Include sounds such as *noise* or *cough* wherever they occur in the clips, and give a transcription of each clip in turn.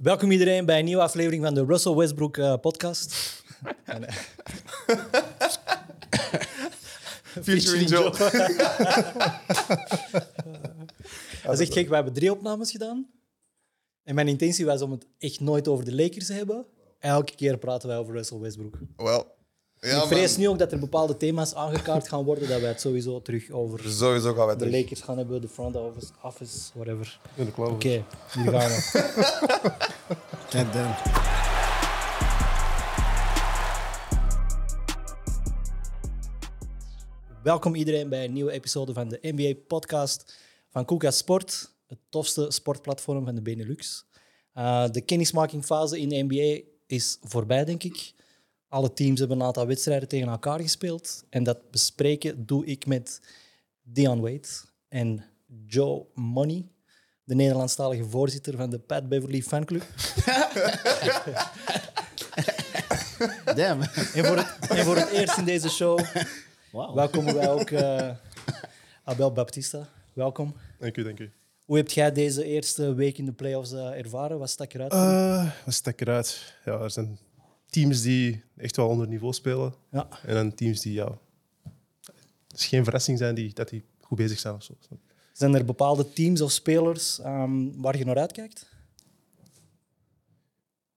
Welkom iedereen bij een nieuwe aflevering van de Russell Westbrook eh, podcast. En, eh, Featuring Joe. dat is echt gek. We hebben drie opnames gedaan. En mijn intentie was om het echt nooit over de Lakers te hebben. En elke keer praten wij over Russell Westbrook. *laughs* Wel. Ja, Ik vrees man. nu ook dat er bepaalde thema's aangekaart gaan worden, dat wij het sowieso terug over Sowieso gaan wij de terug. Lakers gaan hebben, de front office, office whatever. In de klauwen. Oké, hier gaan we. Welkom iedereen bij een nieuwe episode van de NBA-podcast van Kuka Sport, het tofste sportplatform van de Benelux. Eh, de kennismakingfase in de NBA is voorbij, denk ik. Alle teams hebben een aantal wedstrijden tegen elkaar gespeeld. En dat bespreken doe ik met Dion Wade en Joe Money, de Nederlandstalige voorzitter van de Pat Beverly Fanclub. Damn. *laughs* En voor het, en voor het eerst in deze show Wauw. welkomen wij ook eh, Abel Baptista. Welkom. Dank u, dank u. Hoe heb jij deze eerste week in de playoffs eh, ervaren? Wat stak eruit? dat stek eruit. Ja, er zijn teams die echt wel onder niveau spelen. ja. En dan teams die, ja... Het is geen verrassing zijn die, dat die goed bezig zijn of zo. Zijn er bepaalde teams of spelers ehm, waar je naar uitkijkt?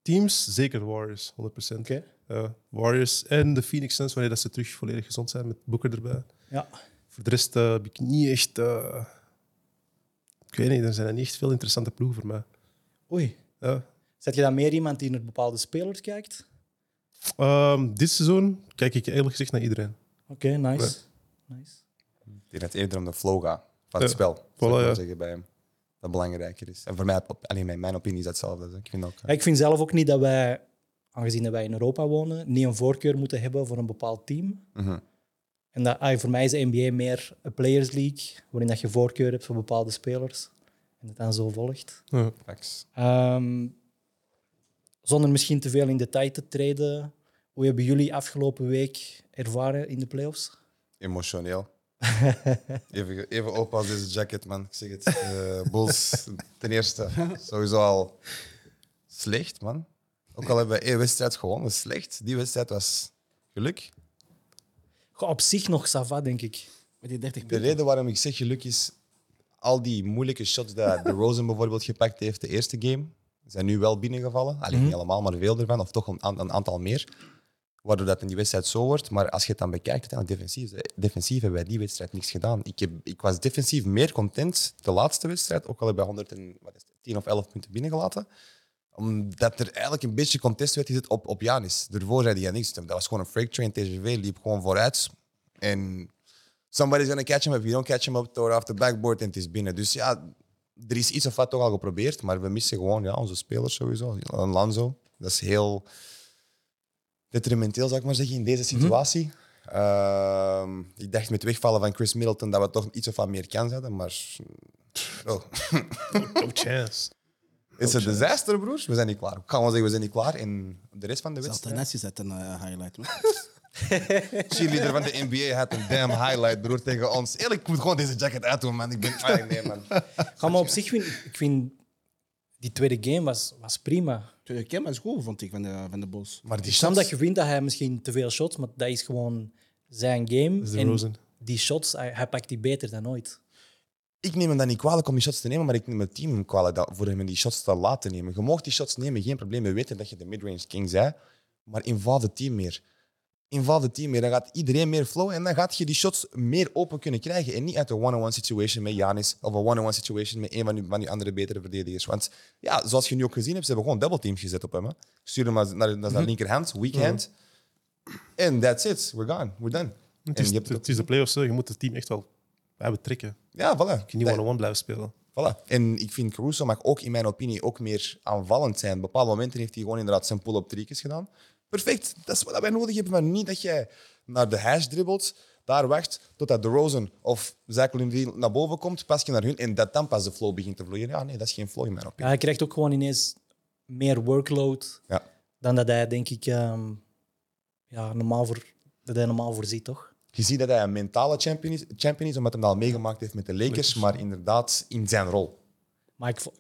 Teams, zeker Warriors, 100%. Oké. Ja, Warriors en de Phoenix Suns, wanneer dat ze terug volledig gezond zijn met Booker erbij. Ja. Voor de rest eh, heb ik niet echt... eh, ik weet niet, er zijn niet echt veel interessante ploegen voor mij. Eh, Oei. Ja. Zet je dan meer iemand die naar bepaalde spelers kijkt? Ehm, dit seizoen kijk ik eerlijk gezegd naar iedereen. Oké, nice. nice. Ik denk dat het eerder om de flow gaat van het Ja, spel. Zou voilà, ik wel ja. zeggen bij hem. Dat belangrijker is. En voor mij, alleen mijn, mijn opinie is dat hetzelfde. dus Ik vind ook, Ja, ik vind zelf ook niet dat wij, aangezien dat wij in Europa wonen, niet een voorkeur moeten hebben voor een bepaald team. Mhm. En dat, ah, voor mij is de NBA meer een players league, waarin dat je voorkeur hebt voor bepaalde spelers. En het dan zo volgt. Ja. facts. Ehm, zonder misschien te veel in detail te treden, hoe hebben jullie afgelopen week ervaren in de playoffs? *laughs* Emotioneel. Even, even open als deze jacket, man. Ik zeg het. Eh, *laughs* Bulls, ten eerste, sowieso al slecht, man. Ook al hebben we één wedstrijd gewonnen, slecht. Die wedstrijd was geluk. Goh, op zich nog Sava, denk ik. Met die 30 De punten. reden waarom ik zeg geluk is al die moeilijke shots dat de Rosen bijvoorbeeld gepakt heeft de eerste game, zijn nu wel binnengevallen. Alleen niet allemaal, maar veel ervan, of toch een, aan- een aantal meer. Waardoor dat in die wedstrijd zo wordt. Maar als je het dan bekijkt, dan defensief, eh, defensief hebben wij die wedstrijd niks gedaan. Ik, heb, ik was defensief meer content de laatste wedstrijd, ook al hebben we 110 of 11 punten binnengelaten omdat er eigenlijk een beetje contest werd gezet op, op Janis. Daarvoor zei hij niks. Dat was gewoon een freight train. TGV liep gewoon vooruit. En somebody's gonna catch him up. If you don't catch him up, throw it off the backboard en het is binnen. Dus ja, er is iets of wat toch al geprobeerd, maar we missen gewoon ja, onze spelers sowieso. Een Lanzo, dat is heel detrimenteel, zou ik maar zeggen, in deze situatie. Ehm, ik dacht met het wegvallen van Chris Middleton dat we toch iets of wat meer kans hadden, maar... Oh. No chance. It's a disaster, broers. We zijn niet klaar. Ik kan wel zeggen, we zijn niet klaar. En de rest van de Dat is wedstrijd... altijd netjes uit een eh, highlight, man. cheerleader van de NBA had een damn highlight, broer, tegen ons. Eerlijk, ik moet gewoon deze jacket uitdoen, man. Ik ben... Ah, *laughs* nee, man. Ga *laughs* maar op zich, vind, ik vind die tweede game was, was prima. Tweede keer, maar is goed, vond ik, van de, van de Bulls. Maar die Ik snap shots- dat je vindt dat hij misschien te veel shots, maar dat is gewoon zijn game. is de En Rosen. Die shots, hij, hij pakt die beter dan ooit. Ik neem hem dan niet kwalijk om die shots te nemen, maar ik neem het team kwalijk dat, voor hem die shots te laten nemen. Je mocht die shots nemen, geen probleem. We weten dat je de midrange king bent, maar involve het team meer. Involve het team meer. Dan gaat iedereen meer flow en dan gaat je die shots meer open kunnen krijgen. En niet uit een one-on-one situation met Janis of een one-on-one situation met een van die, van die andere betere verdedigers. Want ja, zoals je nu ook gezien hebt, ze hebben gewoon double teams gezet op hem. hè. Ik stuur hem naar, naar, naar zijn Mhm. linkerhand, weekhand. En that's it. We're gone. We're done. Het En is, je hebt het, het is de play-offs, hè. je moet het team echt wel bij betrekken. Je ook- Ja, voilà. kunt niet one-on-one blijven spelen. Voilà. En ik vind Caruso mag ook in mijn opinie ook meer aanvallend zijn. Op bepaalde momenten heeft hij gewoon inderdaad zijn pull-up triekjes gedaan. Perfect. Dat is wat wij nodig hebben. Maar niet dat jij naar de hash dribbelt, daar wacht totdat DeRozan of Zachary Levine naar boven komt, pas je naar hun en dat dan pas de flow begint te vloeien. Ja, nee, dat is geen flow in mijn Ja, opinie. hij krijgt ook gewoon ineens meer workload Ja. dan dat hij, denk ik, ehm, ja, normaal, voor, dat hij normaal voor ziet, toch? Je ziet dat hij een mentale champion is, champion is omdat hij dat al meegemaakt heeft met de Lakers, maar inderdaad in zijn rol. Maar ik, vo-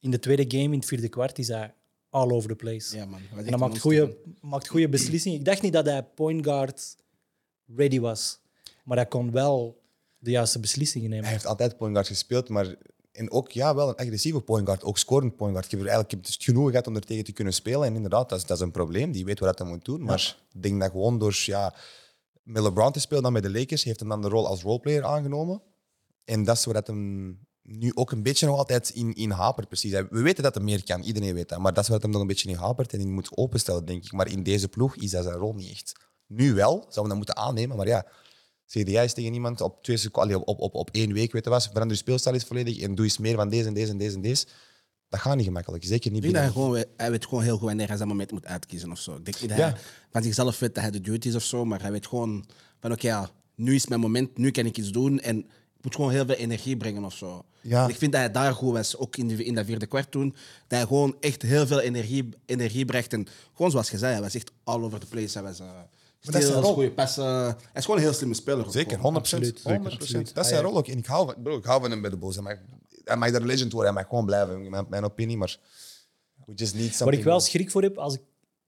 in de tweede game, in het vierde kwart, is hij all over the place. Ja, man. en hij maakt goede, maakt goede beslissingen. Ik dacht niet dat hij point guard ready was. Maar hij kon wel de juiste beslissingen nemen. Hij heeft altijd point guard gespeeld, maar en ook ja, wel een agressieve point guard, ook scorend point guard. Je hebt er eigenlijk je hebt het genoeg gehad om er tegen te kunnen spelen. En inderdaad, dat is, dat is een probleem. Die weet wat hij moet doen. Maar ik denk dat gewoon door ja, met LeBron te spelen dan met de Lakers, heeft hem dan de rol als roleplayer aangenomen. En dat is waar dat hem nu ook een beetje nog altijd in, in hapert. Precies. Hij- We weten dat hij meer kan, iedereen weet dat. Maar dat is wat hem nog een beetje in hapert en in moet openstellen, denk ik. Maar in deze ploeg is dat zijn rol niet echt. Nu wel, zouden we dat moeten aannemen. Maar ja, CDA is tegen iemand op, twee seconden, allee, op, op, op één week, weet je wat, verander je speelstijl eens volledig en doe eens meer van deze en deze en deze en deze. Dat gaat niet gemakkelijk, zeker niet Ik denk dat binnen. hij, gewoon, we- hij weet gewoon heel goed wanneer hij zijn moment moet uitkiezen of zo. Ik denk niet dat Ja. hij van zichzelf weet dat hij de duty is of zo, maar hij weet gewoon van oké, ja, nu is mijn moment, nu kan ik iets doen en ik moet gewoon heel veel energie brengen of zo. Ja. En ik vind dat hij daar goed was, ook in, de, in dat vierde kwart toen, dat hij gewoon echt heel veel energie, energie bracht en gewoon zoals je zei, hij was echt all over the place. Hij was eh is stil, zijn hij was rol. goede passen. Hij is gewoon een heel slimme speler. ook Zeker, 100%. gewoon. 100%. Dat is zijn rol ook. En ik hou van, bro, ik hou van hem bij de Bulls. Hij mag, hij mag daar legend worden, hij mag gewoon blijven, in mijn, mijn opinie. Maar we just need something. Waar ik wel schrik voor heb, als ik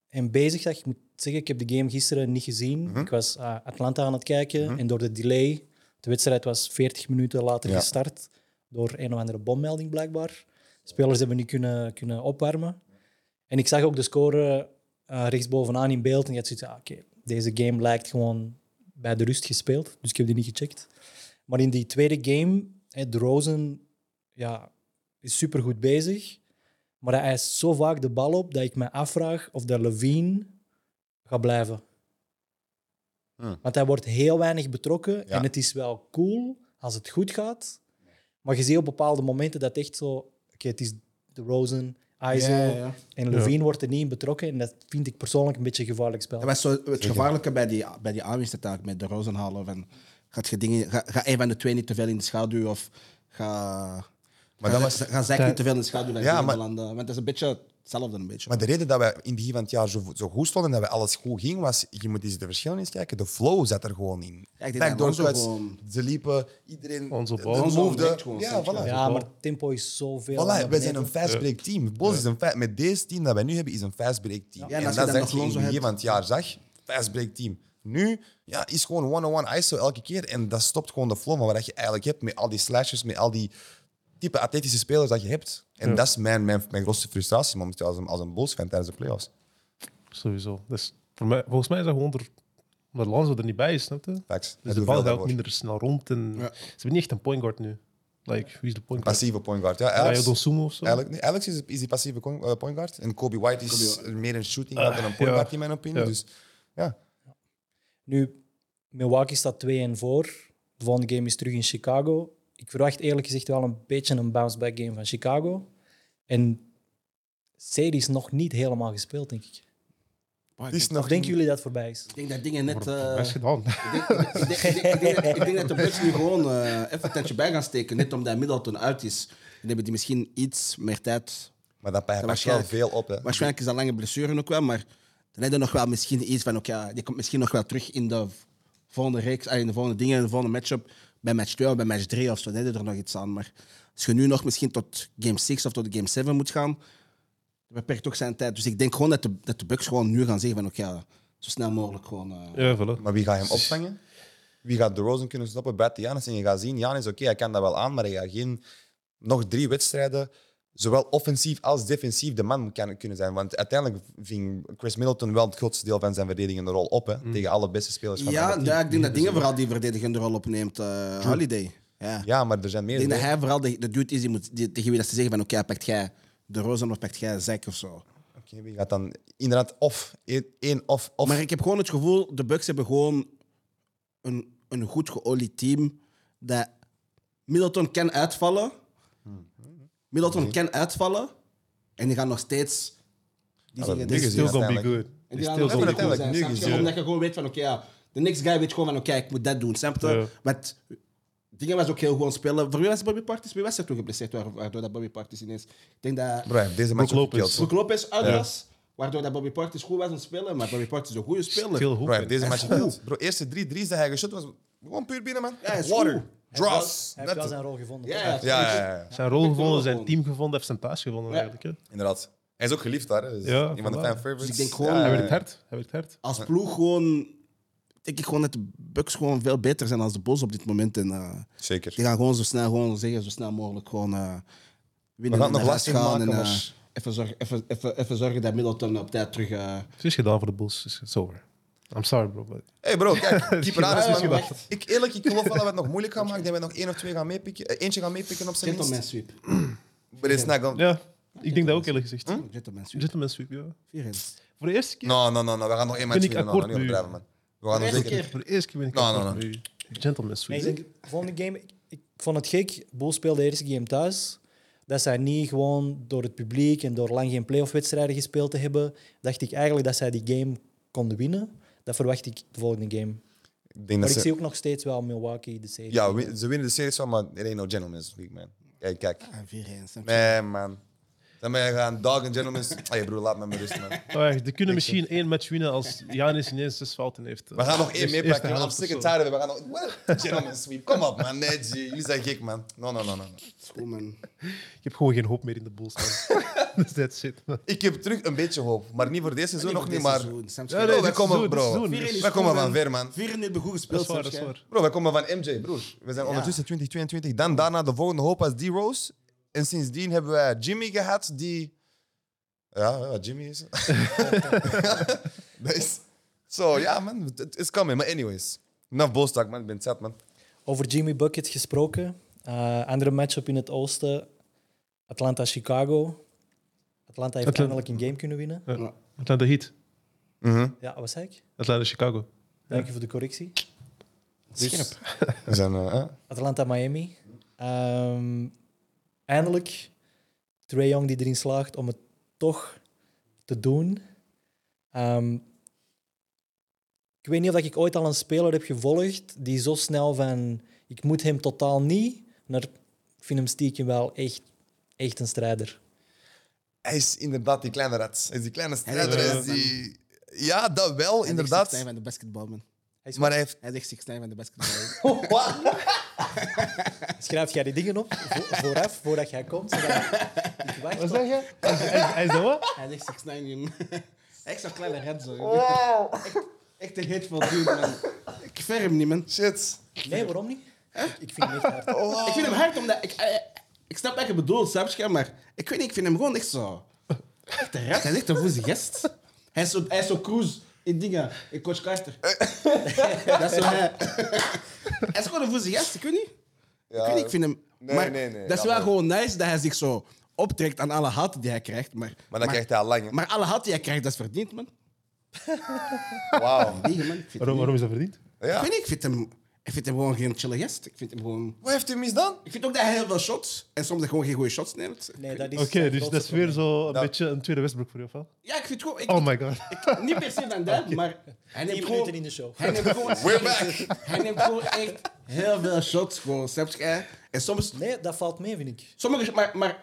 hem bezig zag, ik moet zeggen, ik heb de game gisteren niet gezien. Ik was ah, Atlanta aan het kijken en door de delay, de wedstrijd was 40 minuten later Ja. gestart, door een of andere bommelding blijkbaar. Spelers hebben niet kunnen, kunnen opwarmen. En ik zag ook de score eh, rechtsbovenaan in beeld en je had zoiets, ah, oké, deze game lijkt gewoon bij de rust gespeeld, dus ik heb die niet gecheckt. Maar in die tweede game, hè, DeRozan ja, is supergoed bezig. Maar hij eist zo vaak de bal op dat ik me afvraag of de Levine gaat blijven. Hmm. Want hij wordt heel weinig betrokken. En het is wel cool als het goed gaat. Maar je ziet op bepaalde momenten dat echt zo... Oké, het is de Rosen, ISO Ja, ja, ja. en Levine wordt er niet in betrokken. En dat vind ik persoonlijk een beetje een gevaarlijk spel. Dat was zo het gevaarlijke bij die, bij die aanwinstaak met de Rozenhalen. Van, gaat je dingen, ga, ga een van de twee niet te veel in de schaduw of ga, Maar ga, dat was- ga zij niet te veel in de schaduw dan Ja, ja, maar- belanden. Want dat is een beetje hetzelfde. Een beetje. Maar de reden dat we in het begin van het jaar zo, zo goed stonden en dat we alles goed ging, was, je moet eens de verschillen eens kijken, de flow zat er gewoon in. Ja, ik denk Backdoor dat Lonzo cuts, gewoon- Ze liepen, iedereen... Onze de- bal. de Lonzo move, de- ontdekt gewoon, Ja, snap je? voilà. ja, maar het tempo is zoveel. Voilà, naar wij beneden. zijn een fastbreak team. Bulls is een fa- met deze team dat wij nu hebben, is een fastbreak team. Ja, en en, als je dat dan zag nog je in het Lonzo begin hebt- van het jaar, zag fastbreak team. Nu ja, is gewoon one-on-one ISO elke keer en dat stopt gewoon de flow van wat je eigenlijk hebt met al die slashes, met al die type atletische spelers dat je hebt. En dat is mijn, mijn, mijn grootste frustratie momenteel als een, als een Bulls-fan tijdens de playoffs. Sowieso. Dus voor mij, volgens mij is dat gewoon er, omdat Lonzo er niet bij is, snap je? Facts. Hij Dus de doet bal veel gaat daarvoor. minder snel rond. En Ze hebben niet echt een point guard nu. Like, wie is de point guard? Passieve point guard. Ja, Rayo Alex, Dosumo of zo? Alex, nee, Alex is, is die passieve con- eh, point guard. En Kobe White is meer een shooting guard dan een point Ah, ja. guard, in mijn opinie. Ja. Dus ja, Nu, Milwaukee staat 2-1 voor. De volgende game is terug in Chicago. Ik verwacht eerlijk gezegd wel een beetje een bounce-back game van Chicago. En serie is nog niet helemaal gespeeld, denk ik. het is Of nog denken jullie dat het voorbij is? Ik denk dat dingen net... eh, Best *laughs* gedaan. ik, denk, ik, denk, ik denk- ik denk dat- ik denk dat de Bucks nu gewoon eh, even een tandje bij gaan steken. Net omdat Middleton uit is. Dan hebben die misschien iets meer tijd Maar dat pakt pakt wel waarschijnlijk- veel op. Hè. Waarschijnlijk is dat lange blessure ook wel, maar dan heb je nog wel misschien iets van, oké, ja, die komt misschien nog wel terug in de volgende reeks, ah, in de volgende dingen, in de volgende matchup, bij match 2 of bij match 3 of zo, dan heb je er nog iets aan. Maar als je nu nog misschien tot game 6 of tot game 7 moet gaan, dat beperkt ook zijn tijd. Dus ik denk gewoon dat de, dat de Bucks gewoon nu gaan zeggen van, oké, ja, zo snel mogelijk gewoon... eh, Ja, voilà. Maar wie gaat hem opvangen? Wie gaat de Rosen kunnen stoppen? Buiten Janis. En je gaat zien, Janis, oké, hij kan dat wel aan, maar hij gaat geen... Nog drie wedstrijden, zowel offensief als defensief, de man kan, kunnen zijn. Want uiteindelijk ving Chris Middleton wel het grootste deel van zijn verdedigende rol op. Hè, Mm. Tegen alle beste spelers van ja, alle ja, ik denk dat dingen vooral die verdedigende rol opneemt, eh, Holiday. Ja. Ja, maar er zijn Ik meer. denk dat hij vooral de, de dude is die moet, die, tegen wie dat ze zeggen van, oké, pakt jij de Rozen of pakt jij Zek of zo. Oké, wie gaat dan inderdaad of Eén- één of of. Maar ik heb gewoon het gevoel, de Bucks hebben gewoon een, een goed geolied team. Dat Middleton kan uitvallen. Middleton kan uitvallen. En die gaan nog steeds... dat Die zeggen, heb ik dit- gezien. Still gonna be uiteindelijk. good. en It's die gaan still nog gonna steeds uiteindelijk goed be good. zijn, nu snap je? gezien. Omdat je gewoon weet van, oké, ja, de next guy weet gewoon van, oké, ik moet dat doen, snap je? Ja. Want dingen was ook heel goed aan het spelen. Voor wie was Bobby Partis? Wie was er toen geblesseerd, wa- waardoor dat Bobby Partis ineens... Ik denk dat... Bro, hij heeft deze match Brook ook gekild. Lopez. Bro, Brook Lopez uit was, waardoor dat Bobby Partis goed was aan het spelen. Maar Bobby Partis is een goede speler. Still hij heeft hoop. deze Hij is match gekild. Bro, eerste drie drie's dat hij geschot was gewoon puur binnen, man. Ja, hij is Water. goed. heeft wel- Dross. Hij heeft wel Dat- zijn rol gevonden. Ja, toch? ja. Ja, ja, ja, ja. Zijn rol gevonden, zijn gewoon. team gevonden, heeft zijn thuis gevonden Ja. eigenlijk. Hè. inderdaad. Hij is ook geliefd daar. hè. Dus Ja, een van de voilà. fan favorites. Dus ik denk gewoon- Ja, Hij Hij ja, werkt ja. hard, hij werkt hard. Als ploeg gewoon... Denk ik gewoon dat de Bucks gewoon veel beter zijn dan de Bulls op dit moment. En, eh, Zeker. die gaan gewoon zo snel gewoon zeggen, zo snel mogelijk gewoon eh We winnen. gaan het nog en lastig gaan maken, en, eh, maar... even, zorgen, even, even, even zorgen dat Middleton op tijd terug... eh, Het is gedaan voor de Bulls, dus it's over. I'm sorry, bro. but- hey bro, kijk, keeper gedaan, Aris, is man. gedaan. Ik, eerlijk, ik geloof wel dat we het nog moeilijk gaan maken. Ik denk dat we nog één of twee gaan meepikken. eh, eentje gaan meepikken op zijn gentleman minst. sweep. But it's not gonna... Ja, ik denk dat ook eerlijk Hm? gezegd. Gentleman sweep. Gentleman sweep, ja. Vier in. Voor de eerste keer. No, no, no, no. We gaan nog één match ik winnen. No, no, akkoord niet overdrijven, nu. man. We gaan nog Eerste zeker... keer. Voor de eerste keer ben ik Nou, akkoord nou, met u. Gentleman Maar sweep. ik denk, volgende game, ik, ik vond het gek. Boel speelde de eerste game thuis. Dat zij niet gewoon door het publiek en door lang geen playoff wedstrijden gespeeld te hebben, dacht ik eigenlijk dat zij die game konden winnen. Dat verwacht ik de volgende game. Ik Maar denk dat ik ze... zie ook nog steeds wel Milwaukee de serie. Ja, win- ze winnen de series wel, maar it ain't no gentleman's league, man. Kijk, kijk. Ah, vier in. snap je? Nee, man. Dan ben je gaan dog en gentleman's... Hey broer, laat me met rust, man. Oh, echt, die kunnen misschien één match winnen als Janis ineens zes fouten heeft. Eh, We gaan *laughs* nog één Eerste- meepakken. eerste I'm helft sick of and zo. tired of it. We gaan nog... What? Gentleman's sweep. Kom op, man. Nee, G. Jullie zijn gek, man. No, no, no, no. no. Goed, man. Ik heb gewoon geen hoop meer in de Bulls. *laughs* man. *laughs* Dus that's it. man. Ik heb terug een beetje hoop. Maar niet voor deze seizoen, nog voor niet, dit maar... seizoen, snap je? Ja, Bro, nee, wij dit komen, seizoen, dit bro. seizoen. Vier in is Wij goed, komen van ver, man. Vier in hebben goed Dat gespeeld. is waar, snap dat is je? waar. Bro, wij komen van MJ, broer. We zijn ondertussen 20, 22. Dan daarna de volgende hoop als D-Rose. En sindsdien hebben wij Jimmy gehad, die... Ja, ja, Jimmy *laughs* is... Dat is... Zo, ja, man. het- het is coming. Maar anyways. Enough bolstak, man. Ik ben zat, man. Over Jimmy Bucket gesproken. Eh, andere matchup in het oosten. Atlanta-Chicago. Atlanta heeft Atla- eindelijk een game kunnen winnen. Ja. Atlanta Heat. Mhm. Ja, wat zei ik? Atlanta Chicago. Dank je voor de correctie. Scherp. Dus We zijn... eh, eh. Atlanta-Miami. Ehm, eindelijk Trae Young die erin slaagt om het toch te doen. Ehm, ik weet niet of ik ooit al een speler heb gevolgd die zo snel van ik moet hem totaal niet, naar ik vind hem stiekem wel echt, echt een strijder. Hij is inderdaad die kleine rat. Hij is die kleine Hij is strijder. Hij is wel- die... Ja, dat wel, Hij is echt inderdaad. 6'9" van de basketbal, man. Hij is Maar hij heeft... Hij is echt 6'9" van de basketbal. Schrijf jij die dingen op vo- vooraf, voordat jij komt? zodat ik wacht op- je? Hij is dat wat? Hij is echt 6'9", *laughs* jong. Echt zo'n kleine red, zo. jongen. Echt- Echt een hateful dude, man. Ik ver hem niet, man. Shit. Nee, waarom niet? Ik- Ik vind hem echt hard. Oh, Ik vind hem hard, omdat... Ik, eh, ik snap wat je bedoelt, snap je? Maar ik weet niet, ik vind hem gewoon echt zo... Echt een rat. Hij is echt een woeste gest. Hij is zo, hij is zo cruise in dingen. In Coach Carter. Eh. *laughs* Dat is zo hij. Hij is gewoon een woeste gest, ik weet niet. Ja. Ik weet niet, ik vind hem... Nee, maar nee, nee, dat is wel jammer. gewoon nice dat hij zich zo optrekt aan alle haat die hij krijgt. Maar, Maar dan krijgt hij al lang. hè. maar alle haat die hij krijgt, dat is verdiend, man. Wauw. Liegen, man. Ik vind *laughs* Waarom, waarom is dat verdiend? Ja. Ik weet niet, ik vind hem, ik vind hem gewoon geen chille gest. Ik vind hem gewoon... Wat heeft hij misdaan? Ik vind ook dat hij heel veel shots en soms gewoon geen goede shots neemt. Nee, dat is Oké, zijn dus grootste dat is weer probleem. zo een Ja. beetje een tweede Westbrook voor jou, of wel? Ja, ik vind gewoon... Ik, Oh my god. ik- niet per se dan *laughs* dat, maar... Hij neemt Tien gewoon... minuten in de show. Hij neemt gewoon... We're back. Hij neemt gewoon echt heel veel shots, gewoon. Snap je? En soms... Nee, dat valt mee, vind ik. Sommige... Maar, maar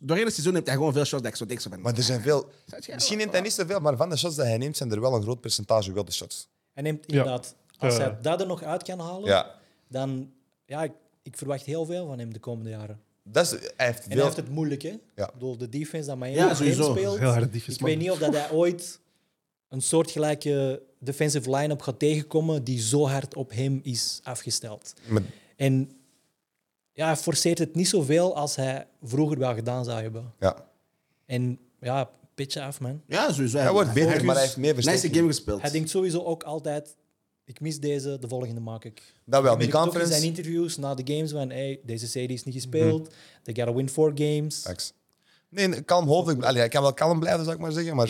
doorheen het seizoen heeft hij gewoon veel shots dat ik zo denk zo van... Maar er zijn veel. Zet jij Misschien wel- neemt hij niet zoveel, maar van de shots die hij neemt, zijn er wel een groot percentage wilde shots. Hij neemt inderdaad, als Eh. hij dat er nog uit kan halen, Ja. dan ja, ik, ik verwacht heel veel van hem de komende jaren. Dat is, hij heeft En hij veel. heeft het moeilijk, hè? Ja. Ik bedoel, de defense dat Miami Ja, ja, sowieso. speelt. Heel harde defense, ik man. weet niet of dat hij ooit een soortgelijke defensive line-up gaat tegenkomen die zo hard op hem is afgesteld. Maar- En ja, hij forceert het niet zoveel als hij vroeger wel gedaan zou hebben. Ja. En ja, pitje af, man. Ja, sowieso. Hij wordt beter, heeft maar hij dus heeft meer Nice versterking. game gespeeld. Hij denkt sowieso ook altijd: ik mis deze, de volgende maak ik. Dat wel. Ik merk Die het ook in conference. zijn interviews na de games van hey, deze serie is niet gespeeld. Mhm. They gotta win four games. Facts. Nee, nee, kalm hoofd. Ik- Allee, hij kan wel kalm blijven, zou ik maar zeggen, maar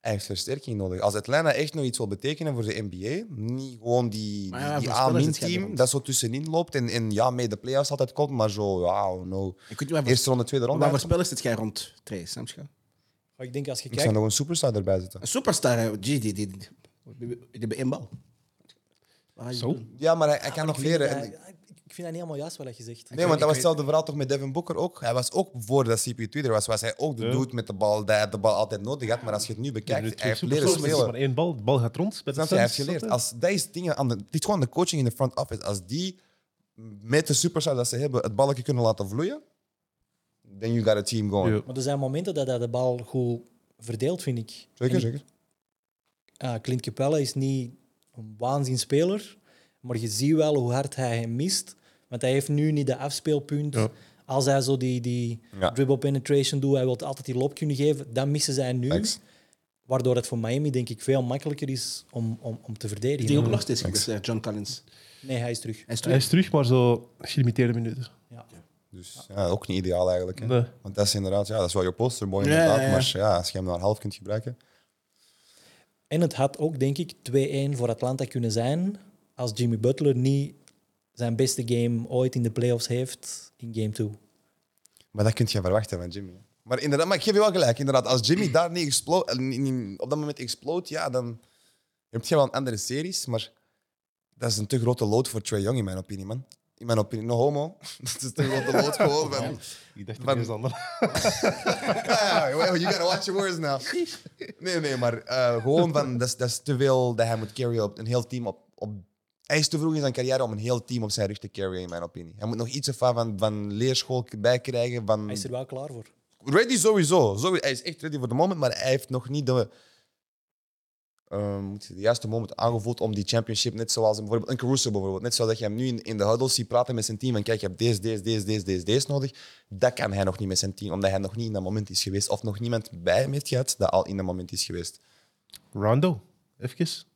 hij heeft versterking nodig. Als Atlanta echt nog iets wil betekenen voor de NBA, niet gewoon die, Maar ja, die voor spelers is het geen A-min-team rond. dat zo tussenin loopt en, en ja, mee de playoffs altijd komt, maar zo, ja, no. Ik weet niet waarvoor- Eerste ronde, tweede ronde. waarvoor eigenlijk. spelers zit jij rond Trey, snap je? Maar ik denk als je Ik zou kijkt, nog een superstar erbij zetten. Een superstar, hè. G, die, die, die, die, hebben één bal. Wat ga je Zo? doen? Ja, maar hij, hij kan nog ik vind, leren. dat, En- ik vind dat niet helemaal juist wat je zegt. Nee, want dat was hetzelfde verhaal toch met Devin Booker ook. Hij was ook voor dat CP2 er was, was hij ook de Ja. dude met de bal. Die had de bal altijd nodig had, maar als je het nu bekijkt, hij heeft leren Superstars, maar spelen. één bal. De bal gaat rond. bij de Snap je? Hij heeft Suns, geleerd. snap je? Als deze dingen aan de, dit is gewoon de coaching in de front office. Als die met de superstar dat ze hebben het balletje kunnen laten vloeien, then you got a team going. Ja. Maar er zijn momenten dat hij de bal goed verdeelt, vind ik. En Zeker, ik- zeker. Ah, Clint Capella is niet een waanzinspeler, maar je ziet wel hoe hard hij hem mist. Want hij heeft nu niet de afspeelpunt. Ja. Als hij zo die, die Ja. dribble penetration doet, hij wil altijd die lob kunnen geven, dan missen zij nu. Thanks. Waardoor het voor Miami denk ik veel makkelijker is om, om, om te verdedigen. Die ook nog steeds geblesseerd, John Collins. Nee, hij is terug. Hij is terug. Hij is terug, maar zo gelimiteerde minuten. Ja. Dus ja, ook niet ideaal eigenlijk. Hè? Nee. Want dat is inderdaad, ja, dat is wel je poster, mooi Ja, inderdaad. ja, ja. Maar ja, als je hem naar half kunt gebruiken. En het had ook, denk ik, 2-1 voor Atlanta kunnen zijn als Jimmy Butler niet zijn beste game ooit in de playoffs heeft in game 2. Maar dat kun je verwachten van Jimmy. hè. Maar inderdaad, maar ik geef je wel gelijk. Inderdaad, als Jimmy daar niet, explo- eh, niet- niet- op dat moment exploot, ja, dan heb je wel een andere series. Maar dat is een te grote lood voor Trae Young, in mijn opinie, man. In mijn opinie, no homo. *laughs* Dat is te grote lood gewoon. Van, *laughs* Ik dacht Van- ineens Ah, well, you gotta watch your words now. Nee, nee, maar eh, gewoon van, dat is, dat is te veel dat hij moet carryen op een heel team. Op, op, hij is te vroeg in zijn carrière om een heel team op zijn rug te carryen, in mijn opinie. Hij moet nog iets ervan van, van leerschool bijkrijgen. Van... Hij is er wel klaar voor. Ready sowieso. Zo- Hij is echt ready voor de moment, maar hij heeft nog niet de, ehm, moet je- de juiste moment aangevoeld om die championship, net zoals hem bijvoorbeeld, een Caruso bijvoorbeeld, net zoals dat je hem nu in, in de huddle ziet praten met zijn team en kijk, je hebt deze, deze, deze, deze, deze, deze nodig. Dat kan hij nog niet met zijn team, omdat hij nog niet in dat moment is geweest of nog niemand bij hem heeft gehad dat al in dat moment is geweest. Rondo, even.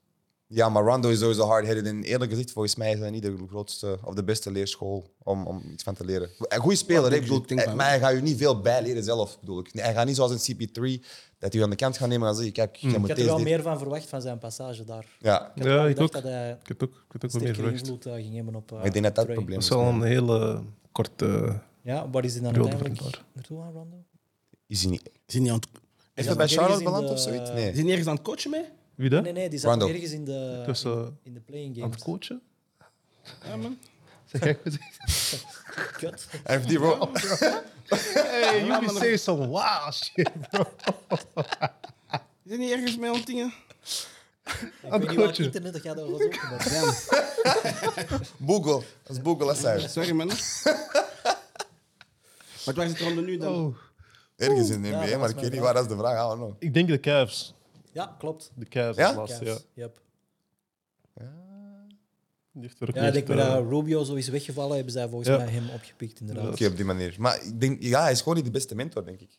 Ja, maar Rondo is sowieso hard-headed en eerlijk gezegd, volgens mij is hij niet de grootste of de beste leerschool om, om iets van te leren. Een goede speler, hè, ik bedoel, eh, ik denk wel. maar hij gaat je niet veel bijleren zelf, bedoel ik. Nee, Hij gaat niet zoals een CP3 dat hij aan de kant gaat nemen en zeggen, kijk, jij Ik moet had er deze... wel dit- meer van verwacht van zijn passage daar. Ja, Ik had Ja, wel ik gedacht dat ook. hij Ik heb het ook, ik heb het ook wat meer sterkere verwacht. invloed eh, ging hebben op. eh, ik denk dat dat het Trey. probleem Dat is. is wel een hele korte... Ja, waar is hij dan Bedoel, uiteindelijk bedoel. naartoe aan, Rondo? Is hij niet... Is hij niet aan het- Is Ja, hij bij maar ergens in Charlotte beland of de- zoiets? is *laughs* Nee. hij niet ergens aan het coachen mee? Wie dat? Ah, Nee, nee, die zat Rondo. ergens in de, Tussen- in, in de playing Aan games. het coachen? Ja, man. Zeg jij goed? Kut. Hij heeft die rol... Hey, you say some wow *laughs* shit. Is hij niet ergens mee aan het dingen? Ik weet niet waar het coachen. internet dat gaat over zoeken. maar- Damn. Boegle. Dat is Boegle, dat is hij. Sorry, *laughs* man. Maar waar zit Rondo nu dan? Oh. Ergens in de Ja, dat was NBA, maar ik mijn weet niet vraag. waar, dat is de vraag. I don't know. Ik denk de Cavs. Ja, klopt. De Cavs Ja? als laatste, ja. Cavs. Yep. Die heeft er ook Ja, ik niet denk echt, dat eh, Rubio zo is weggevallen, hebben zij volgens Ja. mij hem opgepikt, inderdaad. Oké, op die manier. Maar ik denk, ja, hij is gewoon niet de beste mentor, denk ik.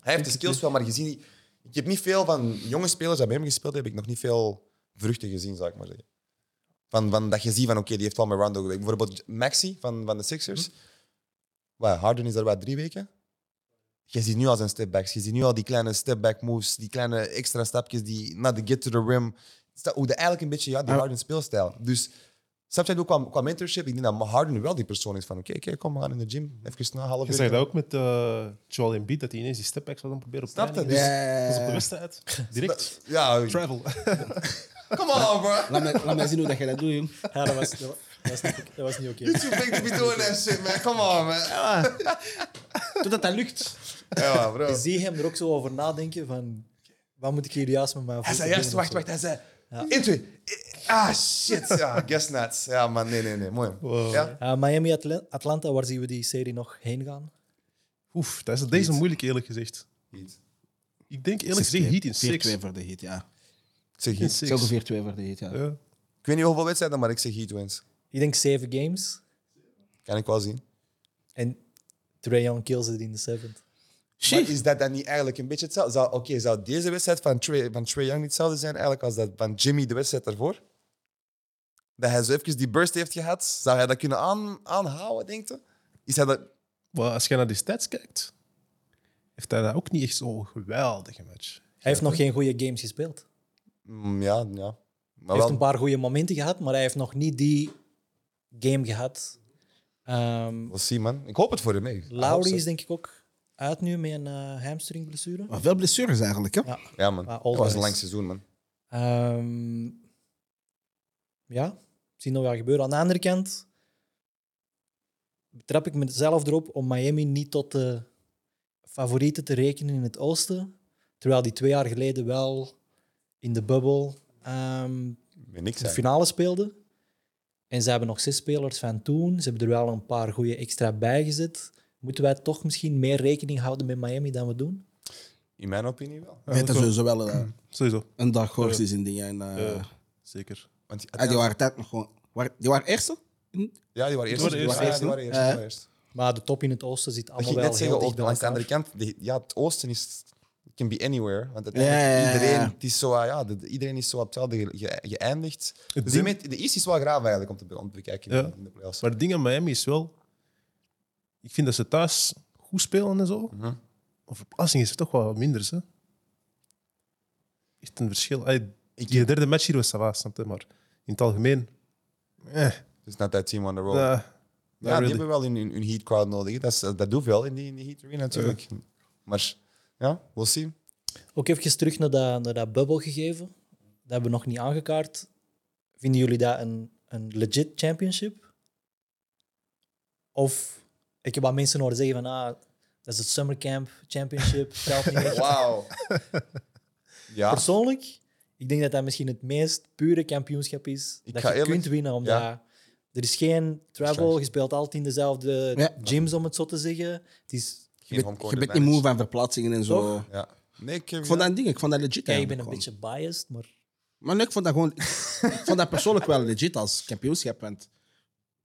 Hij heeft de skills wel, maar gezien... Ik heb niet veel van jonge spelers die bij hem gespeeld hebben, heb ik nog niet veel vruchten gezien, zou ik maar zeggen. Van, van dat je ziet van, oké, die heeft wel met Rondo gewerkt. Bijvoorbeeld Maxi van, van de Sixers. Wat, Harden is er wat drie weken. Je ziet nu al zijn stepbacks. Je ziet nu al die kleine stepback moves, die kleine extra stapjes die naar de get to the rim. Sta- Hoe de eigenlijk een beetje, ja, die Harden speelstijl. Dus, snap je, ook qua, qua mentorship, ik denk dat Harden wel die persoon is van, oké, oké, kom, we gaan in de gym. Even na, half Je uur. zag dat ook met eh, Joel Embiid, dat hij ineens die stepbacks was aan het proberen op Snap je? training. Dus- Dat is op de Yeah. wedstrijd. *laughs* Direct. Ja, Travel. *laughs* come on, bro. Laat mij, laat mij zien hoe dat jij dat *laughs* doet, jong. Ja, dat was, dat was, dat was niet, dat was niet oké. *laughs* It's too big to be doing that shit, man. Come on, man. Totdat dat lukt. Ja, bro. Je ziet hem er ook zo over nadenken van... Wat moet ik hier juist met mijn Hij voeten zei juist, doen of wacht, zo. wacht. Hij zei, in twee. Ah, shit. Ja, guess not. Ja, man, nee, nee, nee. Mooi. Ja? Eh, Miami, Atla- Atlanta, waar zien we die serie nog heen gaan? Oef, dat is, deze is moeilijk eerlijk gezegd. Ik denk eerlijk gezegd Heat in 6. 4-2 voor de hit, ja. Zeg In Heat. six. Zelfde 4-2 voor de hit, ja. Ja. Ik weet niet hoeveel wedstrijden, maar ik zeg Heat wins. Ik denk zeven games. Kan ik wel zien. En Trae Young kills het in de seventh. Maar is dat dan niet eigenlijk een beetje hetzelfde? Zou- Oké, zou deze wedstrijd van Trae, van Trae Young niet hetzelfde zijn eigenlijk als dat van Jimmy de wedstrijd daarvoor? Dat hij zo even die burst heeft gehad. Zou hij dat kunnen aan, aanhouden, denk je? Is hij dat... Maar als je naar die stats kijkt, heeft hij dat ook niet echt zo'n geweldige match. Hij heeft nog geen goede games gespeeld. Mm, ja, ja. Maar Hij heeft wel, een paar goede momenten gehad, maar hij heeft nog niet die game gehad. Ehm we'll see, man. Ik hoop het voor hem, hey. Lowry is denk ik ook uit nu met een eh, hamstringblessure. Maar veel blessures eigenlijk, hè? Ja. Ja, man. Maar Het always. was een lang seizoen, man. Ehm, ja, zien nog wat gebeuren. Aan de andere kant betrap ik mezelf erop om Miami niet tot de favorieten te rekenen in het oosten. Terwijl die twee jaar geleden wel in de bubbel ehm, Ik ben niks de eigenlijk. finale speelden. En ze hebben nog zes spelers van toen. Ze hebben er wel een paar goede extra bij gezet. Moeten wij toch misschien meer rekening houden met Miami dan we doen? In mijn opinie wel. Ik weet dat sowieso wel eh, Sowieso. een dag Horst is in dingen. En, eh, Ja, zeker. Want ah, die waren tijd nog gewoon... waren- die waren eerste? ja, die waren eerst. Die waren Ja, eerst, die waren eerst, hè? die Eh. waren eerst. Maar de top in het oosten zit Ik allemaal ging wel net heel zeggen, dicht ook bij langs de elkaar. andere kant, die- ja, het oosten is, can be anywhere. Want Ja, ja, uiteindelijk ja, ja. iedereen, het is zo, ah, ja, de- de- iedereen is zo op hetzelfde ge- ge- geëindigd. Dus ding- die met- de East is wel graaf eigenlijk om te, be- om te bekijken in Ja. de- in de playoffs. Maar het ding aan Miami is wel... Ik vind dat ze thuis goed spelen en zo. Mhm. Maar verplaatsing is toch wel wat minder, hè? Echt een verschil. Allee, Ik- die derde match hier was Sava, snap je? Maar in het algemeen... Eh, Dus not that team on the road. nah, ja, really. die hebben wel hun, hun, hun heat crowd nodig. hè. Dat, is, dat doet wel in die, in die heat arena natuurlijk. Maar ja, we'll see. Ook even terug naar dat, naar dat bubbelgegeven. Dat hebben we nog niet aangekaart. Vinden jullie dat een, een legit championship? Of ik heb wat mensen horen zeggen van ah, dat is het summercamp championship. telt *laughs* niet echt. Wauw. ja, Persoonlijk, ik denk dat dat misschien het meest pure kampioenschap is Ik dat je ga eerlijk- kunt winnen. Omdat Ja. er is geen travel, Verstandig. je speelt altijd in dezelfde Ja. gyms, om het zo te zeggen. Het is, geen home Je bent, court je bent niet advantage. moe van verplaatsingen en zo. Toch? dus- Ja. Nee, ik, Ik vond dat een ding, ik vond dat legit. ja, ik ben eigenlijk een gewoon. beetje biased, maar Maar nee, ik vond dat gewoon. ik vond dat persoonlijk wel legit als kampioenschap. Want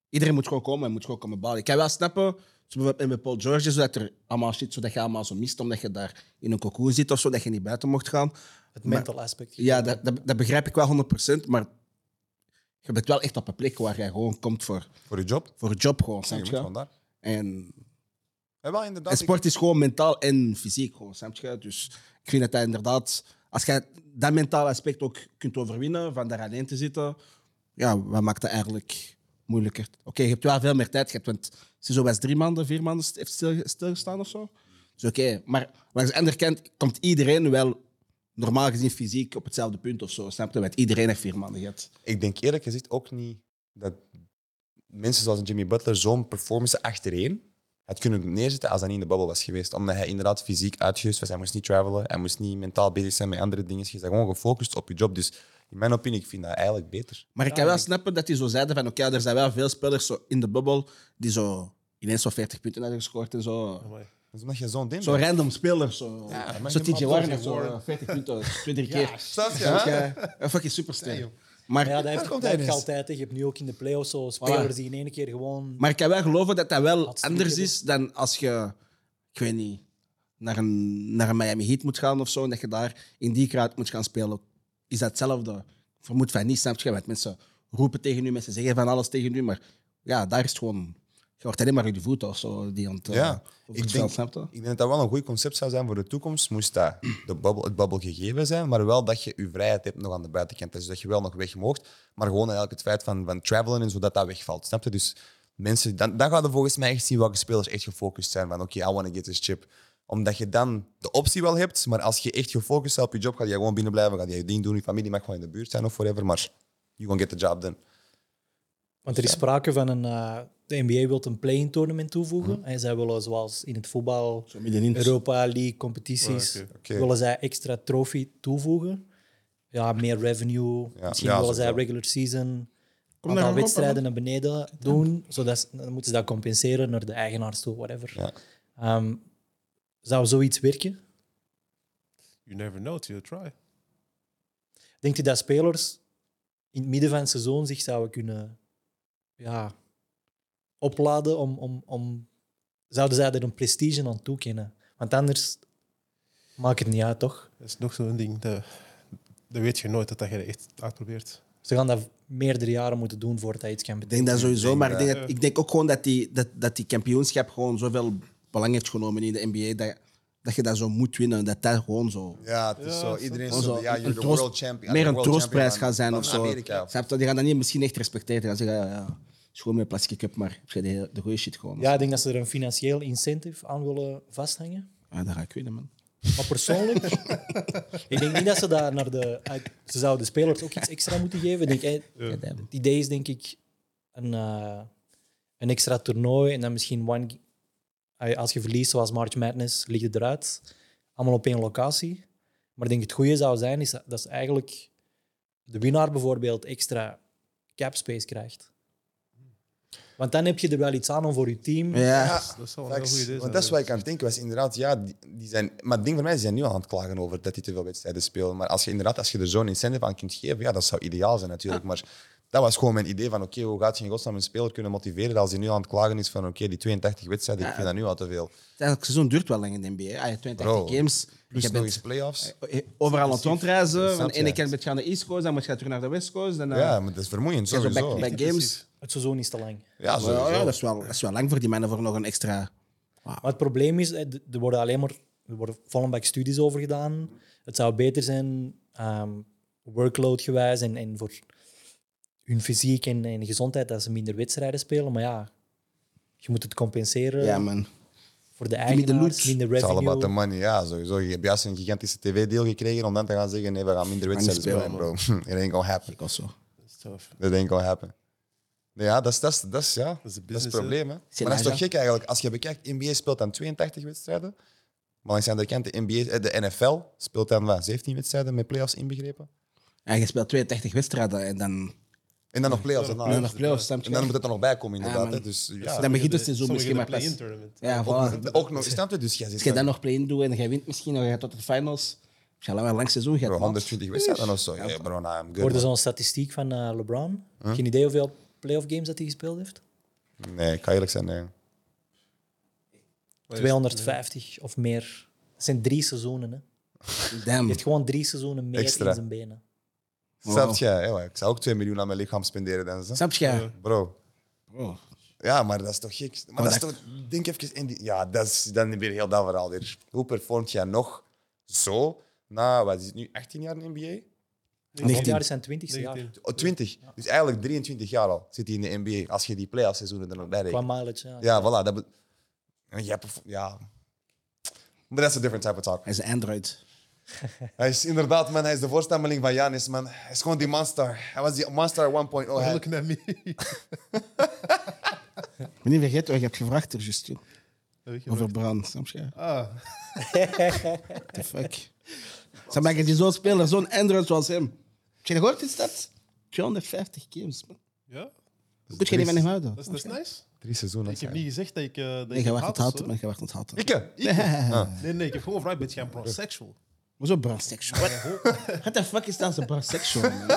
iedereen moet gewoon komen en moet gewoon komen balen. Ik kan wel snappen, zo bijvoorbeeld met Paul George, zodat er allemaal shit, zodat je allemaal zo mist, omdat je daar in een cocoon zit of zo, dat je niet buiten mocht gaan. het Maar- mental aspect. Ja, dat, dat, dat begrijp ik wel 100%, maar je bent wel echt op een plek waar jij gewoon komt voor, voor je job. voor een job, gewoon, Je snap moet je? gewoon daar. En, Ja, Eh, wel, en inderdaad. ik- sport is gewoon mentaal en fysiek, gewoon, snap je? Dus ik vind dat dat inderdaad, als je dat mentaal aspect ook kunt overwinnen, van daar alleen te zitten, ja, wat maakt dat eigenlijk moeilijker? Oké, je hebt wel veel meer tijd gehad, want ze zo was drie maanden, vier maanden st- heeft stil, stilgestaan of zo. Dus oké, maar langs de andere kant komt iedereen wel normaal gezien fysiek op hetzelfde punt of zo, snap je? Want iedereen heeft vier maanden gehad. ik denk eerlijk gezegd ook niet dat mensen zoals een Jimmy Butler zo'n performance achtereen had kunnen neerzetten als hij niet in de bubbel was geweest. Omdat hij inderdaad fysiek uitgehust was. Hij moest niet travelen, hij moest niet mentaal bezig zijn met andere dingen. Je bent gewoon gefocust op je job. Dus in mijn opinie, ik vind dat eigenlijk beter. Maar ik kan wel snappen dat die zo zeiden van oké, er zijn wel veel spelers zo in de bubbel die zo ineens zo 40 punten hebben gescoord en zo. amai. Dat is omdat je zo'n ding Zo bent. random spelers. Zo, maar zo je TJ mag Warren, toch zo worden. 40 punten, 20 keer. Snap je, Dat is hè? ook, eh, Een fucking superster. maar, Ja, dat heb, dat komt heb hij je dus. altijd. hè. Je hebt nu ook in de playoffs zo spelers die in één keer gewoon... maar ik kan wel geloven dat dat wel Had anders stiekem. is dan als je, ik weet niet, naar een, naar een Miami Heat moet gaan of zo. En dat je daar in die kraat moet gaan spelen. Is dat hetzelfde? Ik vermoed van niet, snap je? Want mensen roepen tegen u, mensen zeggen van alles tegen u. Maar ja, daar is het gewoon. Je wordt alleen maar uit de voeten of zo. Die aan het, eh, Ja, over het ik veld, denk, snap je? ik denk dat dat wel een goed concept zou zijn voor de toekomst. Moest dat de bubbel, het bubbel gegeven zijn, maar wel dat je je vrijheid hebt nog aan de buitenkant. Dus dat je wel nog weg moogt, maar gewoon eigenlijk het feit van, van travelen en zo dat dat wegvalt. Snap je? Dus mensen, dan, dan gaan we volgens mij echt zien welke spelers echt gefocust zijn. Van oké, I want to get this chip. Omdat je dan de optie wel hebt, maar als je echt gefocust bent op je job, ga je gewoon binnen blijven, ga je je ding doen. Je familie mag gewoon in de buurt zijn of whatever, maar you gonna get the job done. Want er is sprake van een... eh, de NBA wil een play-in tournament toevoegen. Mhm. En zij willen, zoals in het voetbal, Zo middenin. Europa League competities, Ah, Oké. willen zij extra trofee toevoegen. Ja, meer revenue. Ja, Misschien ja, willen zij sowieso. regular season naar aantal Europa, wedstrijden naar beneden doen. Zodat, ze- dan moeten ze dat compenseren naar de eigenaars toe, whatever. Ja. Ehm, zou zoiets werken? You never know till you try. Denkt u dat spelers in het midden van het seizoen zich zouden kunnen ja, opladen om, om, om... Zouden zij er een prestige aan toekennen? Want anders maakt het niet uit, toch? Dat is nog zo'n ding. Dat, dat weet je nooit dat dat je dat echt uitprobeert. Dus Ze gaan dat meerdere jaren moeten doen voordat hij iets kan Ik betekenen. denk dat sowieso, maar ik dat- denk, dat- ik denk ook gewoon dat die, dat, dat die kampioenschap gewoon zoveel belang heeft genomen in de NBA dat, dat je dat zo moet winnen. Dat dat gewoon zo. Ja, het is zo. Ja, snap Iedereen gewoon is zo zo, ja, een you're the troost- world champion. meer I'm een the world troostprijs champion gaat zijn van of zo. Amerika. Snap je? Die gaan dat niet misschien echt respecteren. Die gaan zeggen, ja, ja, is gewoon meer plastic cup, maar heb je de, de goede shit gewoon. Ja, ik denk dat ze er een financieel incentive aan willen vasthangen. Ja, dat ga ik winnen, man. Maar persoonlijk, ik denk niet dat ze daar naar de... uit- Ze zouden de spelers ook iets extra moeten geven. Ik Denk, eh, hey, Ja, damn. Het idee is denk ik een, eh, een extra toernooi en dan misschien one. Ay, Als je verliest, zoals March Madness, ligt het eruit. Allemaal op één locatie. Maar ik denk het goede zou zijn, is dat dat is eigenlijk de winnaar bijvoorbeeld extra cap space krijgt. Want dan heb je er wel iets aan om voor je team. Ja. Dus Dat is wel een heel Facts. goed idee. Want dat is zijn. wat ik aan het denken was. Inderdaad, ja, die, die zijn, maar het ding van mij is, die zijn nu al aan het klagen over dat die te veel wedstrijden spelen. Maar als je, inderdaad, als je er zo'n incentive aan kunt geven, ja, dat zou ideaal zijn natuurlijk. Maar dat was gewoon mijn idee van, oké, hoe gaat je in godsnaam een speler kunnen motiveren als hij nu aan het klagen is van, oké, die 82 wedstrijden, ik vind dat nu al te veel. Het seizoen duurt wel lang in de NBA. Ah, ja, 82 Bro, games. Plus je Dus nog bent eh, eens playoffs. overal aan het rondreizen. Van Snap de je? ene keer ben je aan de East Coast, dan moet je terug naar de West Coast. Dan, eh, Ja, maar dat is vermoeiend en zo sowieso. back-to-back games. Het seizoen is te lang. Ja, Maar sowieso. Ja, ja, dat, is wel, dat is wel lang voor die mannen voor nog een extra. Maar het probleem is, eh, d- er worden alleen maar er worden Vollenbak studies over gedaan. Het zou beter zijn, ehm, workload-gewijs en, en voor hun fysiek en, en gezondheid, dat ze minder wedstrijden spelen. Maar ja, je moet het compenseren Ja, man. voor de looks. eigenaars, minder Het is all revenue. about the money, ja, sowieso. Je hebt juist een gigantische tv-deal gekregen om dan te gaan zeggen, nee, we gaan minder wedstrijden spelen, spelen, bro. *laughs* It ain't gonna happen. Ik was zo. Dat is tof. Dat denk ik al happen. Nee, Ja, dat is, dat is, dat is, ja, dat is, is de het business, hè. probleem. Hè? Maar dat is toch gek eigenlijk. Als je bekijkt, NBA speelt dan 82 wedstrijden. Maar langs de andere kant, de, NBA, eh, de NFL speelt dan wat, 17 wedstrijden met playoffs inbegrepen. En je speelt 82 wedstrijden en dan, En dan nog playoffs Ah, daarna. dan dus- nog play-offs. snap je? En dan moet het er nog bij komen, inderdaad. man. hè. Dus ja, Dan begint het Sommige seizoen misschien de maar play-in pas. tournament. Ja, ook, voilà. ook nog, snap je? Dus jij Als je zit dan dan nog play-in doet en jij wint misschien nog tot de finals, heb je al wel een lang seizoen gehad. bro, man. 120 wedstrijden of zo. Ja, bro, nah, I'm good, Hoorde man. zo'n statistiek van eh, LeBron? Geen idee hoeveel playoff games dat hij gespeeld heeft? Nee, ik kan eerlijk zijn, nee. Oh. 250 of meer. Het zijn drie seizoenen. Hè. Hij *laughs* Damn. heeft gewoon drie seizoenen meer Extra. in zijn benen. Wow. Snap je? Ja, maar ik zou ook 2 miljoen aan mijn lichaam spenderen. Dan, zo. Snap je? bro, Oh. Ja, maar dat is toch gek. Maar dat is toch, denk even in die, ja, dat is dan weer heel dat verhaal weer. Hoe performt jij nog zo na, wat is het nu, 18 jaar in de NBA? Volgend jaar is dus- zijn twintigste jaar. 19. Oh, 20. Dus eigenlijk 23 jaar al zit hij in de NBA, als je die play-off seizoenen er nog bij Qua rekent. mileage, ja. Ja, voilà. Dat be- En jij perf- ja. Maar dat is een different type of talk. Hij is een Android. Hij is inderdaad, man, hij is de voorstameling van Janis, man. Hij is gewoon die monster. Hij was die monster 1.0. Hij- Look naar me. Maar niet vergeten, je hebt gevraagd er juist joh. Heb ik over brand. Snap je? Ah, The fuck. Ze maken die zo'n speler, zo'n Android zoals hem. Heb je gehoord is dat? 250 games, man. ja. Hoe Kun je niet van hem houden? Dat is, dat is nice. Drie seizoenen. Ik heb niet gezegd dat ik... eh dat Nee, ik je hem wacht het haat of houten, zo. maar je Ah. wacht het *laughs* houten. Ikke? Nee, nee, ik heb gewoon gevraagd, ben je geen *laughs* prosexual? Hoezo brandsexual? What? What the fuck is dat, een brandsexual? man?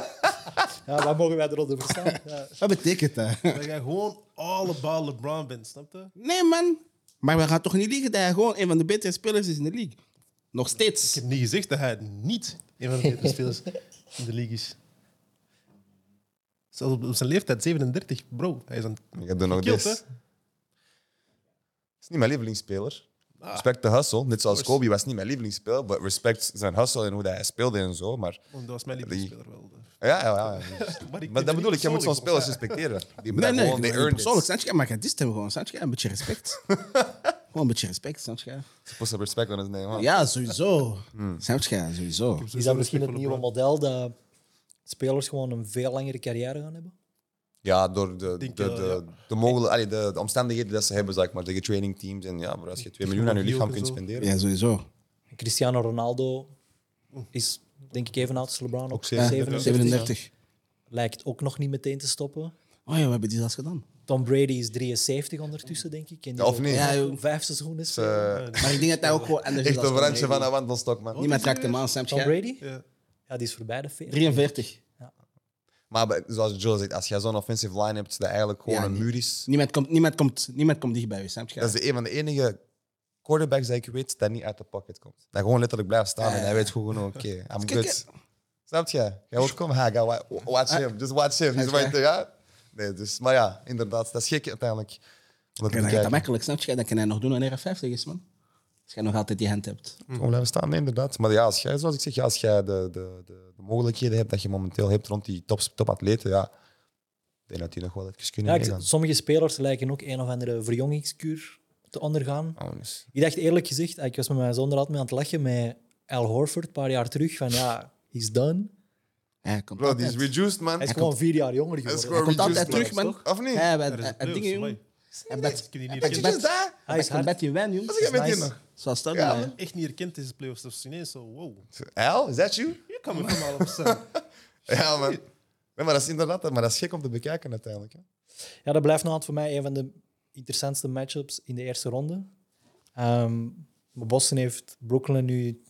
Ja, wat mogen wij eronder verstaan? Ja. *laughs* Wat betekent dat? Dat jij gewoon all about LeBron bent, snap je? Nee, man. Maar we gaan toch niet liegen dat hij gewoon een van de betere spelers is in de league. Nog steeds. Ik heb niet gezegd dat hij niet een van de *laughs* betere spelers in de league is. Zelfs op op zijn leeftijd, 37, bro. Hij is een Ik heb er nog Gekild, dit. hè? Het is niet mijn lievelingsspeler. Ah. Respect de hustle. Net zoals Kobe was niet mijn lievelingsspeler, maar respect zijn hustle en hoe dat hij speelde en zo. Maar Dat was mijn lievelingsspeler wel. dus. ja, ja, *laughs* ja. Maar, Maar dat bedoel ik, je moet zo'n spelers respecteren. Die Nee, moeten nee, gewoon, they nee, nee earned persoonlijk, it. snap je? Maar je dist hem gewoon, snap je? Een beetje respect. gewoon een beetje respect, snap je? Put some respect on his name. man. Ja, sowieso. Snap je? Sowieso. Is dat misschien het nieuwe model dat spelers gewoon een veel langere carrière gaan hebben? Ja, door de, de, eh, de, de, mogel- allee, de, de omstandigheden dat ze hebben, zeg maar, tegen training teams. En ja, maar als je 2 miljoen aan je Ook lichaam en kunt zo. spenderen, Ja, sowieso. Cristiano Ronaldo is denk ik even oud als LeBron, ook Ook zeven- 37. 37. Lijkt ook nog niet meteen te stoppen. Oh ja, we hebben die zelfs gedaan. Tom Brady is 73 ondertussen, denk ik. En die Ja, of wil niet? Ja, joh. Vijf seizoenen is, spelen. eh, Maar ik denk dat hij ook gewoon anders is. echt als een Tom randje Brady. van een wandelstok, man. Niemand raakt hem aan, snap Tom je? Brady? Ja. Ja, die is voorbij de 40. 43. Maar bij- zoals Joe zegt, als jij zo'n offensive line hebt, dat eigenlijk gewoon Ja, een die- muur is. Niemand komt, niemand komt, niemand komt dichtbij je, snap je? Dat is de, een van de enige quarterbacks die ik weet dat niet uit de pocket komt. Dat gewoon letterlijk blijft staan en hij weet gewoon, oké, I'm Kijk, good. Snap je? Jij wilt komen? Ha, ga wa- watch him. Just watch him. He's Snap je? right there, ja? Nee, dus, maar ja, inderdaad. Dat is gek uiteindelijk. Om dat te Dan gaat dat bekijken. makkelijk, snap je? Dat kan hij nog doen wanneer hij 50 is, man. Als jij nog altijd die hand hebt. Gewoon blijven staan, nee, inderdaad. Maar ja, als jij, zoals ik zeg, ja, als jij de, de, de, de mogelijkheden hebt dat je momenteel hebt rond die top, topatleten, ja, ik denk dat die nog wel even kunnen Ja, ik- meegaan. sommige spelers lijken ook een of andere verjongingskuur te ondergaan. Oh, dus- Ik dacht eerlijk gezegd, ah, ik was met mijn zoon er altijd mee aan het lachen met Al Horford een paar jaar terug. Van ja, he's done. Ja, hij komt Bro, die altijd. is reduced, man. Hij is gewoon vier jaar jonger Hij is geworden. gewoon komt altijd reduced, man. terug, man. Of niet? Ja, hij Dat Eh, is heeft- een hij heeft playoffs, dingen, amai. jongen. Hij Dat bed, kun je hij niet bed, Kijk hij herkennen. eens bed, daar. Hij is hij hard. bed, je wijn, jongen. Wat zeg jij met die nice. nog? Zoals dat Ja, maar, man. Echt niet herkend deze playoffs. Dat is ineens zo, wow. Al, is dat you? Hier kan me van alles op zijn. Ja, man. Ja, maar dat is inderdaad, maar dat is gek om te bekijken uiteindelijk. Hè. Ja, dat blijft nou voor mij een van de interessantste matchups in de eerste ronde. Ehm, maar Boston heeft Brooklyn nu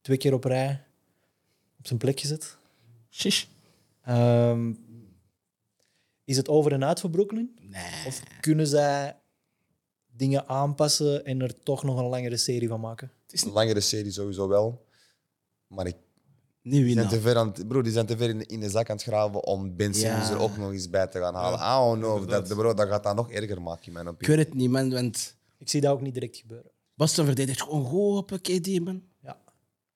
twee keer op rij op zijn plek gezet. Shish. Ehm, is het over en uit voor Brooklyn? Nee. Of kunnen zij dingen aanpassen en er toch nog een langere serie van maken? Een langere serie sowieso wel. Maar ik Niet die zijn winnen. te ver aan het, broer, die zijn te ver in, in de zak aan het graven om Ben Simmons Ja. er ook nog eens bij te gaan halen. I don't know. Dat, bro, dat gaat dat nog erger maken in mijn Ik opinie. weet het niet, man. Want Ik zie dat ook niet direct gebeuren. Boston verdedigt gewoon goed op een KD, man. Ja.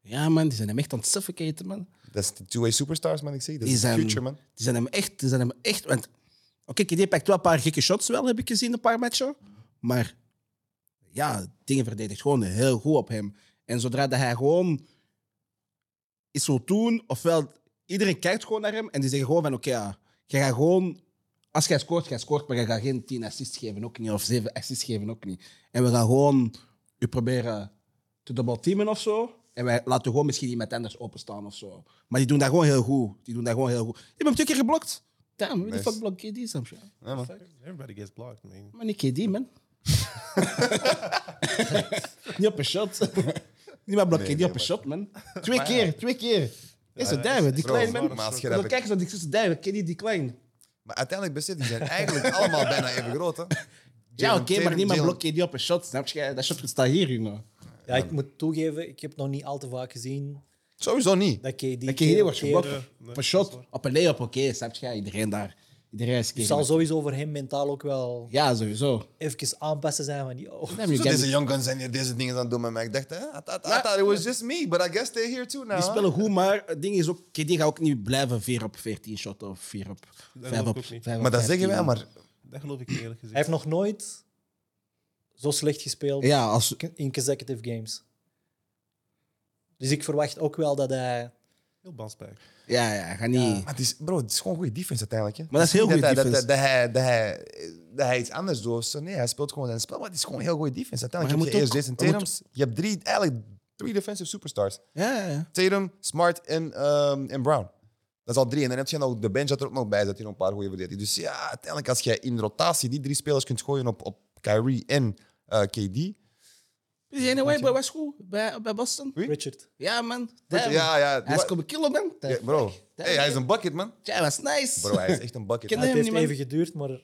Ja, man. Die zijn hem echt aan het suffocaten, man. Dat is de two-way superstars, man. Ik zie. Dat Die is de zijn- future, man. Die zijn hem echt... Die zijn hem echt want, Oké, KD pakt wel een paar gekke shots wel, heb ik gezien, een paar matchen. Maar ja, dingen verdedigt gewoon heel goed op hem. En zodra dat hij gewoon iets wil doen, ofwel... Iedereen kijkt gewoon naar hem en die zeggen gewoon van... Oké, ja, jij gaat gewoon... Als jij scoort, jij scoort, maar je gaat geen 10 assists geven, ook niet. Of 7 assists geven, ook niet. En we gaan gewoon je proberen te dubbelteamen of zo. En wij laten gewoon misschien iemand anders openstaan of zo. Maar die doen dat gewoon heel goed. Die doen dat gewoon heel goed. Ik heb hem twee keer geblokt. Damn, wie de Nice. fuck blokt KD soms? ja? Ja, man. Everybody gets blocked, man. Maar niet KD, *laughs* man. niet op een shot. Niemand blokt Nee, KD nee, op een maar- shot, man. Twee keer, twee keer. Is het duivel, die Bro, kleine man. maar als je dat Dan bekijkt- kijk eens naar die tussen duivel, KD die klein. Maar uiteindelijk besef die zijn eigenlijk *laughs* allemaal bijna even groot. Hè. Ja, Jalen oké, maar Tatum, niemand Jalen- blokt KD op een shot, snap je? Dat shot staat hier, jongen. Ja, ik moet toegeven, ik heb nog niet al te vaak gezien Sowieso niet. dat KD... Dat KD wordt geblokt. Ja, nee, Op een shot, op een lay-up, oké, snap je? Iedereen daar. Iedereen is Het keer. zal sowieso voor hem mentaal ook wel Ja, sowieso. even aanpassen zijn van... Yo. Nee, maar je Zo, kan- deze young guns zijn hier deze dingen aan het doen met mij. Ik dacht, hè, I thought, I thought it was just me, but I guess they're here too now. Die hè. spelen goed, maar het ding is ook, KD gaat ook niet blijven 4 op 14 shot of 4 op 5 geloof op ik ook niet. 5 op Maar dat zeggen 15. wij, maar Dat geloof ik niet, eerlijk Hij gezegd. heeft nog nooit zo slecht gespeeld Ja, als, in consecutive games. Dus ik verwacht ook wel dat hij... Heel bounce back. ja, ja, ga niet. Maar het is, bro, het is gewoon goede defense uiteindelijk. Hè. Maar dat is heel Niet goede hij- dat- defense. Dat, dat hij, dat, hij, dat hij iets anders doet. of zo. Nee, hij speelt gewoon zijn spel. Maar het is gewoon heel goede defense. Uiteindelijk Maar heb hij je moet eerst Jason ook- hij Tatum. Je hebt drie, eigenlijk drie defensive superstars. Ja, ja, ja. Tatum, Smart en, ehm, en Brown. Dat is al drie. En dan heb je nog de bench dat er ook nog bij zit. Die nog een paar goede verdedigers. Dus ja, uiteindelijk als je in rotatie die drie spelers kunt gooien op, op Kyrie en eh, KD. Die ene way was goed bij, bij Boston. Wie? Richard. Ja, man. Ja, Damn. ja. Hij is komen killen, man. Ja, bro, hey, hij is een bucket, man. Ja, dat is nice. Bro, hij is echt *laughs* een bucket. Ken- het hem heeft niet, man. even geduurd, maar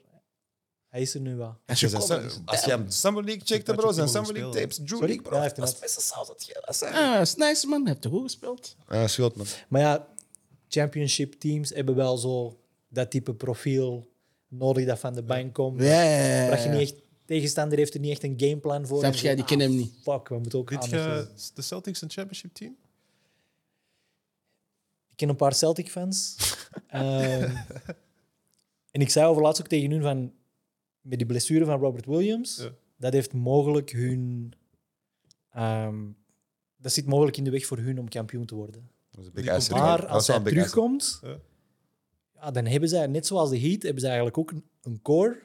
hij is er nu wel. Als Dus je zijn komt, Sum- als je hem Summer League checkt, Patrick bro, zijn Ewing Summer League speelde. tapes, Drew Sorry? League, bro. Ja, hij heeft hem dat is uit. best saus dat je dat zijn. Ah, dat is nice, man. Heb je goed gespeeld? Ja, schuld, man. Maar ja, championship teams hebben wel zo dat type profiel nodig dat van de bank komt. Ja, ja, ja, ja. Dat je niet echt, tegenstander heeft er niet echt een gameplan voor. Eh, Snap En je, zo, die kennen hem ah, niet. Fuck, we moeten ook Dit anders je doen. de Celtics een championship team? Ik ken een paar *laughs* Celtic-fans. Ehm, en ik zei overlaatst ook tegen hun van... Met die blessure van Robert Williams, Ja. dat heeft mogelijk hun... ehm, dat zit mogelijk in de weg voor hun om kampioen te worden. Dat is een big Die asset. komt- man. Maar Dat als is wel hij een big asset. terugkomt, Ja. ja, dan hebben zij, net zoals de Heat, hebben ze eigenlijk ook een, een core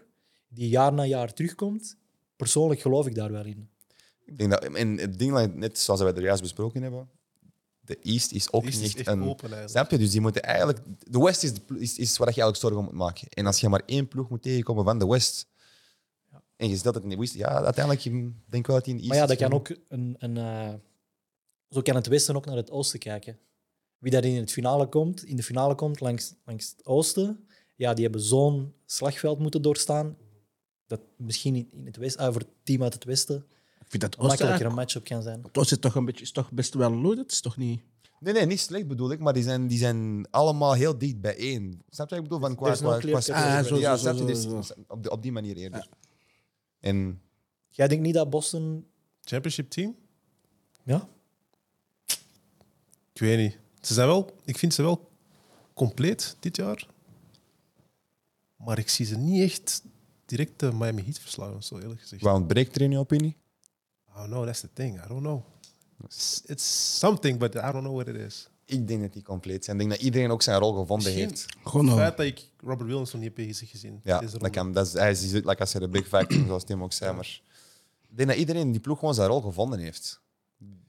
die jaar na jaar terugkomt. Persoonlijk geloof ik daar wel in. Ik denk dat, en het ding, like, net zoals we er juist besproken hebben, de East is ook De East niet is echt een... open, eigenlijk. Snap je? Dus die moeten eigenlijk... De West is, de plo- is, is waar je eigenlijk zorgen om moet maken. En als je maar één ploeg moet tegenkomen van de West, en je stelt het in de West, ja, uiteindelijk je denk wel dat die in de East... Maar ja, dat is. kan ook een... een eh, zo kan het Westen ook naar het Oosten kijken. Wie dat in, het finale komt, in de finale komt langs, langs het Oosten, ja, die hebben zo'n slagveld moeten doorstaan dat misschien in, in het Westen, ah, voor het team uit het Westen Ik vind dat makkelijker een Oostenrijk... matchup kan zijn. Het is toch, een beetje, is toch best wel loaded, is toch niet... Nee, nee, niet slecht bedoel ik, maar die zijn, die zijn allemaal heel dicht bijeen. Snap je wat ik bedoel? Van qua, There's no qua, clear qua cut. Ah, zo, ja, zo, snap je? zo, Dus zo, op, die, op die manier eerder. En Jij denkt niet dat Boston... Championship team? Ja? Ik weet niet. Ze zijn wel, ik vind ze wel compleet dit jaar. Maar ik zie ze niet echt direct de Miami Heat verslaan, zo eerlijk gezegd. I waar ontbreekt er in je opinie? don't know, that's the thing. I don't know. It's, it's something, but I don't know what it is. Ik denk dat die compleet zijn. Ik denk dat iedereen ook zijn rol gevonden Misschien- heeft. Gewoon Het al. feit dat ik Robert Williams nog niet heb bezig gezien. Ja, deze dat ronde. kan. Dat is, hij is like, als hij de big five *clears throat* team, zoals Tim ook zei. Maar ik denk dat iedereen in die ploeg gewoon zijn rol gevonden heeft.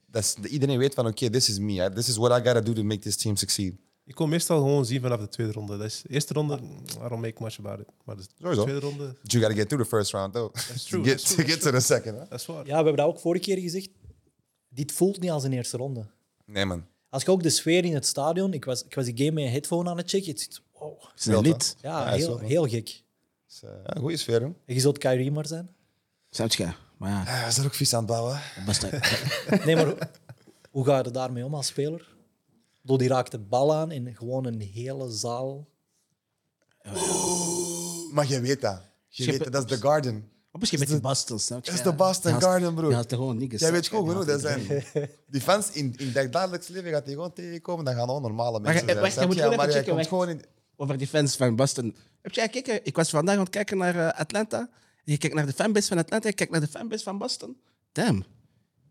Dat is, dat iedereen weet van, oké, this is me. hè. This is what I gotta do to make this team succeed. Ik kon meestal gewoon zien vanaf de tweede ronde. Dat is de eerste ronde, waarom make much about it. Maar de Sowieso. tweede ronde, But you gotta get through the first round, though. That's true, to get, that's true, to, get to the second. Hè? dat is waar. Ja, we hebben dat ook vorige keer gezegd. Dit voelt niet als een eerste ronde. Nee, man. Als ik ook de sfeer in het stadion... Ik was, ik was die game met een headphone aan het checken. Het zit, wow. is een lied. Ja, is heel, wel, hè. heel gek. Dus, eh, ja, goeie sfeer, hoor. En Je zult Kyrie maar zijn. Snap je? Maar ja, Ah, is dat ook vies aan het bouwen? best een- Nee, maar hoe- hoe ga je er daarmee om als speler? Door die raakt de bal aan en gewoon een hele zaal. Maar je weet dat. Je weet dat, dat is The Garden. Maar misschien met die Boston, snap je? Dat is de Boston Ja, Garden, broer. Je had er gewoon niks. Jij weet snap gewoon je? genoeg, Je dat had er *laughs* zijn die fans in, in dat dagelijks leven gaat die gewoon tegenkomen, dan gaan gewoon normale mensen je- zijn. wacht, snap je moet je? gewoon even maar jij checken, komt wacht. gewoon in... over die fans van Boston. Heb jij gekeken? Ik was vandaag aan het kijken naar eh, Atlanta. En je kijkt naar de fanbase van Atlanta, je kijkt naar de fanbase van Boston. Damn.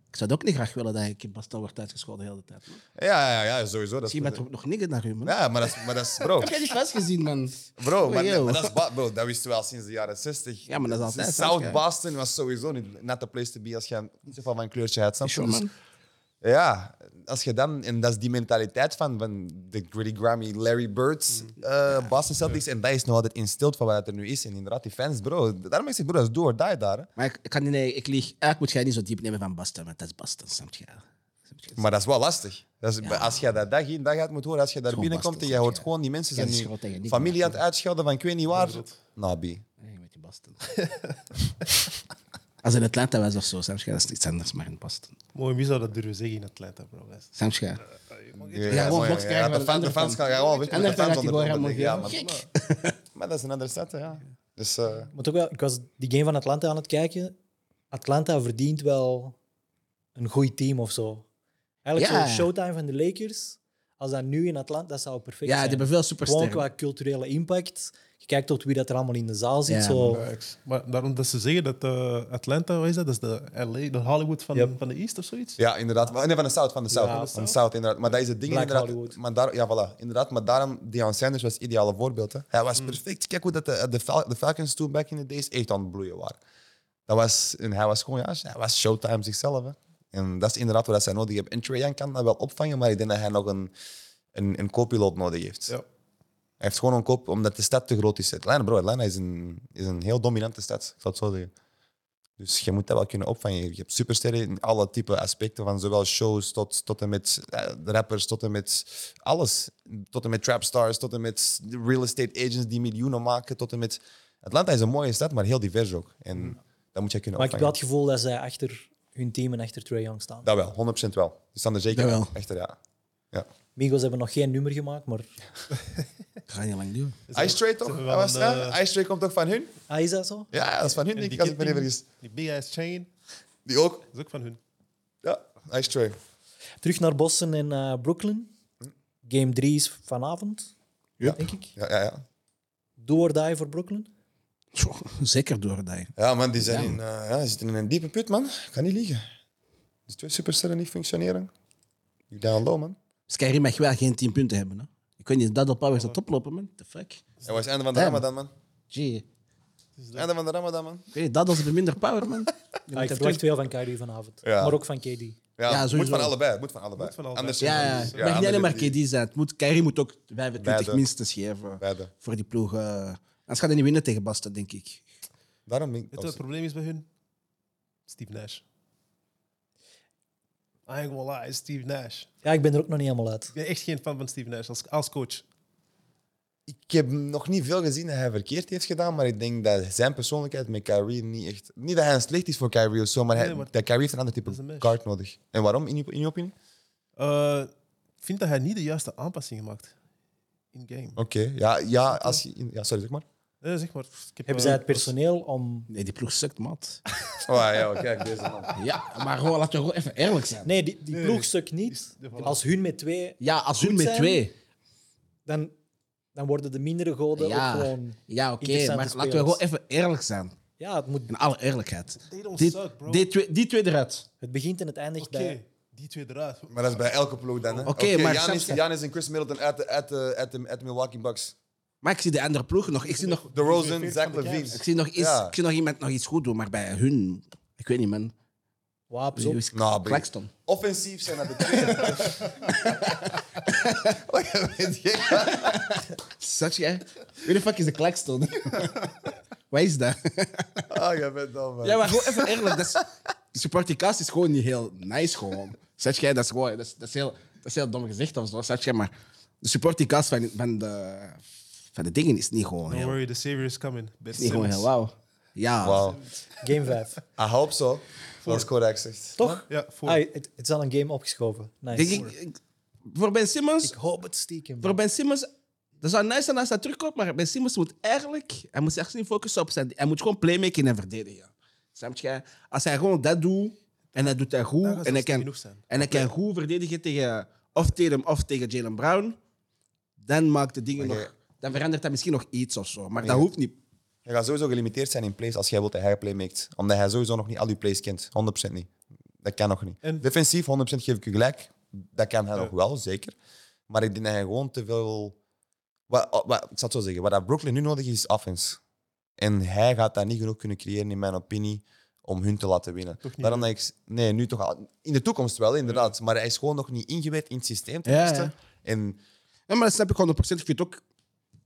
Ik zou het ook niet graag willen dat ik in Boston wordt uitgescholden de hele tijd. Man. Ja, ja, ja, sowieso. Dat is Misschien met er ook nog niks naar u, man. ja, maar dat is, maar dat is *laughs* bro. Heb jij die fans gezien, man? Oh, Bro, maar, Yo. maar dat is ba- bro, dat wisten we al sinds de jaren 60. Ja, maar dat is altijd, snap South je? Boston was sowieso niet not the place to be als je niet zo van een kleurtje had. Snap je? Sure, Dus- man. ja, als je dan, en dat is die mentaliteit van, van de Gritty Grammy, Larry Bird, Mm. eh, Boston Celtics, en dat is nog altijd instilt van wat er nu is. En inderdaad, die fans, bro, daarom is het, bro, dat is do or die daar. hè. Maar ik, ik kan niet, nee, ik lieg. Eigenlijk moet jij niet zo diep nemen van Boston, want dat is Boston, snap je? Snap je? Maar dat is wel lastig. Dat is, Als je dat dag in dag uit moet horen, als je daar Gewoon binnenkomt en lastig, je hoort ja. gewoon die mensen Ja, zijn die nu schreeuwen tegen niks, familie maar- aan het uitschelden van ik weet niet waar. Nou, Nabi. Nee, met die *laughs* Boston. Als het in Atlanta was of zo, snap je? Dat is iets anders, maar in Boston. Mooi, wie zou dat durven zeggen in Atlanta, bro? Dat is- Snap je? Ja, gewoon mooi, box ja, krijgen de fan- van de de andere fans fan. gaan gewoon En dan gaat hij gewoon helemaal Ja, maar, geel. Gek. maar dat is een andere set, hè, ja. Dus eh, Maar toch wel, ik was die game van Atlanta aan het kijken. Atlanta verdient wel een goed team of zo. Eigenlijk Ja. zo'n showtime van de Lakers. Als dat nu in Atlanta, dat zou perfect Ja, zijn. die hebben veel Gewoon supersterren. qua culturele impact. Je kijkt tot wie dat er allemaal in de zaal zit. Ja, zo. Maar daarom dat ze zeggen dat eh, Atlanta, wat is dat? Dat is de LA, de Hollywood van, Yep. van de East of zoiets? Ja, inderdaad. Maar- Nee, van de South, van de South. Ja, van de South, inderdaad. Maar dat is het ding, Black inderdaad. Hollywood. Maar daar, ja, voilà. Inderdaad, maar daarom, Deion Sanders was het ideale voorbeeld. Hè. Hij was perfect. Kijk hoe dat de, de, Fal- de Falcons toen back in the days echt aan het bloeien waren. Dat was, en hij was gewoon, ja, hij was showtime zichzelf. Hè. En dat is inderdaad wat dat zij nodig hebben. En Trae Young kan dat wel opvangen, maar ik denk dat hij nog een, een, een co-piloot nodig heeft. Ja. Hij heeft gewoon een kop, omdat de stad te groot is. Atlanta, bro, Atlanta is een, is een heel dominante stad, ik zal het zo zeggen. Dus je moet dat wel kunnen opvangen. Je hebt supersterren in alle type aspecten, van zowel shows tot, tot en met eh, rappers, tot en met alles. Tot en met trapstars, tot en met real estate agents die miljoenen maken, tot en met... Atlanta is een mooie stad, maar heel divers ook. En dat moet je kunnen Maar ik heb wel opvangen. het gevoel dat zij achter hun team en achter Trae Young staan. Dat wel, 100% wel. Die staan er zeker Dat wel. Echter, ja. ja. Migos hebben nog geen nummer gemaakt, maar... Dat gaat niet lang duren. Ice Trade toch? ze Dat hebben wel was, een, hè? eh, Ice Trade komt toch van hun? Ah, is dat zo? Ja, dat is van hun, denk ik, als ik me niet vergis. Die big ass chain, Die ook. dat is ook van hun. Ja, Ice Trey. Terug naar Boston en eh, Brooklyn. Game 3 is vanavond, Ja. denk ik. Ja, ja, ja. Do or die voor Brooklyn. Ah, Tjoh, zeker door dat. ja, man, die, zijn in, eh, ja, die zitten in een diepe put, man. Kan niet liegen. Dus twee supersterren niet functioneren. You down low, man. Skyrim mag wel geen 10 punten hebben. Hè? Je kunt niet dat op Powers dat oplopen, man. The fuck? Dat was het einde van de Damn. Ramadan, man. Gee. Einde van de Ramadan, man. Ik weet niet, dat als hebben minder power, *laughs* man. Ah, ik verwacht veel van Kyrie vanavond, Ja. maar ook van KD. Ja, moet sowieso. van allebei. Moet van allebei. Moet van allebei. Anders Ja, ja. Het mag niet anders- alleen maar KD zijn. Het moet, Kyrie moet ook 25 Beide. minstens geven Beide. voor die ploeg. eh. Anders gaat hij niet winnen tegen Boston, denk ik. Daarom ben ik... Weet je wat het probleem is bij hun? Steve Nash. I ain't gonna lie, Steve Nash. Ja, ik ben er ook nog niet helemaal uit. Ik ben echt geen fan van Steve Nash als, als coach. Ik heb nog niet veel gezien dat hij verkeerd heeft gedaan, maar ik denk dat zijn persoonlijkheid met Kyrie niet echt... Niet dat hij slecht is voor Kyrie of zo, maar, hij, Nee, maar- dat Kyrie heeft een ander Dat is een type mens. kaart nodig. En waarom, in je, in je opinie? Eh, ik vind dat hij niet de juiste aanpassing gemaakt in game. Oké, ja, ja, als je... Ja, sorry, zeg maar. Nee, zeg maar. Ik heb, Hebben eh, zij het personeel om... Nee, die ploeg sukt, mat. Oh ja, oh, kijk, deze man. ja, maar gewoon, laten we gewoon even eerlijk zijn. Nee, die, die ploeg stuk niet. Is- voilà. Als hun met twee, Ja, als hun met zijn? twee. dan, dan worden de mindere goden Ja, ook gewoon... ja oké. interessante maar laten we spelers. gewoon even eerlijk zijn. Ja, het, moet, In alle eerlijkheid. They don't Die, suck, bro. die, twee, die twee eruit. het begint en het eindigt Oké, bij... die twee eruit. Maar dat is bij elke ploeg dan. hè? Oké, maar Giannis, snap je? Giannis en Chris Middleton uit de, uit de, uit de, uit de Milwaukee Bucks. Maar ik zie de andere ploeg nog. Ik zie nog De Rosen, van Zach de Levine. Cavs. Ik zie nog, iets, Ja. ik zie nog iemand nog iets goed doen, maar bij hun, ik weet niet, man. Wapens Wie op. is Nou, Brie. Claxton. *laughs* *laughs* Offensief zijn dat de twee. Wat weet Oh, je? Such guy. Who the fuck is de Claxton? *laughs* Wat is dat? Ah, je bent dan man. ja, maar gewoon even eerlijk. Dat is, supporticast is gewoon niet heel nice gewoon. Such guy, dat is gewoon... Dat is, dat is, heel, dat is heel dom gezegd of zo. Such guy, maar de supporticast van, van, de, van de dingen is niet gewoon Don't heel... worry, the savior is coming. Ben Is niet gewoon Simmons. heel wauw. Ja. Wauw. Game 5. I hope so. Dat is correct, zegt. Toch? Ja, voor. Ah, het, het is al een game opgeschoven. Nice. Denk ik, ik- voor Ben Simmons... Ik hoop het stiekem. Voor Ben Simmons, dat zou nice zijn als hij terugkomt, maar Ben Simmons moet eigenlijk, hij moet zich echt niet focussen op zijn, hij moet gewoon playmaking en verdedigen. Snap je? Als hij gewoon dat doet, en hij doet dat goed, Dan gaat en hij zelfs kan, genoeg zijn. en hij kan goed verdedigen tegen of Tatum of tegen Jalen Brown, dan maakt de dingen Maar nog, jij- dan verandert hij misschien nog iets of zo, maar dat hoeft niet. Je gaat sowieso gelimiteerd zijn in plays als jij wilt dat hij play maakt. Omdat hij sowieso nog niet al die plays kent. 100% niet. Dat kan nog niet. En- Defensief, 100% geef ik je gelijk. Dat kan hij nog wel, zeker. Maar ik denk dat hij gewoon te veel... Wat, wat, ik zal het zo zeggen. Wat dat Brooklyn nu nodig is, is offense. En hij gaat dat niet genoeg kunnen creëren, in mijn opinie, om hun te laten winnen. Daarom dat ik... s- Nee, nu toch al. In de toekomst wel, inderdaad. Maar hij is gewoon nog niet ingewijd in het systeem. ten Ja, eerste. ja. En Ja, maar dat snap ik 100%. Ik vind ook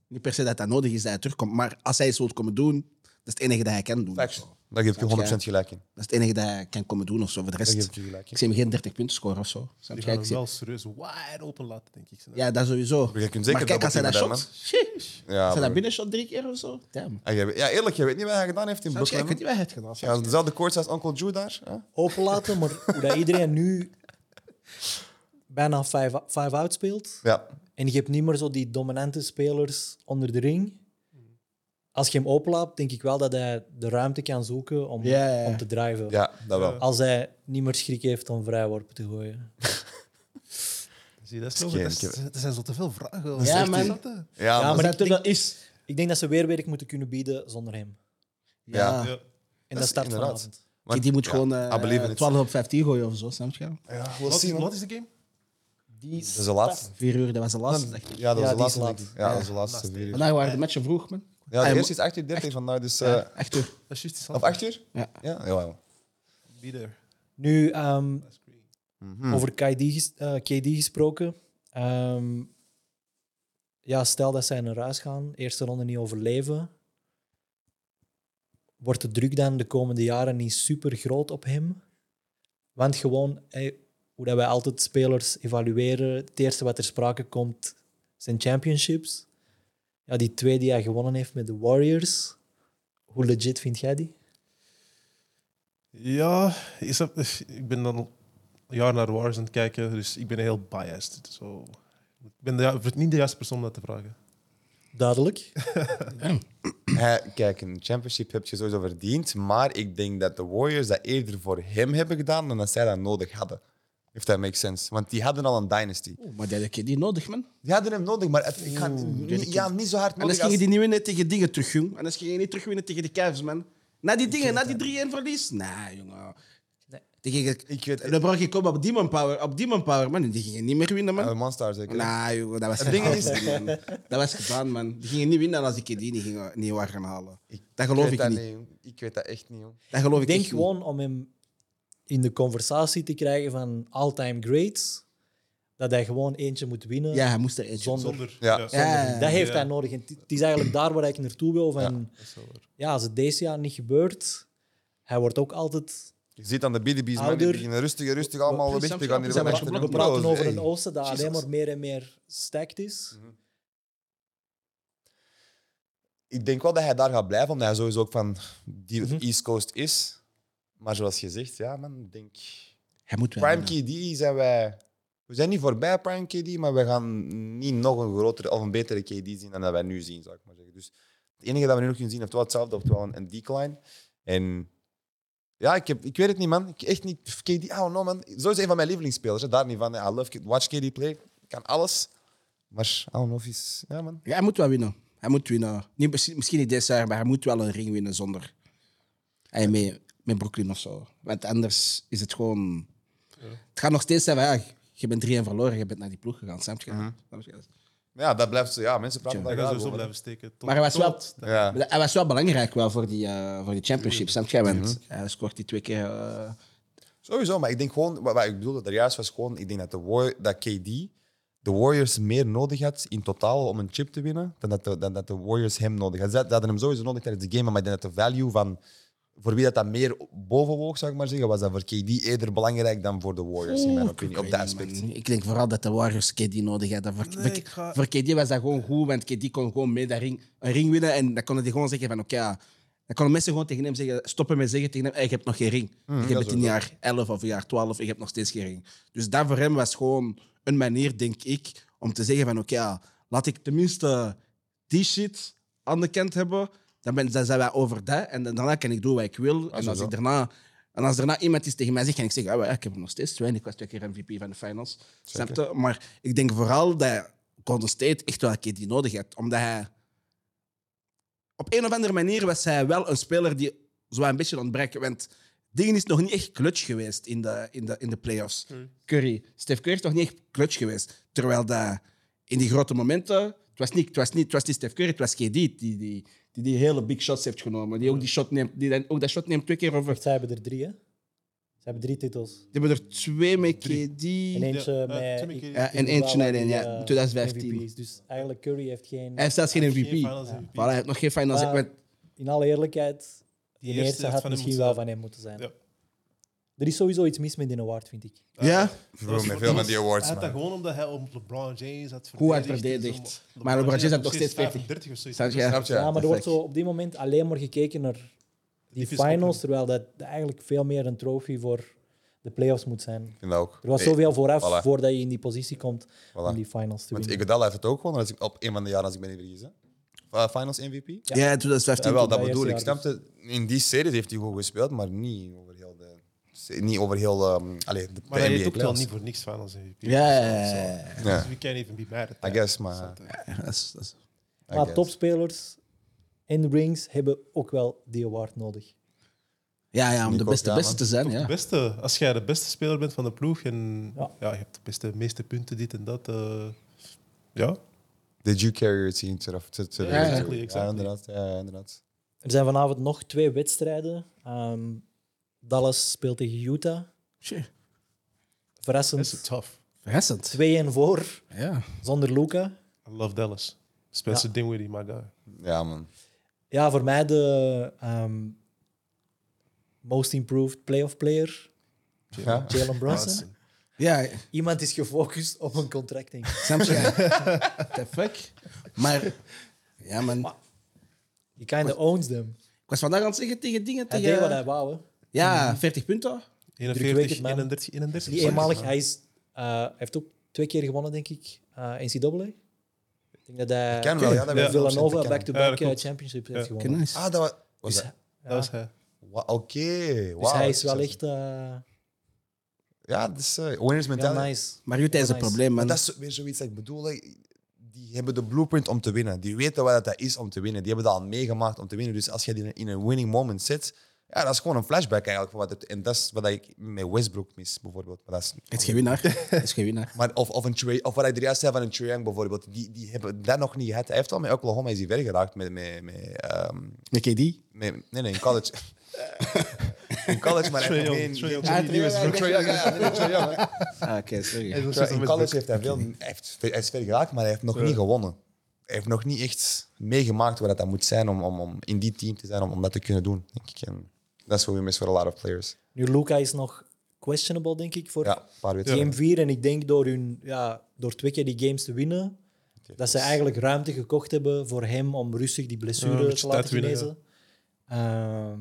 niet per se dat dat nodig is dat hij terugkomt, maar als hij iets wil komen doen, dat is het enige dat hij kan doen. of zo. daar geef ik Snap je jij? 100% gelijk in. Dat is het enige dat hij kan komen doen of zo. Voor de Daar geef rest, ik je gelijk in. ik zie hem geen 30 punten scoren of zo. Snap Die je? gaan Ik hem zie- wel serieus wide open laten, denk ik. Ja, dat sowieso. Je kunt zeker maar kijk, als hij dat dubbelteamen, shot... Sheesh. Ja, als hij maar- dat binnen shot drie keer of zo... Damn. Ah, jij weet- Ja, eerlijk, je weet niet wat hij gedaan heeft in Snap je? Ik Brooklyn. weet niet wat hij heeft gedaan. Ja, dezelfde koorts als Uncle Drew daar. Hè? Openlaten, maar hoe dat iedereen nu bijna 5-out speelt. Ja. En je hebt niet meer zo die dominante spelers onder de ring. Als je hem oplaat, denk ik wel dat hij de ruimte kan zoeken om, Ja, ja, ja. om te drijven. ja, dat wel. Als hij niet meer schrik heeft om vrijworpen te gooien. Zie, dat, is Dat nog, is dat, is- geen- dat zijn zo te veel vragen. Ja, Dat is man. echt- Ja. Ja, Ja, maar, maar ik dat denk, dat is... ik denk dat ze weerwerk moeten kunnen bieden zonder hem. Ja. Ja. En dat, is start inderdaad. vanavond. maar- Die moet ja, gewoon I believe in eh it. 12 op 15 gooien of zo, snap je? Ja, we'll Wat, see, is, man. wat is de game? Die Dat is de laatste. Vier uur, dat was de laatste. dag. Ja, dat Ja, was die de is laatste. laat. denk ik. Ja, dat was de laatste vier uur. Vandaag waren de matchen vroeg, man. Ja, de Hij eerste is 8 uur 30 vandaag, dus... eh, mo- Echt uur. Dat is juist Of 8 uur? Ja. Ja, ja, ja. Be there. Nu, ehm, That's great. over KD, ges- eh, KD gesproken. Ehm, ja, stel dat zij naar huis gaan, eerste ronde niet overleven. Wordt de druk dan de komende jaren niet super groot op hem? Want gewoon, eh, hoe dat wij altijd spelers evalueren, het eerste wat ter sprake komt zijn championships. Ja, die twee die hij gewonnen heeft met de Warriors. Hoe legit vind jij die? Ja, ik, snap- ik ben dan al een jaar naar de Warriors aan het kijken, dus ik ben heel biased. Zo. Ik ben de, ju- niet de juiste persoon om dat te vragen. Duidelijk. Hij- Kijk, een championship heb je sowieso verdiend, maar ik denk dat de Warriors dat eerder voor hem hebben gedaan dan dat zij dat nodig hadden. If that makes sense. Want die hadden al een dynasty. Oeh, Oh, Maar die had je die nodig, man. Die hadden hem nodig, maar het, ik ga, niet, ja, niet zo hard En dan nodig ging als... je die niet winnen tegen dingen terug, jong. En dan ging je niet terugwinnen tegen de Cavs, man. Na die dingen, na die 3-1 verlies. Nee, jongen. Tegen, Ik weet- dan bracht je komen op Demon Power, op Demon Power, man. Die gingen niet meer winnen, man. Eh, Monster zeker. Nou, joh, dat was ding gedaan, is- man. Dat was gedaan, man. Die gingen niet winnen als ik die niet, ging, niet waar gaan halen. Ik- Dat geloof weet ik dat niet. jong. ik weet dat echt niet, jong. Dat geloof Ik ik denk echt gewoon om hem in de conversatie te krijgen van all-time greats, dat hij gewoon eentje moet winnen. niet. Ja, hij moest er eentje. Zonder- Zonder. Ja. Ja, Dat heeft Ja. hij nodig. En het het is eigenlijk daar waar ik naartoe wil. Van, dat is wel waar. ja, als het deze jaar niet gebeurt, hij wordt ook altijd... Je ziet aan de BDB's, man, Ouder. die beginnen rustig, rustig allemaal Precies, weg te gaan. we hier zijn wel wat achter We de praten pro's, over hey. een oosten dat alleen Jesus. maar meer en meer stacked is. Ik denk wel dat hij daar gaat blijven, omdat hij sowieso ook van die Mhm. East Coast is. Maar zoals je zegt, ja man, ik denk... Hij moet wel. Prime winnen. KD zijn wij... We zijn niet voorbij Prime KD, maar we gaan niet nog een grotere of een betere KD zien dan dat wij nu zien, zou ik maar zeggen. Dus het enige dat we nu nog kunnen zien, oftewel hetzelfde, oftewel een, een decline. En ja, ik, heb, ik weet het niet, man. Ik echt niet... KD, I don't know, man. Zo is een van mijn lievelingsspelers, hè. daar niet van. I love... Watch KD play. Kan alles. Maar I don't know of is... Ja, man. Ja, hij moet wel winnen. Hij moet winnen. Niet, misschien, misschien niet dit jaar, maar hij moet wel een ring winnen zonder. Hij mee, met Brooklyn of zo. Want anders is het gewoon. Het gaat nog steeds zijn van ja, je bent 3-1 verloren, je bent naar die ploeg gegaan. Snap je? Mhm. Snap je? Ja, dat blijft zo. Ja, mensen praten Dat daar gaat graag sowieso over. blijven steken. tot- Maar hij was wel- tot- Ja. Maar Hij was wel belangrijk wel voor die, eh, voor die championship, snap je? Want Mhm. hij scoort die twee keer. eh, Sowieso, maar ik denk gewoon, wat, wat ik bedoelde daar juist was gewoon, ik denk dat, de Warrior- dat KD de de Warriors meer nodig had in totaal om een chip te winnen, dan dat de, dan dat de Warriors hem nodig hadden. Ze hadden hem sowieso nodig tijdens de game, maar ik denk dat de value van voor wie dat, dat meer bovenwoog, zou ik maar zeggen, was dat voor KD eerder belangrijk dan voor de Warriors, in mijn opinie, op dat aspect. Ik denk vooral dat de Warriors KD nodig hadden. Voor, Nee, voor- ik ga- voor KD was dat gewoon goed, want KD kon gewoon mee dat ring, een ring winnen. En dan konden die gewoon zeggen van, oké, ja, dan konden mensen gewoon tegen hem zeggen, stoppen met zeggen tegen hem, hey, je hebt nog geen ring. je Mm, dat hebt het is in wel jaar 11 of jaar 12, ik heb nog steeds geen ring. Dus dat voor hem was gewoon een manier, denk ik, om te zeggen van, oké, ja, laat ik tenminste die shit aan de kant hebben. Dan, ben, dan zijn wij over dat. En dan- daarna kan ik doen wat ik wil. En als sowieso. ik daarna... En als daarna iemand iets tegen mij zegt, kan ik zeggen, ah, wel, ik heb hem nog steeds twee en ik was twee keer MVP van de finals. Snap je? Maar ik denk vooral dat Golden State echt wel een keer die nodig had. Omdat hij... Op een of andere manier was hij wel een speler die zo een beetje ontbrak. Want Dingen is nog niet echt clutch geweest in de, in de, in de playoffs. Curry. Steph Curry is nog niet echt clutch geweest. Terwijl dat in die grote momenten... Het was niet, het was niet, het was niet Steph Curry, het was KD die die, die, die hele big shots heeft genomen. Die ook, die shot neemt, die dan, ook dat shot neemt twee keer over Zij hebben er drie, hè? Ze hebben drie titels. die hebben er twee met KD. En eentje Ja, eh, met... Timmy Kidd. Ja, en eentje Iguodala naar één, die, ja. eh, 2015. MVP is. Dus eigenlijk Curry heeft geen... Hij heeft zelfs geen MVP. Geen Voilà, finals MVP. hij heeft nog geen finals. Maar Ik ben- In alle eerlijkheid, die eerste eerste had had van hem misschien moeten wel zijn. van hem moeten zijn. Ja. Er is sowieso iets mis met die award, vind ik. ja, Bro, met veel van die awards, Hij had dat man. gewoon omdat hij om LeBron James had verdedigd. Hoe hard en verdedigd. zo. Maar LeBron James had nog steeds 35 of zoiets. Snap je? Snap je? Ja, maar er wordt perfect. zo op dit moment alleen maar gekeken naar die Divisie finals, conference. terwijl dat eigenlijk veel meer een trofee voor de playoffs moet zijn. Ik vind dat ook. Er was Nee, zoveel vooraf voilà. voordat je in die positie komt om Voilà. die finals te Want winnen. Iguodala heeft het ook gewonnen als ik- op een van de jaren, als ik me niet vergis. hè. Uh, finals MVP? ja. 2015. Ja, wel, dat bij bedoel ik. eerste jaar Snapte, in die series heeft hij goed gespeeld, maar niet over heel de. se- Niet over heel. ehm allee, de, Maar de hij heeft NBA ook wel playoffs. niet voor niks finals MVP. Ja, ja, Zo. ja, Ja. Dus we can't even be mad at I that. guess, maar. Ja, dat is- dat is- I Maar guess. topspelers en rings hebben ook wel die award nodig. ja, ja, om de Nico, beste ja, beste man. te zijn. De Ja. beste, als jij de beste speler bent van de ploeg en Ja. ja. je hebt de beste, meeste punten, dit en dat. eh, ja, Did you carry your team to, the- to, to the Ja, victory? exactly, exactly. Ja, inderdaad. Ja, inderdaad. Er zijn vanavond nog twee wedstrijden. Ehm, Dallas speelt tegen Utah. Shit, dat is Verrassend. tough. Verrassend. 2-1 voor, Ja. zonder Luca. I love Dallas. Spencer Dinwiddie, my guy. ja, man. Ja, voor mij de ehm, most improved playoff player, Ja. Jalen *laughs* Brunson. Brunson. ja, Iemand is gefocust op een contract, denk ik. snap je? What the fuck? Maar, ja, man. Je kind of owns them. Ik was vandaag aan het zeggen tegen dingen. Hij deed wat hij Tegen, wou. hè. ja, 40 punten. Druk weet 41, het, man. 31, 31. Die eenmalig, hij is, eh, hij heeft ook twee keer gewonnen, denk ik, eh NCAA. Ik denk dat hij Ken wel, ja, dat Ja. weet ik 100% Villanova ken. back-to-back Ja, dat eh, klopt. championship heeft Ja. gewonnen. Nice. Ah, dat was. was Dus, dat- ja, Dat was hij. wa- Oké. dus wauw. hij is wel echt eh Ja, dat is. eh, winners heel mentality. nice. Maar Utah is een Nice. probleem, Maar man. dat is weer zoiets dat ik bedoel. hè. Die hebben de blueprint om te winnen. Die weten wat dat is om te winnen. Die hebben dat al meegemaakt om te winnen. Dus als je die in een winning moment zit, ja, dat is gewoon een flashback eigenlijk. Van wat het, en dat is wat ik met Westbrook mis, bijvoorbeeld. Maar, dat is, Het is geen winnaar. Het is geen winnaar. maar of, of, een Trae- of wat ik er juist zei van een Trae Young bijvoorbeeld, die, die hebben dat nog niet gehad. Hij heeft al met Oklahoma is hij ver geraakt met, met, met, ehm, Met KD? met- nee, nee, in *laughs* college. in college, maar hij heeft nog Trae geen- Young, Trae Young. geen- Trae Young. Trae Young, ja, nee, nee, Trae Young, hè. Ah, oké, sorry. Ja, in college heeft hij veel, hij heeft, hij is ver geraakt, maar hij heeft nog niet gewonnen. Hij heeft nog niet echt meegemaakt wat dat moet zijn om, om, om in die team te zijn, om, om dat te kunnen doen. Denk ik. En dat is wat we missen voor a lot of players. Nu, Luca is nog questionable, denk ik, voor Ja, een paar game wedstrijden. 4. En ik denk door, hun, ja, door twee keer die games te winnen, dat ze eigenlijk ruimte gekocht hebben voor hem om rustig die Ja, blessure een beetje te laten tijd winnen, genezen. Ja.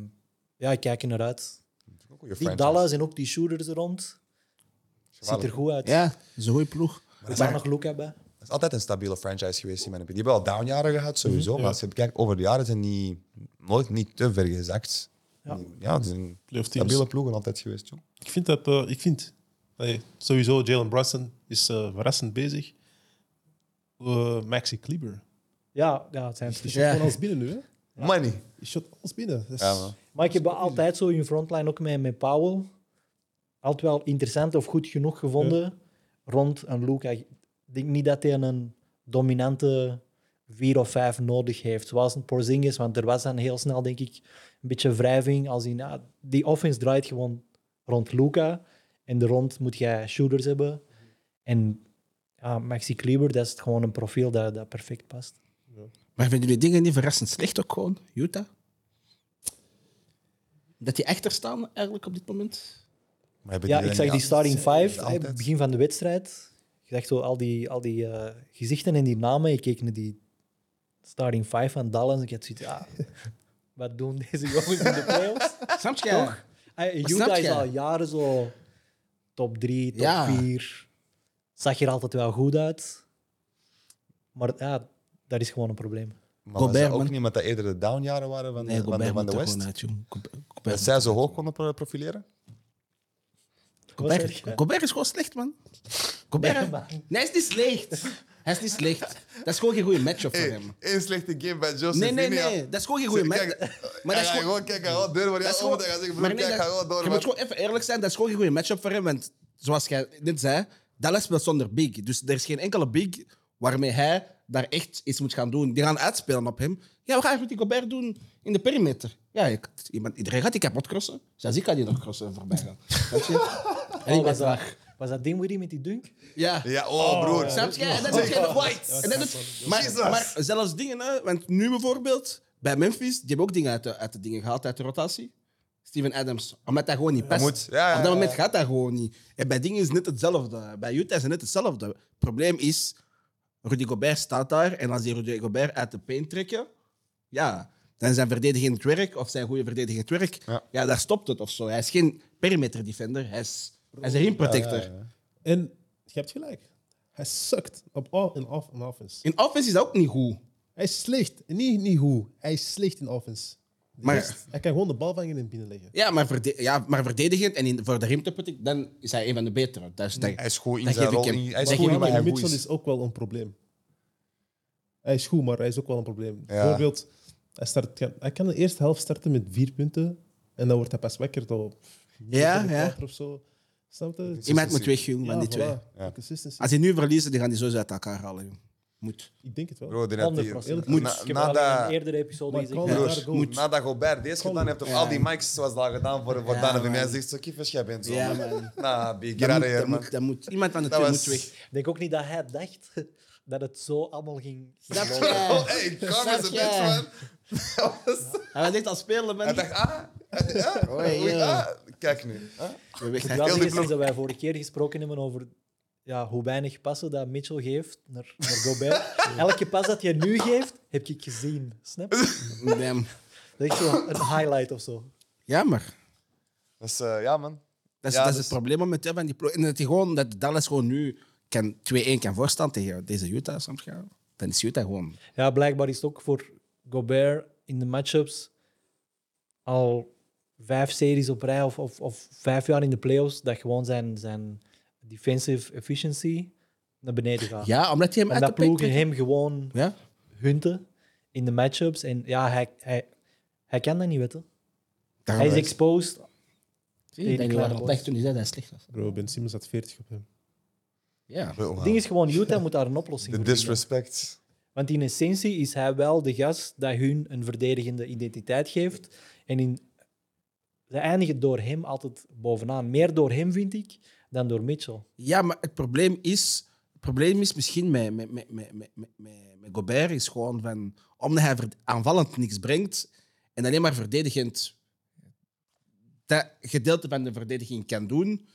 ja, ik kijk er naar uit. Ook een goede Die franchise. Dallas en ook die shooters er rond. Ziet er goed uit. Ja, dat is een goede ploeg. Er zijn nog Luca bij. Dat is altijd een stabiele franchise geweest in mijn opinie. Die hebben wel downjaren Mhm, gehad, sowieso. Maar als je kijkt over de jaren, zijn die nooit niet te ver gezakt. Ja, het zijn Playoff teams. stabiele ploegen altijd geweest, joh. Ik vind dat, eh, ik vind, allee, sowieso Jalen Brunson is eh, verrassend bezig. Eh, Maxi Kleber. Ja, ja het zijn Die het. shot Ja. gewoon alles binnen nu, hè? Money. Die shot alles binnen. Dat is- Ja, man. Maar ik heb wel altijd zo in frontline, ook met, met Powell, altijd wel interessant of goed genoeg gevonden rond een Luca. Ik denk niet dat hij een dominante vier of vijf nodig heeft, zoals een Porzingis, want er was dan heel snel, denk ik, een beetje wrijving. Als in, ah, die offense draait Mhm. gewoon rond Luca en de rond moet jij shooters hebben. En ja, Maxi Kleber, dat is het gewoon een profiel dat, dat perfect past. Maar vinden jullie dingen niet verrassend slecht ook gewoon, Utah? Dat die echter staan eigenlijk op dit moment? Maar hebben Ja, die ik dan zag die niet starting altijd- five hè, altijd? begin van de wedstrijd. Je zag zo al die, al die eh, gezichten en die namen. Je keek naar die starting five van Dallas. Ik had zoiets ja, *laughs* wat doen deze jongens in *laughs* de playoffs? Snap je? Toch? Ah, snap Utah is je? al jaren zo top 3, top Ja. 4. Zag er altijd wel goed uit. Maar ja, dat is gewoon een probleem. Maar was Gobert, dat ook man. niet met dat eerder de downjaren waren van de, Nee, van de, Gobert van moet de er West? gewoon uit, jong. Gobert- Dat Gobert- zij zo hoog konden pro- profileren? Wat zeg Gobert, je? Gobert is gewoon slecht, man. Nee, Gobert, man. nee, hij is niet slecht. Hij is niet slecht. Dat is gewoon geen goede matchup voor hem. Eén slechte game bij Joseph. Nee, nee, nee. Dat is gewoon geen goede matchup. Maar dat is gewoon... kijken, gewoon door. Maar Dat is gewoon, maar nee, dat- je moet gewoon even eerlijk zijn, dat is gewoon een goede matchup voor hem. Want zoals jij net zei, Dallas speelt zonder big. Dus er is geen enkele big waarmee hij daar echt iets moet gaan doen. Die gaan uitspelen op hem. Ja, wat ga je met die Gobert doen in de perimeter? Ja, ik- iemand, iedereen gaat die kapot crossen. Zelfs ik kan die nog crossen en voorbij gaan. Snap je? En *laughs* ik Oh, ben was, daar. dat, was dat Dinwiddie met die dunk? Ja. Ja, oh, broer. Snap je? En dat doet geen White. En dat doet- maar, maar zelfs dingen, hè, want nu bijvoorbeeld, bij Memphis, die hebben ook dingen uit de, uit de dingen gehaald, uit de rotatie. Steven Adams, omdat dat gewoon niet past. moet. Ja, ja, Op dat moment ja. gaat dat gewoon niet. En bij dingen is het net hetzelfde. Bij Utah is het net hetzelfde. Het probleem is, Rudy Gobert staat daar en als die Rudy Gobert uit de paint trekken, ja, dan zijn verdedigend werk of zijn goede verdedigend werk, ja. Ja. daar stopt het of zo. Hij is geen perimeter defender, hij is, hij is een ringprotector. En je hebt gelijk. Hij sukt op all in off in offense. In offense is dat ook niet goed. Hij is slecht. Niet, niet hoe. Hij is slecht in offense. De Maar- rest, hij kan gewoon de bal vangen en binnenleggen. Ja, maar, verde ja, maar verdedigend en in, voor de rimtopetiek, dan is hij een van de betere. Dus dat, Hij is goed in dat zijn geef ik rol. hem. in- Hij is Dat goed geef in ik wat hem. hij Maar goed Mitchell is. is ook wel een probleem. Hij is goed, maar hij is ook wel een probleem. Ja. Bijvoorbeeld, hij, start, hij kan de eerste helft starten met vier punten en dan wordt hij pas wakker door Ja, ja. of zo. Snap je? iemand moet weg, jong, van die voilà. twee. Ja. Consistency. Als die nu verliezen, dan gaan die sowieso uit elkaar halen. jong. Moet. Ik denk het wel. Bro, die had die- 100%. Moet. Ik heb Na- al in een Nadat eerdere episode Maar gezegd. Colin- broer, Daar goed. nadat Gobert deze gedaan heeft, op Ja. al die mics zoals dat gedaan voor, voor Ja, Donovan. man. Hij zegt zo, kiffers, jij bent zo. Ja, man. man. Nah, big, get Dat out moet, of here, dat man. moet, dat moet. Iemand van de Dat twee was- moet weg. Ik denk ook niet dat hij dacht *laughs* dat het zo allemaal ging. Dat is Oh, waar. hey, calm is a Snap jij? bitch, man. Dat was- Hij was echt aan het spelen, man. Hij dacht, ah, ah, Oei, oei, ja. ah. Kijk nu. ah. We weg. Het wel Heel die *laughs* ding is ploeg. dat wij vorige keer gesproken hebben over ja, hoe weinig passen dat Mitchell geeft naar, naar *laughs* Gobert. Elke pas dat jij nu geeft, heb ik gezien. Snap je? Damn. Dat is echt zo een highlight of zo. Ja, maar Dus eh, ja, man. dat is, Ja, dat is dus- het probleem momenteel van die ploeg. En dat, die gewoon, dat Dallas gewoon nu kan 2-1 kan voorstaan tegen deze Utah, soms gaan. Dan is Utah gewoon... Ja, blijkbaar is het ook voor Gobert in de matchups al vijf series op rij of, of, of vijf jaar in de playoffs dat gewoon zijn, zijn defensive efficiency naar beneden gaat. Ja, omdat hij hem en uit de dat plek ploegen trekt. hem gewoon Ja? hunten in de matchups. En ja, hij, hij, hij kan dat niet weten. Daarom Hij is is- exposed. Zie je, Die dat die kleine waren boys. echt toen hij zei dat hij slecht was. Bro, Ben Simmons had 40 op hem. Ja. Het ding is gewoon, Utah moet daar een oplossing Ah. De voor vinden. disrespect. Want in essentie is hij wel de gast dat hun een verdedigende identiteit geeft. En in, ze eindigen door hem altijd bovenaan. Meer door hem, vind ik, dan door Mitchell. Ja, maar het probleem is, het probleem is misschien met, met, met, met, met, met, met- met Gobert is gewoon van omdat hij verd- aanvallend niks brengt en alleen maar verdedigend dat gedeelte van de verdediging kan doen.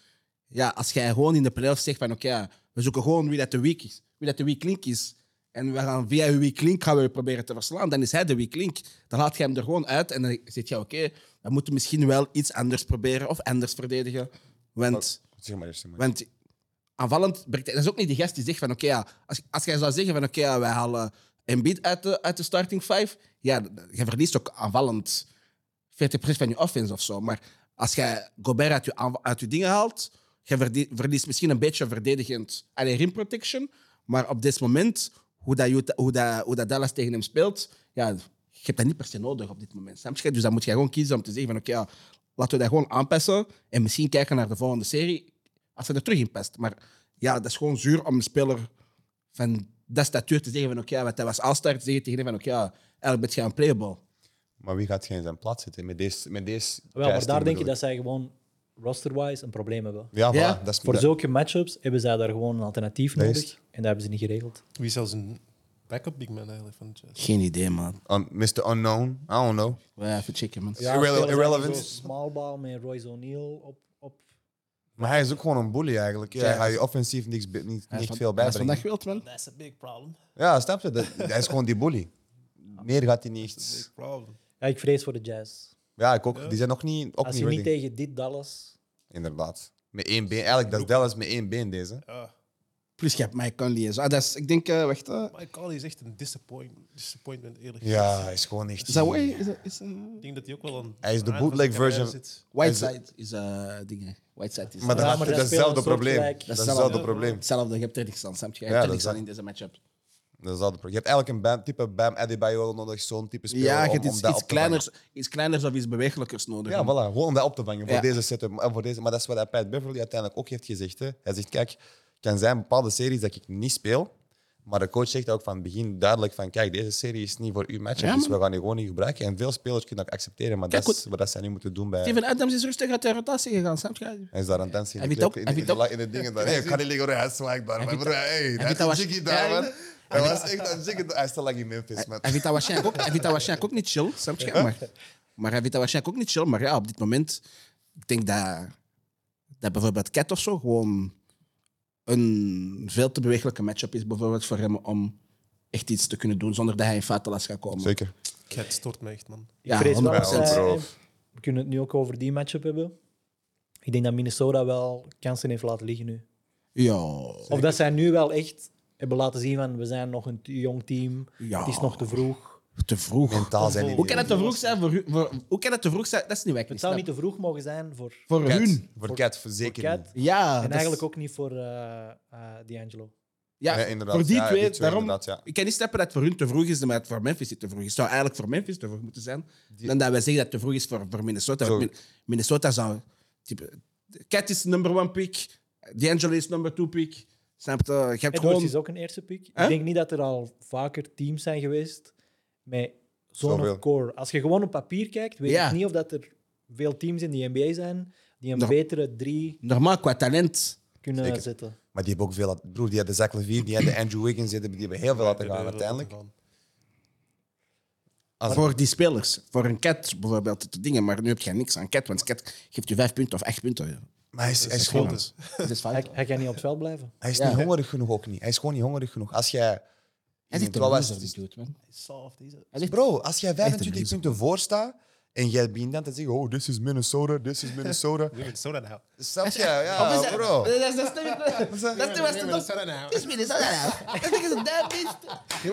Ja, als jij gewoon in de playoffs zegt van oké, ja, we zoeken gewoon wie dat de weak is, wie dat de weak link is. En we gaan via uw weak link gaan we je proberen te verslaan. Dan is hij de weak link. Dan laat je hem er gewoon uit en dan zeg je oké, we moeten misschien wel iets anders proberen of anders verdedigen. Want Zeg maar eerst, zeg maar. want aanvallend, brengt hij- dat is ook niet die gast die zegt van oké, ja, als, als jij zou zeggen van oké, ja, wij halen Embiid uit de, uit de starting five, ja, d- d- je verliest ook aanvallend 40% van je offense of zo. Maar als jij Gobert uit je, aanva- uit je dingen haalt, je verde- verliest misschien een beetje verdedigend alleen rim protection, maar op dit moment, hoe, dat, Utah- hoe, dat, hoe dat Dallas tegen hem speelt, ja, je hebt dat niet per se nodig op dit moment. Snap je? Dus dan moet je gewoon kiezen om te zeggen van oké, ja, laten we dat gewoon aanpassen en misschien kijken naar de volgende serie als hij er terug in past. Maar ja, dat is gewoon zuur om een speler van dat statuur te zeggen van oké, wat hij was All-Star, te zeggen tegen hem van oké, ja, eigenlijk ben je een playable. Maar wie gaat geen zijn plaats zitten met deze? Met deze Wel, maar casting, daar denk bedoel ik dat zij gewoon roster-wise een probleem hebben. Ja, voilà, Ja. dat is Voor dat- zulke matchups hebben zij daar gewoon een alternatief Dat is- nodig. En dat hebben ze niet geregeld. Wie is zelfs een backup big man eigenlijk van de Jazz? Geen idee, man. Um, Mr. Unknown, I don't know. Ja, even checken, man. Irrele- spelen ze irrelevant. zo Smallball met Royce O'Neal op, op. Maar hij is ook gewoon een bully eigenlijk. Ja, Ja. hij gaat je offensief niks, be- niet, Hij is niet van- veel hij is vandaag bijbrengen. wild, man. That's a big problem. Ja, snap je? Dat, hij is gewoon die bully. Meer gaat hij niet echt. Big problem. Ja, ik vrees voor de Jazz. Ja, ik ook. Die zijn nog niet, ook Als niet, je niet ready. tegen dit Dallas... Inderdaad. Met één been. Eigenlijk, dat is Dallas met één been deze. Ja. Plus, je hebt Mike Conley en zo. Ah, dat is, ik denk, eh, wacht. eh, Mike Conley is echt een disappoint, disappointment, eerlijk Ja, gezegd. hij is gewoon echt... is dat Way? Is dat, is, eh, Ik denk dat hij ook wel een. Hij is de aan van bootleg zijn carrière version. zit. Whiteside is eh dingen. Whiteside is Maar Ja, dat maar is zij hetzelfde spelen probleem. soortgelijk. Dat is Dat is hetzelfde hetzelfde. probleem. hetzelfde. Je hebt 30 stand, snap je? Ja, Je hebt dat 30 is dat. stand in deze matchup. Dat is altijd pro- Je hebt eigenlijk een Bam, type Bam Adebayo nodig, zo'n type speler. Ja, je om- hebt om iets, dat iets, op te vangen. kleiners, iets kleiners of iets bewegelijkers nodig. Ja, voilà. Gewoon om dat op te vangen voor Ja. deze setup. En voor deze. Maar dat is wat hij Pat Beverly uiteindelijk ook heeft gezegd. Hè. Hij zegt, kijk, het kan zijn bepaalde series dat ik niet speel. Maar de coach zegt ook van het begin duidelijk van, kijk, deze serie is niet voor uw matchup, Ja, dus we gaan die gewoon niet gebruiken. En veel spelers kunnen dat accepteren, maar Kijk, dat is wat dat zij nu moeten doen bij... Steven Adams is rustig uit de rotatie gegaan, snap je? Hij is daar aan het dansen in de Hij clip, weet ook- hij in, in, weet de- in de dingen daar. Hey, ik ga niet liggen, hoor. hij is swag daar. man. weet Bro, hey, weet Hij is dat was- jiggy daar, Ja, man. Hij was echt aan het jiggy daar. Hij staat like in Memphis, man. Hij vindt dat waarschijnlijk ook, hij vindt dat waarschijnlijk ook niet chill, snap je? Maar, maar hij vindt dat waarschijnlijk ook niet chill. Maar ja, op dit moment, ik denk dat, dat bijvoorbeeld Cat of zo gewoon een veel te bewegelijke matchup is bijvoorbeeld voor hem om echt iets te kunnen doen zonder dat hij in fatalast gaat komen. Zeker. Cat stort me echt, man. Ik Ja, vrees wel 100%. dat zij- Bro. We kunnen het nu ook over die matchup hebben. Ik denk dat Minnesota wel kansen heeft laten liggen nu. Ja. Of dat zij nu wel echt hebben laten zien van we zijn nog een te jong team. Ja. Het is nog te vroeg. Te vroeg. Mentaal zijn die Hoe kan dingen. het te vroeg zijn voor, u- voor- Hoe kan het te vroeg zijn? Dat is niet weg. Het zou niet te vroeg mogen zijn voor, voor voor Cat. hun. Voor Cat, voor zeker Cat. niet. Ja. en dat is- eigenlijk ook niet voor eh, eh, D'Angelo. Ja, Ja, inderdaad. voor die Ja, twee. die twee daarom, inderdaad, ja. Ik kan niet snappen dat het voor hun te vroeg is, maar het voor Memphis niet te vroeg is. Het zou eigenlijk voor Memphis te vroeg moeten zijn. Dan dat wij zeggen dat het te vroeg is voor, voor Minnesota. Want Zo. Min- Minnesota zou... Type, Cat is number one pick. D'Angelo is number two pick. Snap je? Je hebt Edwards gewoon... is ook een eerste pick. Hè? Ik denk niet dat er al vaker teams zijn geweest met Zoveel. zo'n core. Als je gewoon op papier kijkt, weet Ja. ik niet of dat er veel teams in de NBA zijn die een Nog- betere drie Normaal, qua talent... kunnen Zeker. zetten. Maar die hebben ook veel... laten- Broer, die hadden Zach Levine, die hadden Andrew Wiggins, die hebben, die hebben heel veel laten gaan uiteindelijk. Als- Voor die spelers. Voor een Cat bijvoorbeeld te dingen. Maar nu heb je niks aan Cat, want Cat geeft je vijf punten of acht punten. Maar hij is, hij is Gewoon gewoon... dus. Dat is Hij, fout. hij kan niet op het veld blijven. Hij is Ja. niet hongerig genoeg ook niet. Hij is gewoon niet hongerig genoeg. Als jij... Hij zit te Wat was- loser, die dude, man. Soft. He's a, Hij zit- Bro, als jij Echt een 25 loser. punten voor staat en jij begint dan te zeggen, oh, this is Minnesota, this is *laughs* Minnesota. Minnesota now. Snap je? Ja, Of is dat- bro. Dat is- dat is *laughs* niet- dat is niet wat ze doen. Minnesota now. Het is Minnesota nou. Dat is een damn beest.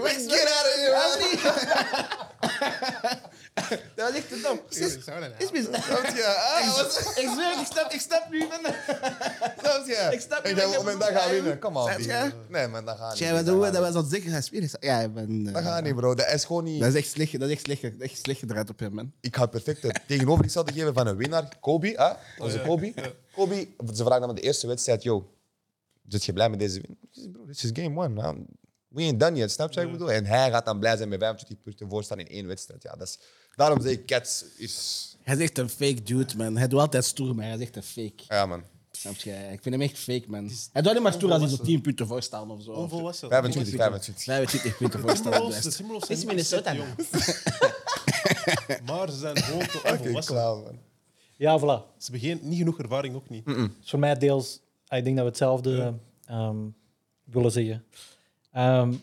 Let's get out of here, man. Dat was echt te dom. Het is- Minnesota now. het is Minnesota. Snap je? Ah, wat- Ik zweer, ik snap, ik snap nu. man. Snap je? Ik snap En niet wat jij je op mijn dag bedoelt, gaan hè, winnen. Kom on, Snap B. je? Nee, man, dat gaat niet. Tja, wat doen we? Dat was onzeker. Hij is Minnesota. Ja, man. eh, Dat gaat niet, bro. Dat is gewoon niet... Dat is echt slecht, dat is echt slecht, dat is echt slecht gedraaid op hem, man. ik ga perfect het tegenovergestelde geven van een winnaar. Kobe, hè? onze Kobe. Kobe, ze vragen hem de eerste wedstrijd, yo, zit je blij met deze win? Ik zeg, Bro, this is game one. man. We ain't done yet, snap je wat ik bedoel? En hij gaat dan blij zijn met 25 punten voorstaan in één wedstrijd. Ja, dat is, daarom zeg ik, Cats is... Hij is echt een fake dude, man. Hij doet altijd stoer, maar hij is echt een fake. Ja, man. Snap je? Ik vind hem echt fake, man. Hij doet niet maar stoer als hij op 10 punten voor staat of zo. Onvolwassen. 25, 25. 25 punten voor Timberwolves, de staat. Timberwolves Het zijn is niet echt Minnesota, jong. *laughs* Maar ze zijn gewoon *laughs* te Fucking onvolwassen. clown, man. Ja, voilà. Ze hebben geen, niet genoeg ervaring, ook niet. is voor mij deels, ah, ik denk dat we hetzelfde ehm, willen zeggen. Ehm,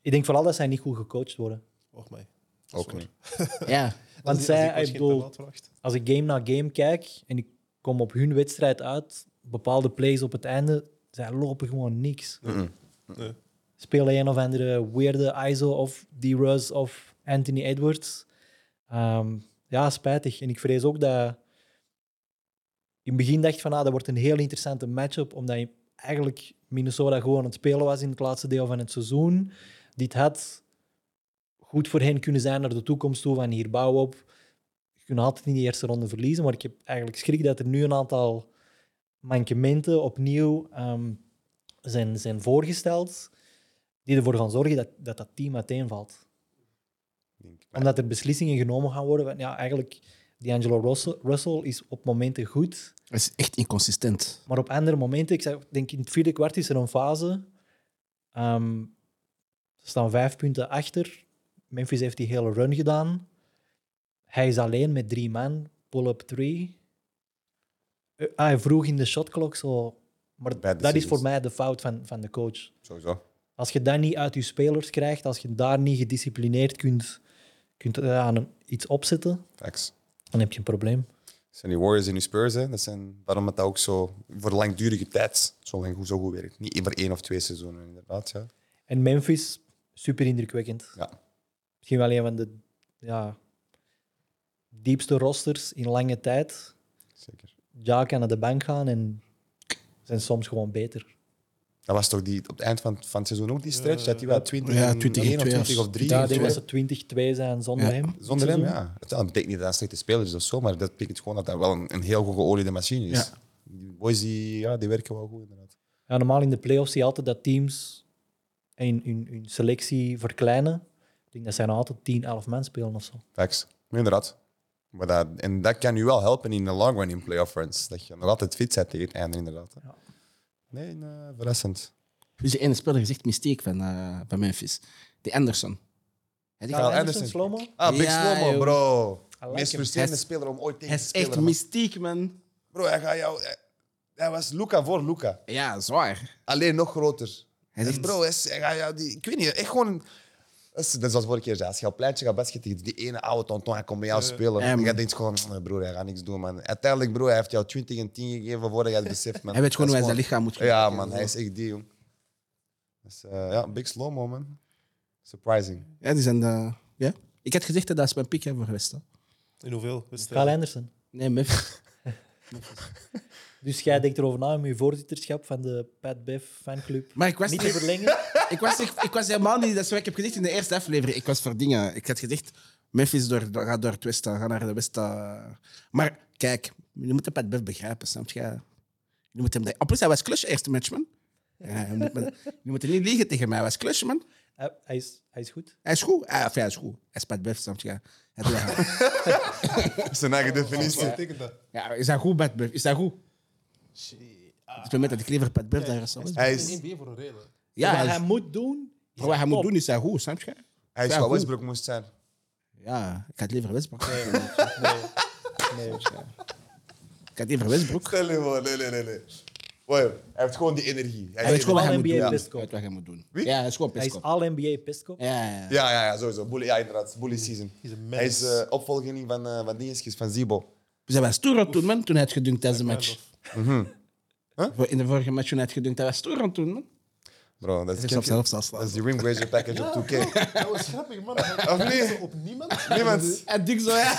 ik denk vooral dat zij niet goed gecoacht worden. Och, mij. Ook niet. Ja. Want Als- zij, als ik ik geen bedoel, penalty verwacht. als ik game na game kijk en ik kom op hun wedstrijd uit, bepaalde plays op het einde, zij lopen gewoon niks. Nee. Spelen een of andere weirde ISO of D-Rose of Anthony Edwards. Ehm, ja, spijtig. En ik vrees ook dat... In het begin dacht ik van, ah, dat wordt een heel interessante matchup, omdat je eigenlijk Minnesota gewoon aan het spelen was in het laatste deel van het seizoen. Dit had goed voor hen kunnen zijn naar de toekomst toe, van hier bouw op. Je kunt altijd in die eerste ronde verliezen, maar ik heb eigenlijk schrik dat er nu een aantal mankementen opnieuw ehm, zijn, zijn voorgesteld, die ervoor gaan zorgen dat dat, dat team uiteenvalt. Ik denk, maar Omdat er beslissingen genomen gaan worden. van, Ja, eigenlijk D'Angelo Russell, Russell is op momenten goed, Dat is echt inconsistent. maar op andere momenten, ik zeg- denk in het vierde kwart is er een fase. ehm, ze staan vijf punten achter. Memphis heeft die hele run gedaan. Hij is alleen met drie man, pull-up three. Eh, ah, Hij vroeg in de shotklok zo. Maar Bad dat is decisions. voor mij de fout van, van de coach. Sowieso. Als je dat niet uit je spelers krijgt, als je daar niet gedisciplineerd kunt, kunt eh, aan een- iets opzetten, Facts. dan heb je een probleem. Dat zijn die Warriors en die Spurs, hè. Dat zijn, waarom het dat ook zo voor langdurige tijd zo, lang, zo goed werkt. Niet voor één of twee seizoenen, inderdaad. Ja. En Memphis, super indrukwekkend. Ja. Misschien wel een van de ja, diepste rosters in lange tijd. Zeker. Ja kan naar de bank gaan en zijn soms gewoon beter. Dat was toch die, op het eind van, van het seizoen ook die stretch? Dat die wel 20, Ja, en 20 en 1 of twee 20 was- of 3 Ja, ik denk dat ze 20-2 zijn zonder Ja, hem. Zonder hem, ja. Het- Dat betekent niet dat hij een slechte speler is of zo, maar dat betekent gewoon dat hij wel een, een heel goed geoliede machine is. Ja. Die boys die, ja, die werken wel goed, inderdaad. Ja, normaal in de playoffs zie je altijd dat teams hun, hun, hun selectie verkleinen. Ik denk dat zij nou altijd 10, 11 man spelen of zo. Facts. Ja, Inderdaad. Maar dat, en dat kan u wel helpen in de long run in playoff runs. Dat je nog altijd fit bent tegen het einde, inderdaad. hè. Ja. Nee, eh, verrassend. Dus de ene speler is echt mysteek van, eh, van Memphis. Die Anderson. Hij is Ja, Anderson, echt- Anderson, slow-mo. Ah, Big Ja, Slomo, joh. bro. like Meest him. frustrerende Hij is- speler om ooit hij tegen te is echt spelen. man. mystiek, man. Bro, hij, gaat jou, hij, hij was Luca voor Luca. Ja, zwaar. Alleen nog groter. Hij is Echt, bro, hij is- hij gaat jou die, ik weet niet, echt gewoon... een- Dat is, dat is zoals vorige keer zei, als je op het pleintje gaat basketten, die ene oude tonton, hij komt bij jou spelen. ja, en jij man. denkt gewoon, "Nee, broer, hij gaat niks doen, man. Uiteindelijk, broer, hij heeft jou 20 en 10 gegeven voordat jij het beseft, man. *laughs* Hij weet gewoon hoe Dat hij is zijn lichaam moet Ja, gebruiken. man, hij is echt die, jong. Dus, eh, ja, big slow-mo, man. Surprising. *laughs* Ja, die zijn de... Ja? Ik had gezegd dat dat is mijn pick hè, voor geweest. hè. In hoeveel eh, Kyle wedstrijden? Anderson. Nee, Memphis. Dus jij denkt erover na om je voorzitterschap van de Pat Bev fanclub Maar ik was, niet niet te *laughs* verlengen. ik, was, ik, ik was helemaal niet... Dat is wat ik heb gezegd in de eerste aflevering. Ik was voor dingen. Ik had gezegd, Memphis door, door, gaat door het westen. Ga naar de westen. Maar kijk, je moet de Pat Bev begrijpen, snap je? Je moet hem... dat- En plus, hij was clutch eerste match, man. Ja, je, moet, me- je moet er niet liegen tegen mij. Hij was clutch, man. Hij, hij is, hij is goed. Hij is goed. Hij, enfin, hij is goed. Hij is Pat Bev, snap je? Hij doet dat. Zijn eigen definitie. betekent dat? Ja, is dat goed, Pat Bev? Is dat goed? Het is moment dat ik liever Pat Bev dan Russell Westbrook. Hij is, NBA voor een reden. Ja, dus- Wat hij is- hij moet doen. Maar wat hij moet doen is hij goed, snap je? hij is Ja, wat goed. Westbrook moest zijn. Ja, ik had liever Westbrook. Ik had liever Westbrook. Stel je voor, nee, nee, nee. nee. Wow, hij heeft gewoon die energie. Hij Hij is weet gewoon wat hij Al moet NBA doen. Hij pestkop. weet wat hij moet doen. Wie? Ja, hij is gewoon Hij is pestkop. all-NBA pestkop. Ja, ja, ja. Ja, ja, ja, sowieso. Bully, ja, inderdaad. Bully season. He's a menace. Hij is eh, opvolging van, eh van dingetjes, van Zibo. Dus hij was stoer aan het doen, man, toen hij het gedunkt tijdens de match. Mhm. Huh? Voor- In de vorige match toen hij het gedunkt, hij was stoer aan het doen, man. Bro, dat is, is op dat zelfs afslaan. is die rim grazer package *laughs* op 2K. Dat was grappig, man. Of niet? Op *laughs* niemand. Niemand. Hij dukt zo, ja.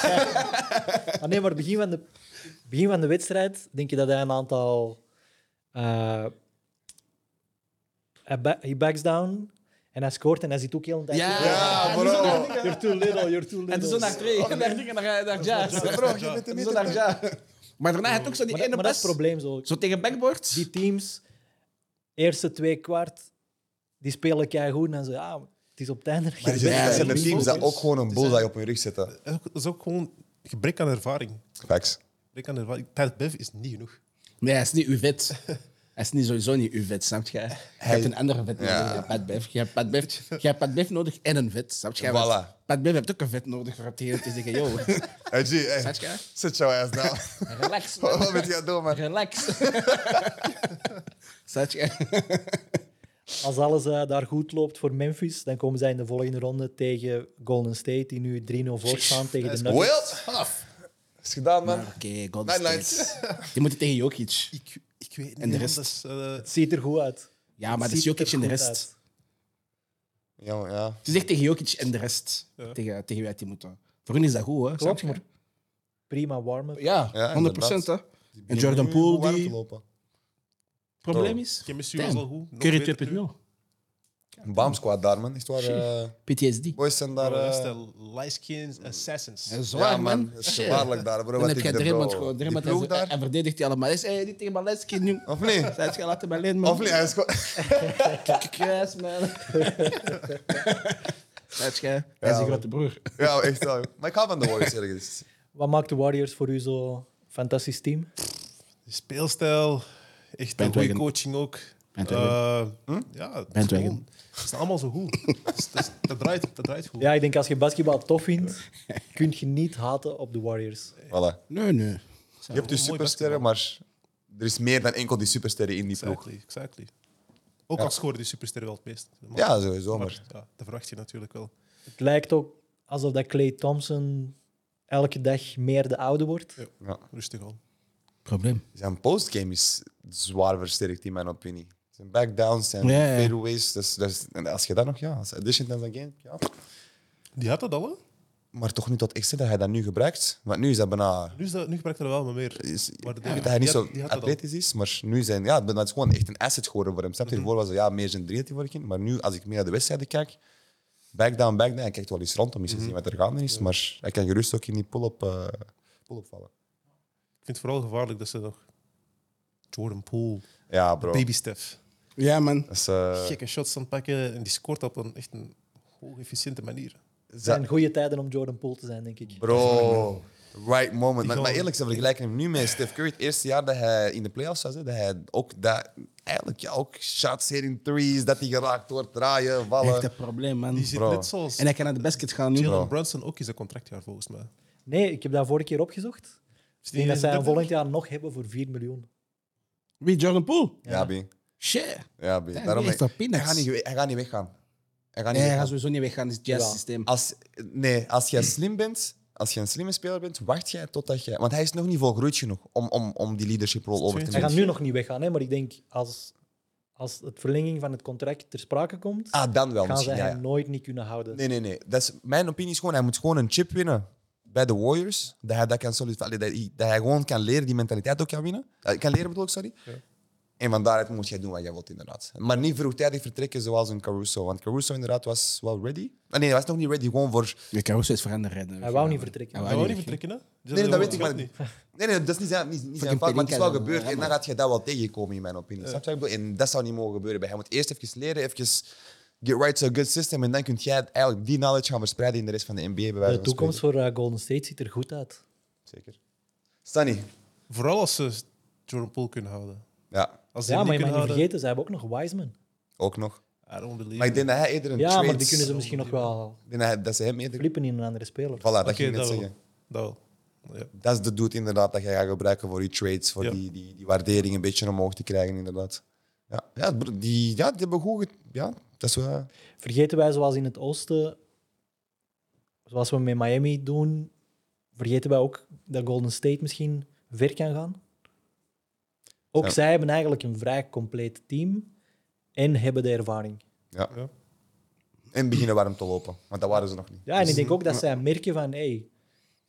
Ah, nee, maar begin van, de, begin van de wedstrijd denk je dat hij een aantal... eh, hij ba- hij backs down en hij scoort en hij zit ook heel een tijd... Ja, Ja, en zo bro. naar- You're too little, you're too little. En zo naar twee, en naar dingen, naar naar Jazz. Bro, je bent de En zo naar meter. Jazz. Maar daarna had hij ook zo maar, die dat- ene maar dat is het pas. probleem zo. Zo tegen backboards. die teams, eerste twee kwart, die spelen keigoed. En dan ze, ah, het is op het einde. Maar er zijn- Ja, er zijn ja, de teams dat focus. ook gewoon een bullseye op hun rug zetten. Dat is ook- dat is ook gewoon gebrek aan ervaring. Facts. Gebrek aan ervaring. Tijd Bev is niet genoeg. Nee, hij is niet uw vet. *laughs* Hij is niet sowieso niet uw vet, snap je? Je hebt een andere vet nodig Ja. dan Pat Bev. Je hebt Pat Bev, je hebt Pat Bev nodig en een vet, snap je? Want Voilà. Pat Bev heeft ook een vet nodig voor op de hele te zeggen, yo, *laughs* Hey, G, hey, Zet je? Zet jouw ass nou. down. relax, man. Oh, Wat ben je aan het doen, man? *laughs* relax. Snap je? Als alles eh, daar goed loopt voor Memphis, dan komen zij in de volgende ronde tegen Golden State, die nu 3-0 voor staan tegen de Nuggets. *laughs* Wild. Is gedaan, man. Maar Oké, God Night, State. Je moet het tegen Jokic. Ik, ik weet niet. de man. rest? Dat is, eh, Het ziet er goed uit. Ja, maar Het dat is ziet Jokic er en de goed rest. uit. Ja, maar ja. Het is echt tegen Jokic en de rest. Tegen, tegen wie uit die moeten. Voor hun is dat goed, hè? snap Klopt, je? maar prima warm-up. Ja, Ja, 100 procent, hè? inderdaad. En Jordan Die beginnen nu Poole, warm te die... lopen. Probleem is... Chemistry was Damn. al goed. nog Curry beter 2.0. Een Bam squad daar, man. Is het waar? eh, PTSD. boys zijn daar... Bro, dat is eh, de Lyskins Assassins. Dat is ja, Zwaar, man. Het is gevaarlijk daar, bro. Dan Wat heb ik je de- Draymond bro. gewoon. Die Draymond ploeg hij, daar. hij verdedigt die allemaal. Hij is hey, niet tegen Maleski nu. Of niet? *laughs* Zij is gelaten bij Leen, man. Of niet? Hij is gewoon- *laughs* Yes, man. Zij is gij- Hij is een grote broer. Ja, echt wel. Maar ik hou van de Warriors, eerlijk gezegd. Wat maakt de Warriors voor u zo fantastisch team? De speelstijl, echt een goede Bandwagon. coaching ook. Bandwagon. Eh, Hm? Ja, het is Bandwagon. gewoon- Ze zijn allemaal zo goed. *laughs* Het is- het is- dat, draait, dat draait goed. Ja, ik denk als je basketbal tof vindt, kun je niet haten op de Warriors. Voilà. Nee, nee. Je hebt dus mooi supersterren, maar er is meer dan enkel die supersterren in die ploeg. Exactly, exactly. Ook al scoren die supersterren wel het meest. Maar- Ja, sowieso. maar Maar ja, dat verwacht je natuurlijk wel. Het lijkt ook alsof dat Clay Thompson elke dag meer de oude wordt. Rustig aan. Probleem. zijn postgame is zwaar versterkt in mijn opinie. Zijn backdowns, zijn Ja, ja. fadeaways. Dat is, dat is- dus- en als je dat nog, ja, als addition dan zijn game, ja. Die had dat al, hè? Maar toch niet tot extent dat hij dat nu gebruikt. Want nu is dat bijna... Nu, is dat, nu gebruikt hij er wel maar meer. Is, Maar ik dat- weet dat hij niet die had- zo die had dat al. Mhm. atletisch is, maar nu zijn... Ja, dat is gewoon echt een asset geworden voor hem. Snap je? Hiervoor was hij ja, meer zijn drietje voor kind. Maar nu, als ik meer naar de wedstrijden kijk, backdown, backdown. Hij kijkt wel eens rond om eens Mhm. te zien wat er gaande is, maar hij kan gerust ook in die pull-up eh, pull-up vallen. Ik vind het vooral gevaarlijk dat ze nog Jordan Poole, Ja, bro. Baby Steph, Ja, man. Dat is, eh, gekke shots aan het pakken en die scoort op een echt een hoog efficiënte manier. Het za- zijn goede tijden om Jordan Poole te zijn, denk ik. Bro, right moment. Maar, gewoon- maar eerlijk, ze vergelijken hem nu met Steph Curry. Het eerste jaar dat hij in de playoffs was, hè, dat hij ook, dat, eigenlijk, ja, ook shots hitting threes, dat hij geraakt wordt, draaien, Echt vallen. een probleem, Die man. zit Bro. net zoals En hij kan naar de basket gaan nu. Jalen Brunson ook is een contractjaar volgens mij. Dus Nee, ik heb dat vorige keer opgezocht. Ik denk dat zij hem volgend jaar nog hebben voor 4 miljoen. Wie, Jordan Poole? Ja, B. Shit. Ja, B. Ja, Daarom, die is toch hij, peanuts? gaat niet, we- hij gaat niet weggaan. Hij gaat niet Nee, hij weggaan. gaat sowieso niet weggaan. Het is het jazz-systeem. Als, nee, als jij slim bent, als je een slimme speler bent, wacht jij totdat jij... Want hij is nog niet volgroeid genoeg om, om, om die leadership rol over te Hij nemen. gaat nu nog niet weggaan, hè, maar ik denk als, als het verlenging van het contract ter sprake komt, Ah, dan wel gaan ze misschien, ja, hem ja. nooit niet kunnen houden. Nee, nee, nee. Dat is, mijn opinie is gewoon, hij moet gewoon een chip winnen bij de Warriors. Dat hij, dat, kan solid, allee, dat, hij, dat hij gewoon kan leren, die mentaliteit ook kan winnen. Eh, kan leren bedoel ik, sorry. En van daaruit moet jij doen wat jij wilt, inderdaad. Maar niet vroegtijdig vertrekken zoals een Caruso. Want Caruso inderdaad was wel ready. Ah, nee, hij was nog niet ready, gewoon voor... Je kan ook zoiets veranderen. hè. Hij wou niet vertrekken. Hij Hij wou niet vertrekken. vertrekken, hè? Ah, Die Nee, dat zeiden, "Oh, weet ik gaat maar. niet." Nee, nee, dat is niet zijn, niet, niet zijn Fucking fout, maar het is wel Pelinka, gebeurd. En jammer. dan gaat je dat wel tegenkomen, in mijn opinie. Snap je wat ik bedoel? En dat zou niet mogen gebeuren. bij hem. Hij moet eerst even leren, even get right to a good system. En dan kun jij eigenlijk die knowledge gaan verspreiden in de rest van de NBA. Bij wijze De van toekomst voor eh, Golden State ziet er goed uit. spreken. Zeker. Sunny. Vooral als ze Jordan Poole kunnen houden. Ja, Als ze Ja, hem maar niet je mag kunnen niet vergeten, houden, ze hebben ook nog Wiseman. ook nog. I don't believe Maar ik it. denk dat hij eerder een Ja, maar die trades- kunnen ze misschien nog wel ik denk dat hij- dat ze hem eerder... flippen in een andere speler. Voilà, dat Oké, ging ik net dat wel. zeggen. Dat wel. Ja. Dat is de doet inderdaad dat je gaat gebruiken voor je trades, voor Ja. die, die, die waardering een beetje omhoog te krijgen, inderdaad. Ja, ja, bro, die, ja die hebben goed... ge- Ja, dat is wel... Vergeten wij, zoals in het oosten, zoals we met Miami doen, vergeten wij ook dat Golden State misschien ver kan gaan. Ook Ja. zij hebben eigenlijk een vrij compleet team en hebben de ervaring. Ja. Ja. En beginnen warm te lopen, want dat waren ze nog niet. Ja, en ik denk ook dat zij merken van, hey,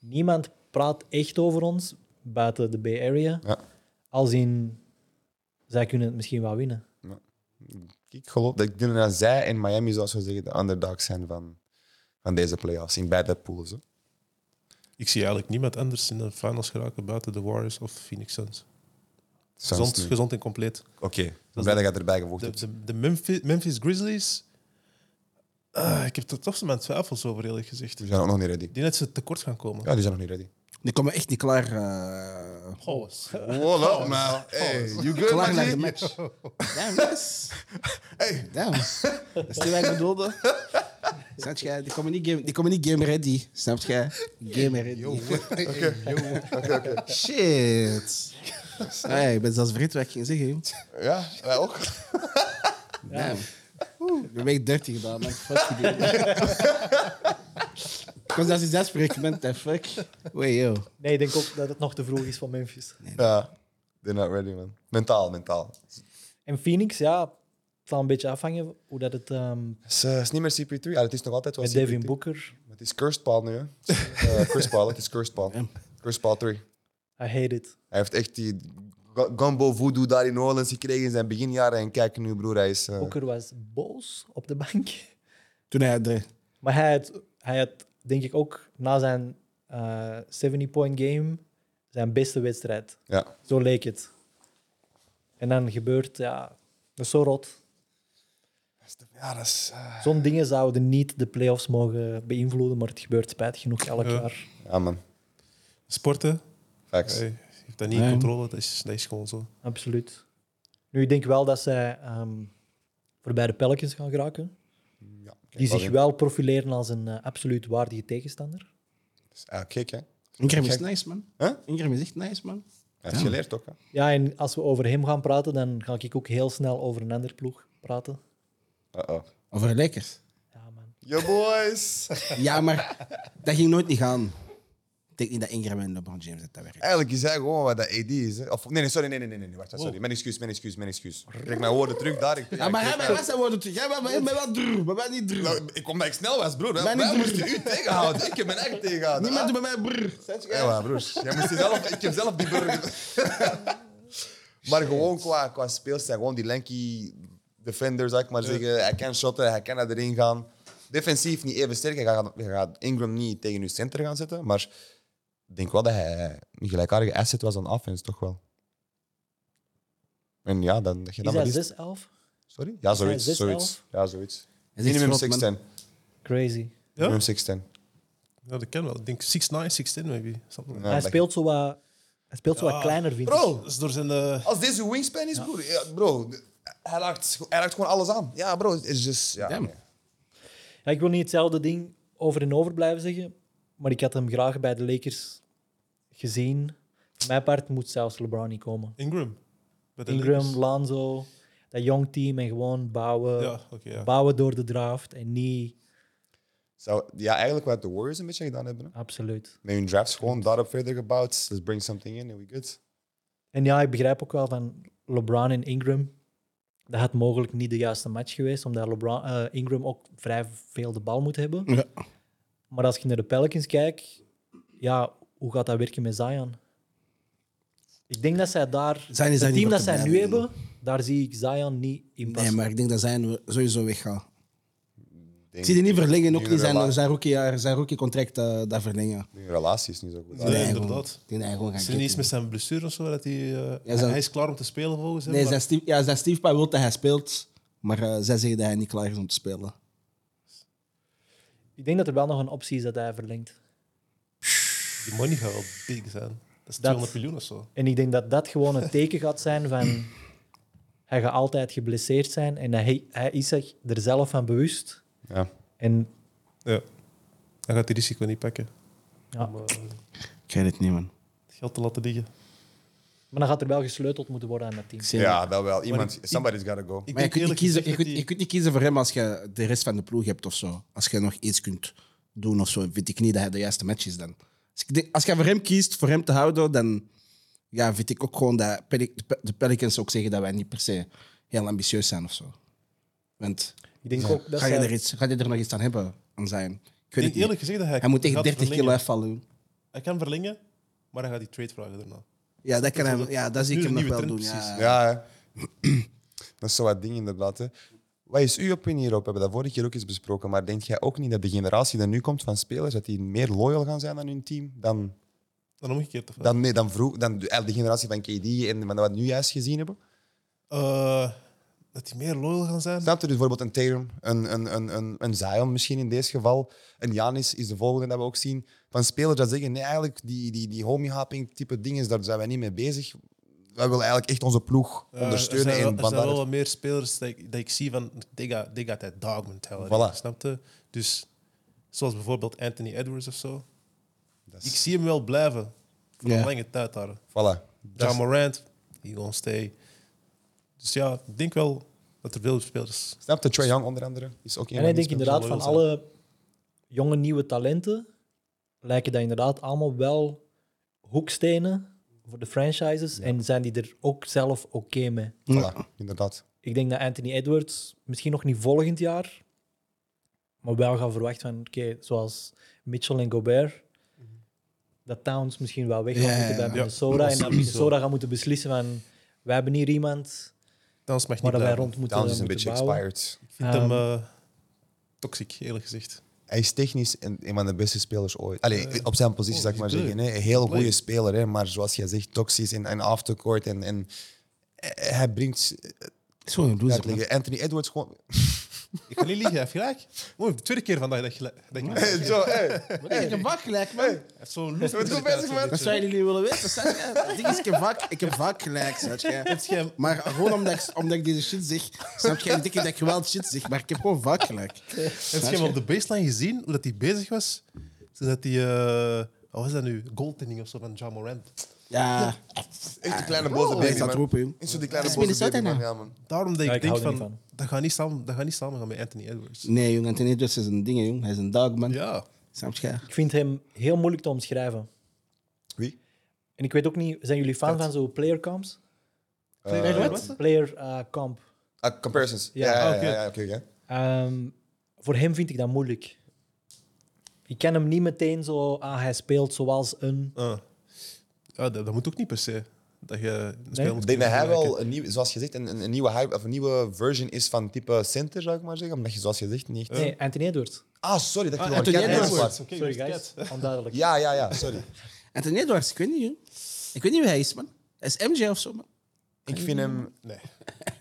niemand praat echt over ons buiten de Bay Area. Ja. Als in, zij kunnen het misschien wel winnen. Ik geloof dat ik denk dat zij en Miami, zoals we zeggen, de underdogs zijn van, van deze playoffs in beide pools. Hè. Ik zie eigenlijk niemand anders in de finals geraken buiten de Warriors of Phoenix Suns. Sounds Gezond, niet. gezond en compleet. Oké, ik ben blij dat je erbij gevoegd De, hebt. de, de Memphis, Memphis Grizzlies. ah, ik heb er toch mijn twijfels over, eerlijk gezegd. Die Ik zijn ook nog niet ready. denk dat ze tekort gaan komen. Ja, die zijn nog niet ready. Die komen echt niet klaar. eh, Oh, Voilà, man. Hey, you good, klaar naar de match. Damn, yes. Hey. Damn. Dat is niet wat ik *laughs* bedoelde. Snap jij? Die komen niet game, die komen niet game ready. Snap jij? Game ready. Shit. Hey, ik ben zelfs vergeten wat ik ging zeggen. joh. Ja, wij ook. Damn. Ik ben week 30 gedaan, man. Fuck you, dude. Ik was zelfs iets uitspreken, man. The fuck. Wait, yo. Nee, ik denk ook dat het nog te vroeg is voor Memphis. Ja, they're not ready, man. Mentaal, mentaal. En Phoenix, ja, het zal een beetje afhangen hoe dat het ehm, Het is, eh, het is niet meer CP3. Ja, het is nog altijd wel met CP3. Devin Booker. Maar Het is Cursed Paul nu, hè. Eh, Cursed Paul, het is Cursed Paul. Cursed Paul 3. I hate it. Hij heeft echt die gu- gumbo voodoo daar in New Orleans gekregen in zijn beginjaren. En kijk nu, broer, hij is... eh, Booker was boos op de bank. *laughs* Toen hij de... Maar hij had, hij had denk ik ook na zijn eh, 70-point game zijn beste wedstrijd. Ja, Zo leek het. En dan gebeurt, ja, dat is zo rot. ja dat is... eh, Zo'n dingen zouden niet de playoffs mogen beïnvloeden, maar het gebeurt spijtig genoeg elk Ja. jaar. Ja, man. Sporten, Facts. hey, je hebt dat niet in Nee. controle, dat is, dat is gewoon zo. Absoluut. Nu, ik denk wel dat zij ehm voorbij de Pelicans gaan geraken. Ja, kijk, Die dat zich is- wel profileren als een eh, absoluut waardige tegenstander. dat is- Ah, kijk, hè. Hij Ingram is Gek. nice, man. Huh? Ingram is echt nice, man. heeft Ja. geleerd ook, hè. Ja, en als we over hem gaan praten, dan ga ik ook heel snel over een ander ploeg praten. Uh-oh. Over Lakers. Ja, man. Yo, boys! Ja, maar dat ging nooit niet gaan. Ik denk niet dat Ingram en LeBron James het dat werkt. *laughs* Eigenlijk is hij gewoon wat dat AD is. Hè. Of, nee, nee, sorry, nee, nee, nee, nee, nee, wacht, sorry. Mijn excuus, mijn excuus, mijn excuus. Kijk mijn woorden terug daar. Ik, Oh. Ja, maar ik- hij ik- met was zijn woorden terug. Jij bent bent wel drrr, maar wij niet drrr. Nou, ik kom dat ik snel was, broer. Ben Wij, niet wij broer. moesten u tegenhouden. Ik heb mijn eigen tegenhouden. Niemand Ah. doet bij mij brrr. Zet je- Ja, maar broers. Jij moest zelf, ik heb zelf die burger. maar gewoon qua, qua speelstijl, gewoon die lanky defender, zou ik maar zeggen. Hij kan shotten, hij kan naar erin gaan. Defensief niet even sterk. Hij gaat, hij gaat Ingram niet tegen uw center gaan zetten. Maar ik denk wel dat hij een gelijkaardige asset was aan offense, toch wel. En ja, dan dat je Is dan maar hij liefst- 6'11? Sorry? Ja, zoiets. zes, zoiets. elf? Ja, zoiets. is echt Minimum groot, man. 6'10. Crazy. Ja? Minimum 6'10. Ja, dat kan wel. Ik denk 6'9, 6'10 maybe. Something like Ja, hij dat- speelt zo wat, hij speelt zo wat Ja. kleiner, vind ik. Bro, that. Dat is door zijn... eh, Als deze wingspan is, broer, ja, bro, hij raakt, hij raakt gewoon alles aan. Ja, bro, het is just... Ja, Damn. nee. Ja, ik wil niet hetzelfde ding over en over blijven zeggen, maar ik had hem graag bij de Lakers gezien. Voor mijn part moet zelfs LeBron niet komen. Ingram. Bij de Ingram, Lakers. Lanzo, dat jong team en gewoon bouwen, Ja, oké. ja. bouwen door de draft en niet Zou, ja, eigenlijk wat de Warriors een beetje gedaan hebben. Hè? absoluut. Met hun drafts gewoon daarop verder gebouwd. Let's bring something in and we good. En ja, ik begrijp ook wel van LeBron en Ingram. Dat had mogelijk niet de juiste match geweest, omdat LeBron, eh, Ingram ook vrij veel de bal moet hebben. Ja. Maar als je naar de Pelicans kijkt, ja, hoe gaat dat werken met Zion? Ik denk dat zij daar... Zion is daar het niet team voor dat te zij nu blijven, hebben, daar zie ik Zion niet in Nee, passen. maar ik denk dat zij sowieso weggaat. Denk, Ik zie die niet verlengen, ook Nu niet zijn, rela- zijn, rookie, zijn rookie-contract eh, dat verlengen. nu relatie is niet zo goed. Nee, Nee, inderdaad. Ik denk dat hij gewoon Is gaat er niet kicken. iets met zijn blessure of zo? Dat hij, eh, hij, zou- hij is klaar om te spelen volgens hem. Nee, maar- zijn Steve, ja, zijn Steve Pa wil dat hij speelt, maar eh, zij zeggen dat hij niet klaar is om te spelen. Ik denk dat er wel nog een optie is dat hij verlengt. Die money gaat wel big zijn. Dat is 200 miljoen of zo. En ik denk dat dat gewoon een teken gaat zijn van... Hij gaat altijd geblesseerd zijn en hij, hij is zich er zelf van bewust. Ja. En Ja. Hij gaat die risico niet pakken. Ja. Om eh, Ik weet het niet, man. het geld te laten liggen. Maar dan gaat er wel gesleuteld moeten worden aan dat team. Ik zie ja, dat wel. Iemand, ik- somebody's gotta go. Ik Maar je denk kunt, niet eerlijk kiezen, je, gezegd kunt, dat je kunt niet kiezen voor hem als je de rest van de ploeg hebt of zo. Als je nog iets kunt doen of zo, vind ik niet dat hij de juiste match is dan. Dus ik denk, als je voor hem kiest, voor hem te houden, dan ja, vind ik ook gewoon dat Pelic- de Pe- de Pelicans ook zeggen dat wij niet per se heel ambitieus zijn of zo. Want Ik denk ook dat ga je, zij- er iets, ga je er nog iets aan hebben aan zijn? Ik weet die- het Ik denk eerlijk niet. gezegd dat hij, Hij moet echt gaat 30 kilo verlengen. afvallen. Hij kan verlengen, maar hij gaat die trade vragen daarna. Ja, dat, kan hij, ja, dat zie ik Nu hem de nog wel nieuwe doen. trend, Ja. Ja, hè. *clears throat* dat is zo wat ding inderdaad. Hè. Wat is uw opinie hierop? We hebben dat vorige keer ook eens besproken. Maar denk jij ook niet dat de generatie die nu komt van spelers, dat die meer loyal gaan zijn aan hun team dan Dan omgekeerd. Of, wel? Dan, nee, dan vroeg, dan de, eigenlijk de generatie van KD en van wat we nu juist gezien hebben. Eh, dat die meer loyal gaan zijn. Snap je dus bijvoorbeeld een Tatum, een, een, een, een, een Zion misschien in deze geval, een Janis is de volgende dat we ook zien. Van spelers dat zeggen, nee, eigenlijk die, die, die homie-hopping type dingen, daar zijn wij niet mee bezig. Wij willen eigenlijk echt onze ploeg Eh, ondersteunen. Er zijn, en wel, er van zijn wel daaruit- wat meer spelers dat ik, dat ik zie van... They got, they got that dog mentality. Voilà. Snapte? Dus zoals bijvoorbeeld Anthony Edwards of zo. Dat Ik is- zie hem wel blijven. Voor Ja. een lange tijd daar. Voilà. Dat John is- Morant, he gonna stay. Dus ja, ik denk wel dat er veel spelers... Snap je, Trae Young onder andere is ook een En van ik die denk spelers. inderdaad van zal loyal alle jonge nieuwe talenten lijken dat inderdaad allemaal wel hoekstenen voor de franchises en zijn die er ook zelf oké mee. Voilà, inderdaad. Ik denk dat Anthony Edwards misschien nog niet volgend jaar, maar wel gaan verwachten van oké, zoals Mitchell en Gobert, dat Towns misschien wel weg gaat Mhm. Ja, ja, moeten bij ja. Minnesota en dat Minnesota gaat moeten beslissen van wij hebben hier iemand Dans mag niet waar dat wij blijven. rond moeten, Downs is een moeten beetje bouwen. expired. Ik vind hem Ehm, eh, toxic, eerlijk gezegd. Hij is technisch een, een van de beste spelers ooit. Allee, op zijn positie, oh, zou ik maar die zeggen. hè. Een heel play. goede speler, hè. maar zoals jij zegt, toxisch en, en aftercourt. En, en eh, hij brengt... Het is gewoon een Ja, loser, het liggen. Anthony Edwards gewoon... *laughs* Ik kan niet liegen, hij heeft gelijk. Mooi, de tweede keer vandaag dat je gelijk- dat je gelijk *laughs* hebt. Zo, hé. Ik heb vaak gelijk, man. Hij heeft zo'n loose goed mentaliteit, bezig, zo'n man. Dat beetje. zou jullie willen weten. Zet jij? Het ding is, ik heb vaak, ik heb vaak gelijk, snap jij? jij- Maar gewoon omdat ik, omdat ik deze shit zeg, snap jij? Ik denk dat ik wel shit zeg, maar ik heb gewoon vaak gelijk. Heb je hem op de baseline gezien, hoe dat hij bezig was? Toen dat hij... eh, wat was dat nu? Goaltending of zo van John Morant. Ja, Echt die Ah, kleine boze ik baby, zat man. roepen, jong. Echt zo die kleine Is boze Minnesota baby, man. Ja, nou? man. Daarom dat ik Ja, ik denk hou er van... niet Dat gaat niet samen, dat gaat niet samen gaan met Anthony Edwards. Nee, jong, Anthony Edwards is een ding, jong. Hij is een dog, man. Ja. Snap jij? Ik vind hem heel moeilijk te omschrijven. Wie? En ik weet ook niet, zijn jullie fan van zo'n player comps? Eh, Player eh, comp. ah, comparisons. Ja, Ja, ja, oh, oké. ja, ja, oké. ja. Ehm, voor hem vind ik dat moeilijk. Ik ken hem niet meteen zo, ah, hij speelt zoals een... Ah. Ja, dat, dat moet ook niet per se. Dat je een speler moet Ik denk dat hij vergelijken. wel, een nieuw, zoals gezegd, een, een, een nieuwe hype, of een nieuwe version is van type center, zou ik maar zeggen. Omdat je, zoals gezegd, niet echt... Nee, Anthony Edwards. Ah, sorry, dat ik Ah, je Anthony wel herkende, Edwards. maar- Oké, Sorry dat is guys, onduidelijk. *laughs* Ja, ja, ja, sorry. Anthony Edwards, ik weet niet, jong. Ik weet niet wie hij is, man. Hij is MJ of zo, man. Ik vind hem... Nee.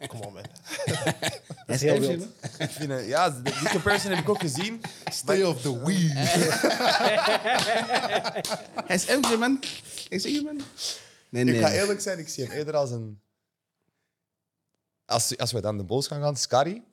Kom op, man. Hij is heel MJ, wild. man. Ik vind hem ja, die comparison heb ik ook gezien. Stay off the weed. Hij is MJ, man. Ik zeg je, man. Nee, nee. Ik ga eerlijk zijn, ik zie hem eerder als een... Als, als we dan de Bulls gaan gaan, Scary.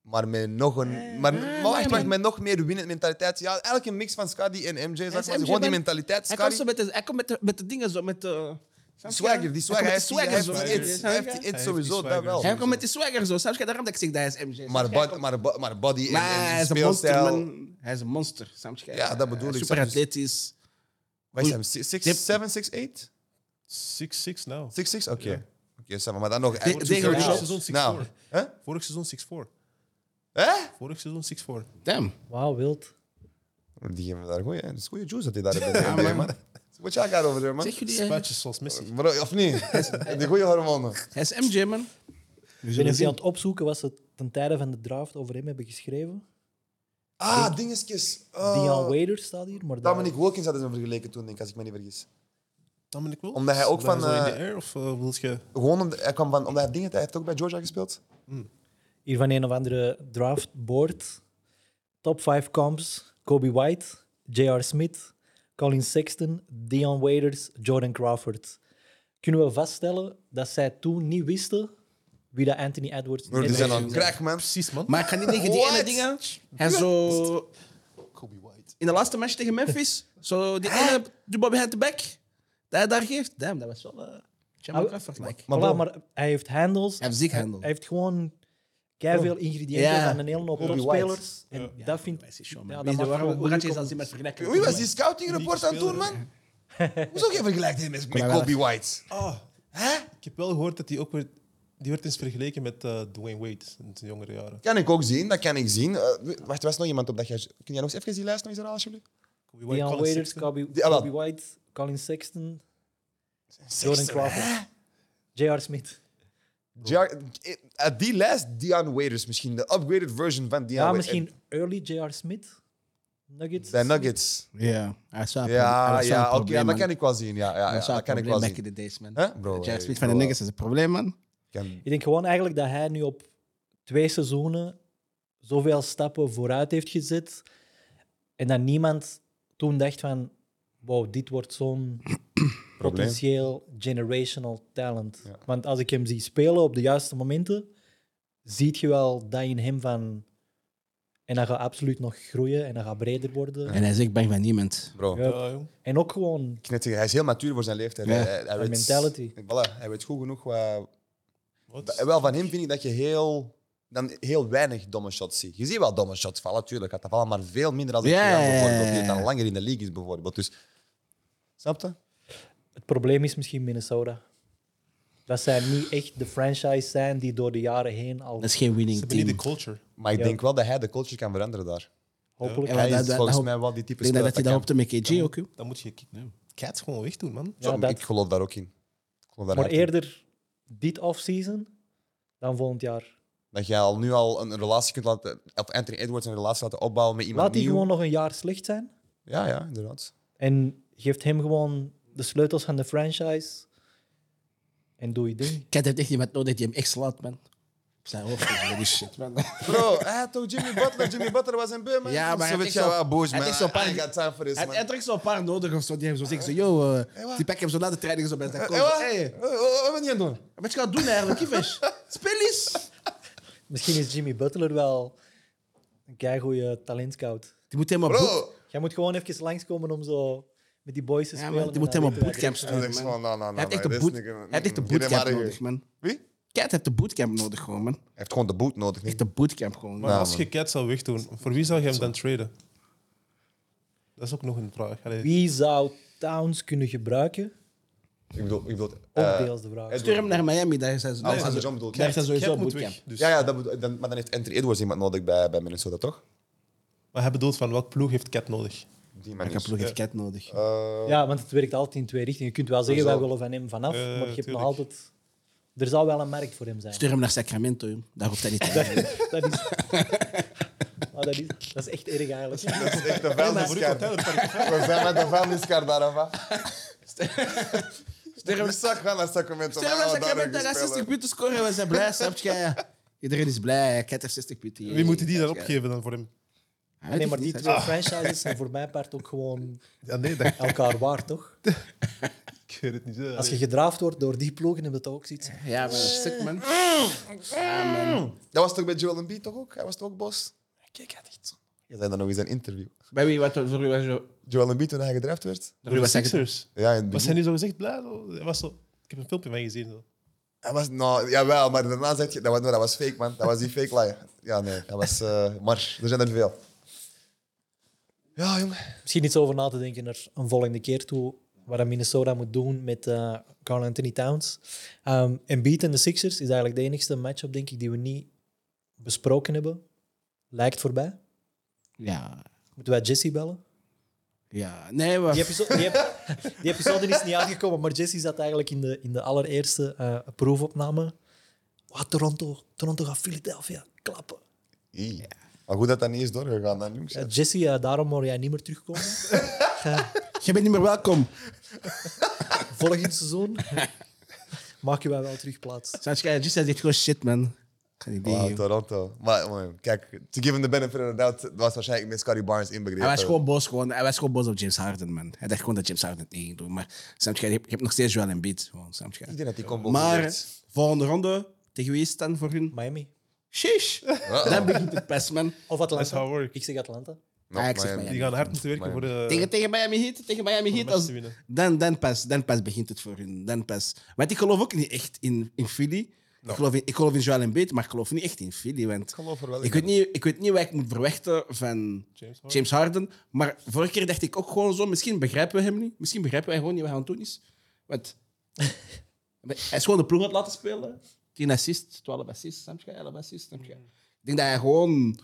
Maar met nog Eh, een... Maar, maar wacht, wacht, met nog meer winnend mentaliteit. Ja, eigenlijk een mix van Scary en MJ. Zeg maar. is MJ, Gewoon die man. mentaliteit, Hij komt Scary. zo met de, hij komt met de, met de dingen zo, met eh, de... Die Swagger, die swagger. Hij heeft die- hij swagger heeft zo. die Hij hits, heeft hij heeft die die- hits Hij heeft die sowieso, dat swagger. wel. Hij komt met de swagger zo. Snap je? Daarom dat ik zeg dat hij is MJ. Maar, Snap je? bod- maar, bo- maar body en, Maar en hij is een monster, speelstijl. man. Hij is een monster, snap je? Ja, dat bedoel Hij is ik. Super atletisch. Wat is hem? 7, 6, 8? 6-6 nou. 6, 6? Oké. Oké, zeg maar, maar dan nog. Tegen- Hij- tegen Ja. Charles. Seizoen 6-4. Nou. Hè? Vorig seizoen 6-4. Hè? Vorig seizoen 6-4. Damn. Wauw, wild. Die geven daar goeie. Dat is goede juice dat hij daar hebben. Nee, man. *laughs* What y'all got over there, man? Zeg jullie, eh, Spuitjes zoals Messi. Bro, of niet? *laughs* Die goede hormonen. hij is MJ, man. Ik ben even aan het opzoeken wat ze ten tijde van de draft over hem hebben geschreven. Ah, dingetjes. Dion Uh, Waiters staat hier, maar dat... Dominic Wilkins hadden ze hem vergeleken toen, denk ik, als ik me niet vergis. Dan ben ik wel. Omdat hij ook Is dat van, zo in eh, de air of eh, wil je... Gewoon omdat hij kwam van, omdat hij dingen, hij heeft ook bij Georgia gespeeld. Hier van een of andere draftboard. Top 5 comps. Kobe White, J.R. Smith, Colin Sexton, Dion Waiters, Jordan Crawford. Kunnen we vaststellen dat zij toen niet wisten wie dat Anthony Edwards Bro, die Edwards zijn aan crack, man. Precies, man. Maar ik ga niet tegen die What? ene dingen. Hij zo... Kobe White. In de laatste match tegen Memphis. Zo die ene dubbel behind the back. Dat hij daar geeft. Damn, dat was wel... eh, Jamal Ah, Crawford, like. Voilà, Maar, bro- hij heeft handles. Hij Hij heeft ziek handel. heeft gewoon veel ingrediënten Ja. van een hele hoop Oh. Kobe White. topspelers. En dat vind Hij is ik... show, man. Ja, dat Wie is er- maakt waarom- gewoon Hoe gaat moeilijk je eens om- als iemand vergelijken? Wie was die scouting report aan het doen, man? Hoezo geen vergelijking met met Kobe White? Ah, Hè? ik heb wel gehoord dat hij ook weer... Die werd eens vergeleken met eh, Dwayne Wade in zijn jongere jaren. Kan ik ook zien, dat kan ik zien. Eh, wacht, er was nog iemand op dat jij... Kun jij nog eens even die lijst nog eens herhalen, alsjeblieft? Kobe White, Dion Colin Waiters, Sexton. Kobe, Die- ah, wel. Kobe White, Colin Sexton, Jordan Crawford, J.R. Smith. Jar- eh, Uit die lijst, Dion Waiters misschien. De upgraded version van Dion Ja, Waiters. misschien early J.R. Smith. Nuggets. Bij Nuggets. Ja, hij is wel een pro- hij Ja, was wel een ja, oké, probleem, dat man. kan ik wel zien. Ja, ja, Hij ja, was wel dat een kan ik probleem wel back in zien. the days, man. Hè, bro? Jack eh, Smith ik van de wil- Niggas is een probleem, man. kan- Ik denk gewoon eigenlijk dat hij nu op twee seizoenen zoveel stappen vooruit heeft gezet. En dat niemand toen dacht van, wow, dit wordt *clears throat* zo'n potentieel generational talent. Want als ik hem zie spelen op de juiste momenten, ziet je wel dat in hem van... En hij gaat absoluut nog groeien en hij gaat breder worden. En hij zegt bang van niemand. Bro, Ja. Ja, jong. En ook gewoon... ik net zeggen, hij is heel matuur voor zijn leeftijd. Ja. Hij- hij- hij weet- mentality. Voilà, hij weet goed genoeg wat, Wat? Da- Wel, van hem vind ik dat je heel, dan heel weinig domme shots ziet. Je ziet wel domme shots vallen, natuurlijk gaat dat vallen, maar veel minder als ik Ja, yeah. ja, ja, bijvoorbeeld, die ja. dan langer in de league is bijvoorbeeld. Dus, snap je? Het probleem is misschien Minnesota. Dat zij niet echt de franchise zijn die door de jaren heen al... Dat is geen Ze winning hebben niet team. de Ik culture. Maar ik Ja. denk wel dat hij de culture kan veranderen daar. Hopelijk. Ja, hij dat- is dat- volgens dat- mij wel die type denk speler dat hij dat daar kan. hoopte met KG ook. joh. Dan moet je cats gewoon wegdoen, man. Ja, Zo, dat- Ik geloof daar ook in. Ik geloof daar Maar hard in. eerder dit offseason dan volgend jaar. Dat jij al nu al een, een relatie kunt laten, of Anthony Edwards een relatie laten opbouwen met iemand Laat hij nieuw. gewoon nog een jaar slecht zijn Ja, ja, inderdaad. en geeft hem gewoon de sleutels van de franchise en doe je ding. *laughs* Cat heeft echt iemand nodig die hem echt slaat, man. zijn hoofd is dat is shit, man. Bro, hij had toch Jimmy Butler? Jimmy Butler was een beurman. Ja, maar zo hij weet heeft je echt zo- wel, boos, hij man. heeft echt zo'n paar- Hij gaat zijn voor Hij man. hij trekt zo'n paar nodig of zo. Die hebben zo zeggen zo, yo, eh, die pakken hem zo na de training zo bij Eh, zijn coach. Hé, wat? Hey, Hé, Wat ben je aan het doen? wat je gaat doen eigenlijk, Kivesh? Speel eens! Misschien is Jimmy Butler wel een keigoeie talentscout. Die moet helemaal boek- Bro! Jij moet gewoon even langskomen om zo met die boys te Ja, spelen. man, die en moet dan helemaal weten wij bootcamps Hij doen. zegt man. gewoon, nou, nou, nou. Hij heeft echt de nee, boot- dit is niet- hij heeft echt de Doe dit bootcamp maar hier. nodig, man. Wie? Hij Cat heeft de bootcamp nodig gewoon, man. heeft gewoon de boot nodig. Echt niet? de bootcamp gewoon. Maar man. als je Cat zou wegdoen, voor wie zou je hem dan traden? Dat is ook nog een vraag. Allee, Wie zou Towns kunnen gebruiken? Ik bedoel, ik bedoel... Ook eh, deels de vraag. Edwards. Stuur hem naar Miami, daar zijn ze Ah, daar dat zijn is ze- John bedoeld. daar zijn ze sowieso Cat moet bootcamp. weg. Dus. Ja, ja dat moet, dan, maar dan heeft Anthony Edwards iemand nodig bij, bij Minnesota, toch? Maar hij bedoelt van welk ploeg heeft Cat nodig? Op Die Ik manier. heb ploeg heeft Cat nodig. Eh, Ja, want het werkt altijd in twee richtingen. Je kunt wel zeggen, wij Sowieso. willen van hem vanaf, Eh, maar je hebt nog tuurlijk. altijd... Er zou wel een markt voor hem zijn. Stuur hem naar Sacramento, joh. daar hoeft hij niet te zijn. Dat is... *laughs* Ah, dat, is... dat is echt erg eigenlijk. Dat is *laughs* echt de vuilniskar. We zijn met de vuilniskar daar, af. *laughs* Sterren zak gaan naar Sacramento. Stel maar dat we Sacramento daar gaat gespeeld 60 punten scoren, we zijn blij, snap je? Ja. Iedereen is blij, Cat heeft 60 punten. Wie moeten die dan opgeven dan voor hem? Hij Nee, maar die twee franchises zijn voor mijn part ook gewoon Ja, nee, dat, elkaar waard, toch? ik weet het niet. hè. Als je gedraafd wordt door die ploegen, heb je dat ook zoiets. Ja, maar stuk, man. hebben. *laughs* Dat was toch bij Joel Embiid toch ook? Hij was toch ook boos? Kijk, hij had echt zo. Je zei dat nog eens in een interview. Bij wie, wat, voor wie was je? Joel Embiid toen hij gedraft werd? Voor de Sixers. Ja, in het Was begin. hij nu zo gezegd blij? Zo, Hij was zo, ik heb een filmpje van je gezien. Zo. Hij was, nou, jawel, maar daarna zei je, dat was, no, dat was fake, man. Dat was die fake lie. Ja, nee, dat was, eh maar er zijn er veel. Ja, jongen. Misschien iets over na te denken naar een volgende keer toe. Wat dat Minnesota moet doen met eh Carl Anthony Towns. Ehm Embiid en de Sixers is eigenlijk de enigste matchup, denk ik, die we niet besproken hebben. Lijkt voorbij. Ja, Moeten wij Jesse bellen? ja. Nee, maar... Die episode, die ep- die episode is niet uitgekomen, maar Jesse zat eigenlijk in de, in de allereerste eh, proefopname. Wat Toronto, Toronto gaat Philadelphia klappen. Ie. Maar goed dat dat niet is doorgegaan, dan, jongens. Eh, Jesse, eh, daarom hoor jij niet meer terugkomen. Je bent niet meer welkom. Volgend seizoen *laughs* maak je wij wel terug plaats. Snap je? Just zegt gewoon shit, man. Geen idee, Wow, joh. Toronto. Maar man, kijk, to give him the benefit of the doubt, dat was waarschijnlijk met Scotty Barnes inbegrepen. Hij was gewoon boos, gewoon, hij was gewoon boos op James Harden, man. Hij dacht gewoon dat James Harden het niet ging doen. Maar snap je, je hebt- je hebt nog steeds Joel Embiid. Gewoon, snap je? Ik denk dat die combo Maar gebeurt. volgende ronde, tegen wie is het dan voor hun? Miami. Sheesh! Dan begint het pas, man. Of Atlanta. how it works. Ik zeg Atlanta. No, Ah, ik zeg Miami. maar Die gaan hard moeten werken voor Eh. de... Tegen, tegen Miami Heat, tegen Miami Heat. match Als, te winnen. dan, dan, pas, dan pas begint het voor hun. Dan pas. Want ik geloof ook niet echt in, in Philly. Ik, geloof in, ik geloof in Joel Embiid, maar ik geloof niet echt in Philly. Want ik, geloof er wel in. weet niet, ik weet niet wat ik moet verwachten van James James Harden. Harden. Maar vorige keer dacht ik ook gewoon zo, misschien begrijpen we hem niet. Misschien begrijpen wij gewoon niet wat hij aan het doen is. Want hij is gewoon de ploeg aan het laten spelen. 10 assists, 12 assists, snap je? 11 assists, snap je? Ik denk dat hij gewoon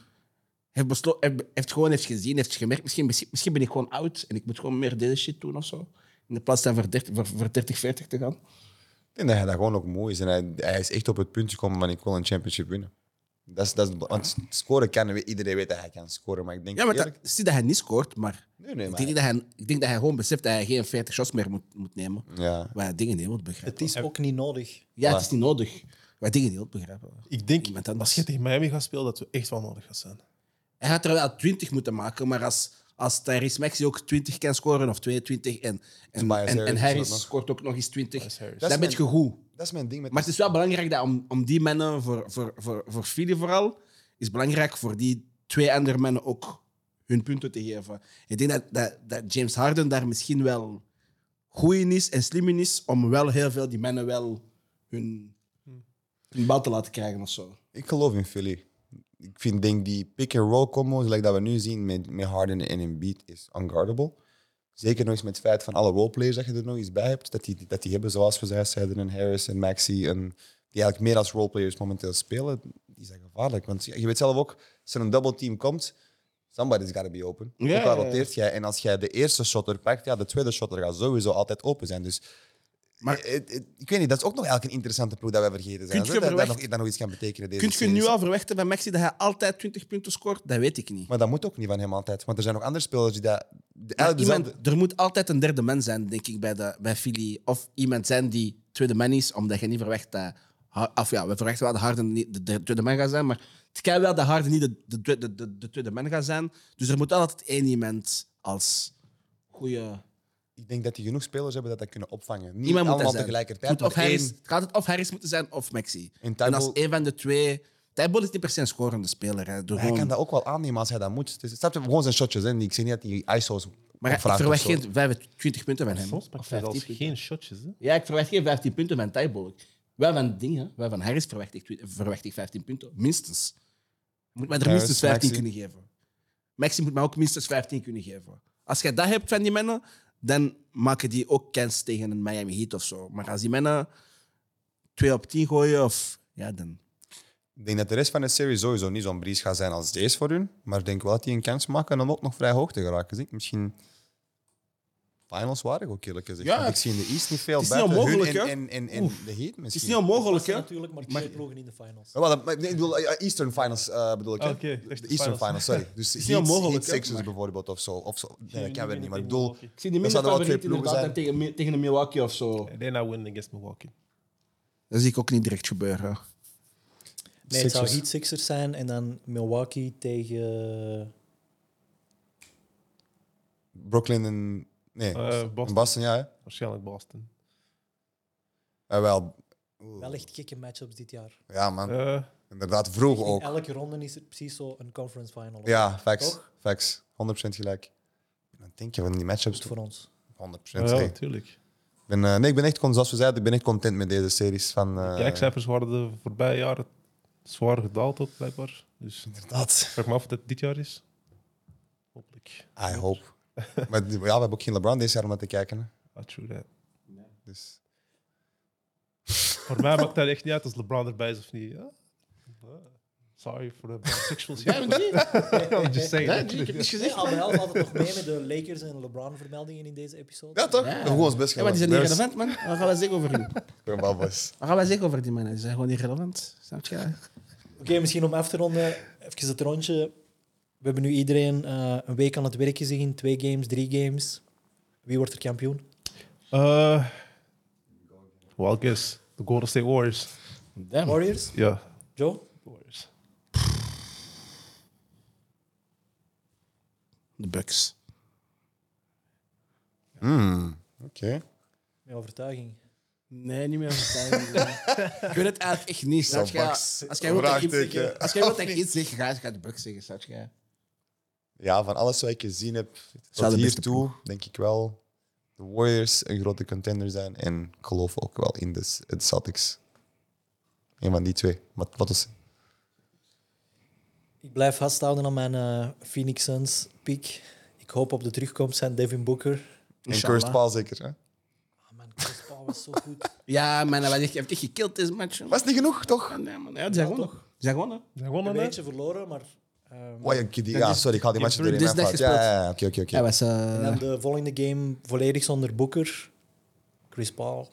heeft, beslo- heeft, heeft gewoon heeft gezien, heeft gemerkt. Misschien, misschien ben ik gewoon oud en ik moet gewoon meer deze shit doen of zo. In de plaats van voor 30, voor, voor 30 40 te gaan. Ik denk dat hij dat gewoon ook mooi is. En hij, hij is echt op het punt gekomen van ik wil een championship winnen. Dat is, dat is, want scoren kan, iedereen weet dat hij kan scoren. Maar ik denk Ja, maar dat, eerlijk- zie dat hij niet scoort, maar, Nee, nee, ik, maar- denk niet dat hij, ik denk dat hij gewoon beseft dat hij geen 40 shots meer moet, moet nemen. Ja. Waar hij dingen niet wilt begrijpen. Het is ook niet nodig. Ja, het is niet nodig. Waar dingen niet wilt begrijpen. Ik denk, Iemand anders. als je tegen Miami gaat spelen, dat we echt wel nodig gaan zijn. Hij had er wel 20 moeten maken, maar als, als Tyrese Maxey ook 20 kan scoren of 22 en, en, Tobias en, en Harris is dat Harris nog. scoort ook nog eens 20, Harris. dan Dat ben is je goed. Dat is mijn ding met Maar het is wel belangrijk dat om, om die mannen, voor, voor, voor, voor Philly vooral, is belangrijk voor die twee andere mannen ook hun punten te geven. Ik denk dat, dat, dat James Harden daar misschien wel goed in is en slim in is om wel heel veel die mannen wel hun, hun bal te laten krijgen of zo. Ik geloof in Philly. Ik vind denk die pick-and-roll combo's, like dat we nu zien met, met Harden en Embiid, is unguardable. Zeker nog eens met het feit van alle roleplayers dat je er nog eens bij hebt, dat die, dat die hebben, zoals we zeiden, en Harris en Maxi, en die eigenlijk meer als roleplayers momenteel spelen, die zijn gevaarlijk. Want je weet zelf ook, als er een double team komt, somebody's gotta be open. Ja, ook al ja, ja. roteert jij, en als jij de eerste shotter pakt, ja, de tweede shotter gaat sowieso altijd open zijn. Dus Maar- eh, eh, ik weet niet, dat is ook nog eigenlijk een interessante ploeg dat wij vergeten zijn. Kunt hè, dat, je dat, verwachten- nog, dat nog iets kan betekenen. Deze Kun je series. nu al verwachten van Maxi dat hij altijd 20 punten scoort? Dat weet ik niet. Maar dat moet ook niet van hem altijd. Want er zijn nog andere spelers die dat... de- Maar eigenlijk iemand, dezelfde- er moet altijd een derde man zijn, denk ik, bij, de, bij Philly. Of iemand zijn die tweede man is, omdat je niet verwacht dat ha- Of ja, we verwachten wel dat Harden niet de, de tweede man gaat zijn, maar het kan wel dat Harden niet de, de, de, de, de, de tweede man gaat zijn. Dus er moet altijd één iemand als goede. Ik denk dat die genoeg spelers hebben dat dat kunnen opvangen. Niet Iemand moet allemaal dat zijn. tegelijkertijd. Het moet maar of Harris, één- het gaat het of Harris moeten zijn of Maxi. En En, Tybalt- als één van de twee. Tijbol is niet per se een scorende speler. Hè, door Maar Hij gewoon- kan dat ook wel aannemen als hij dat moet. Het is, snap je, gewoon zijn shotjes. Hè? Ik zie niet dat die ISO's maar ik opvraagt verwacht of zo. geen 25 punten van hem. Soms maakt hij zelfs geen shotjes. Hè? Ja, ik verwacht geen 15 punten van Tijbol. Wel van dingen, wel van Harris verwacht ik, twi- verwacht ik 15 punten. Minstens. Je moet mij er Harris, minstens 15 Maxi. kunnen geven. Maxi moet mij ook minstens 15 kunnen geven. Als jij dat hebt van die mannen, dan maken die ook kans tegen een Miami Heat of zo. Maar als die mannen 2 op 10 gooien, of, ja, dan Ik denk dat de rest van de serie sowieso niet zo'n breeze gaat zijn als deze voor hun. Maar ik denk wel dat die een kans maken en dan ook nog vrij hoog te geraken. Dus ik misschien finals waren ook eerlijk gezegd. Ja. Want ik zie in de East niet veel Het is niet buiten onmogelijk, hun hè? en, en, en, en de Heat misschien. Het is niet onmogelijk, hè? Natuurlijk, maar twee ploegen in de finals. Ja, wel, dat- maar ik bedoel, eh, Eastern Finals eh, bedoel ik. hè? Oké, echt de de Eastern Finals, finals. sorry. *laughs* Dus niet Heat- onmogelijk, Heat hè, Sixers maar- bijvoorbeeld of zo. Of zo. Nee, dat jullie kan weer winnen niet. Maar ik tegen bedoel, Milwaukee. Ik zie die Dat minder zouden wel twee favoriet ploegen zijn. inderdaad dan tegen, Mi- tegen de Milwaukee of zo. And then I win nou, against Milwaukee. Dat zie ik ook niet direct gebeuren. Nee, het zou Sixers. Heat Sixers zijn en dan Milwaukee tegen... Brooklyn en... Nee, Eh, Boston. Boston. Boston, ja. hè. Waarschijnlijk Boston. Eh, wel, Wel echt gekke matchups dit jaar. ja man. Eh, Inderdaad, vroeg In ook. elke ronde is er precies zo een conference final. Ja, facts. Toch? Facts. 100% gelijk. Dan denk je van die matchups Goed voor ons. 100%. ja, hey. natuurlijk. Ik ben, eh, nee, ik ben echt, con- zoals we zeiden, ik ben echt content met deze series. Van, eh, Kijkcijfers waren de voorbije jaren zwaar gedaald ook, blijkbaar. Dus ik Inderdaad. vraag me af of dat dit jaar is. Hopelijk. I hope. maar die- ja, we hebben ook geen LeBron deze jaar om naar te kijken. hè. Ah, true that. Dus, Voor mij maakt dat echt niet uit als LeBron erbij is of niet. Ja? Sorry voor de *laughs* bisexuals. Ja, I'm just saying. Nee, Abel had altijd nog mee met de Lakers en LeBron-vermeldingen in deze episode. ja, toch? We hebben ons best Ja, maar gedaan. die zijn Dus- niet relevant, man. Wat gaan wij zeggen over hen? Ik ben wel boos. *laughs* Wat gaan wij zeggen over die mannen? Ze zijn gewoon niet relevant. Snap je? Oké, misschien om af te ronden, even het rondje. We hebben nu iedereen eh, een week aan het werk gezien. Twee games, drie games. Wie wordt er kampioen? Eh, well, guess. De Golden State Warriors. Damn. Warriors? Ja. Joe? Warriors. De Bucks. Hmm, Oké. Met overtuiging. Nee, niet meer. ik weet het eigenlijk echt niet. Snap Zo, je? Bucks. Als jij wilt dat ik iets Vraagteken. zeg, als jij wilt dat ik iets zeg, ga ik de Bucks zeggen. Snap je? Ja, van alles wat ik gezien heb Zou tot de beste hiertoe, denk ik wel de Warriors een grote contender zijn. En ik geloof ook wel in de, S- de Celtics. Een van die twee. Wat, wat is Ik blijf vasthouden aan mijn eh, Phoenix Suns pick. Ik hoop op de terugkomst van Devin Booker. En Cursed Paul zeker, hè? Ah, man, Chris Paul was zo goed. *laughs* Ja, man, dat was echt- je hebt echt gekild deze match. man. Was niet genoeg, toch? Nee, man. Ja, die zijn gewonnen. Die zijn gewonnen. Ze Een wonnen, hè? beetje verloren, maar... ehm, Oh, ja, ik- die- ja, sorry, ik haal die match door in mijn Disney fout. Ja, gespeeld. ja, ja, oké, oké, Hij oké. was... eh, En dan de volgende game volledig zonder Booker. Chris Paul.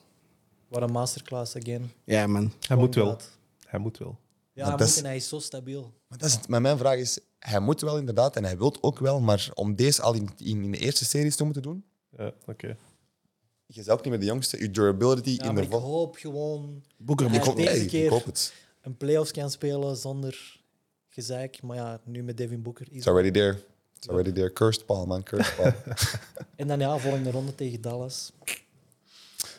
Wat een masterclass again. Ja, man. Hij moet wel. Inderdaad. Hij moet wel. Ja, Maar hij dat moet is- en hij is zo stabiel. Maar, dat is het. maar mijn vraag is, hij moet wel inderdaad en hij wil ook wel, maar om deze al in, in, in de eerste series te moeten doen, Ja, oké. je bent ook niet meer de jongste, je durability Ja, in maar de ik vol. hoop gewoon Boeker, Ik Boeker. hoop- deze hey, ik keer- hoop het. een playoffs kan spelen zonder gezeik. Maar ja, nu met Devin Booker. Is It's already there. It's already there. Cursed Paul, man, cursed Paul. En dan ja, volgende ronde tegen Dallas.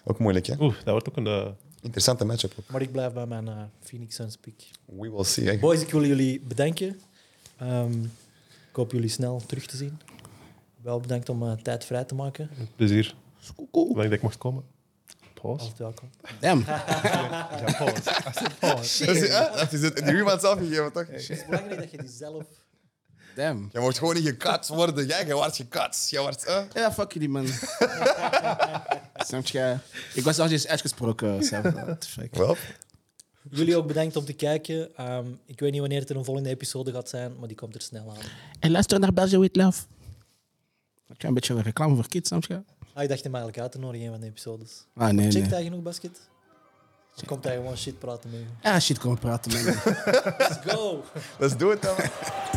ook moeilijk, hè? Oeh, dat wordt ook een... eh, Interessante matchup ook. Maar ik blijf bij mijn eh, Phoenix Suns pick. We will see. hè. Boys, ik wil jullie bedanken. Ehm, ik hoop jullie snel terug te zien. Wel bedankt om eh, tijd vrij te maken. plezier. Bedankt dat ik mocht komen. Pause. Altijd welkom. Damn. Ja, pause. I said pause. Dat is, hè? Dat is het, *laughs* die iemand zelf gegeven, toch? Het is belangrijk dat je die zelf... *laughs* Damn. Jij wordt gewoon niet gekatst worden. Jij, jij wordt gekatst. Jij wordt... eh? Ja, fuck jullie, *laughs* man. Snap je? Ik was al eens uitgesproken. Snap je? What the fuck? Wel, Jullie ook bedankt om te kijken. Ehm, ik weet niet wanneer het er een volgende episode gaat zijn, maar die komt er snel aan. En luister naar Belgium with Love. Heb je een beetje reclame voor kids, snap je? Ah, ik dacht hem eigenlijk uit te nodigen in een van de episodes. Ah, nee, Checkt nee. hij genoeg basket? Dan אה, komt hij gewoon shit praten met je. Ah, shit, kom maar praten, man. Let's go! let's do it dan.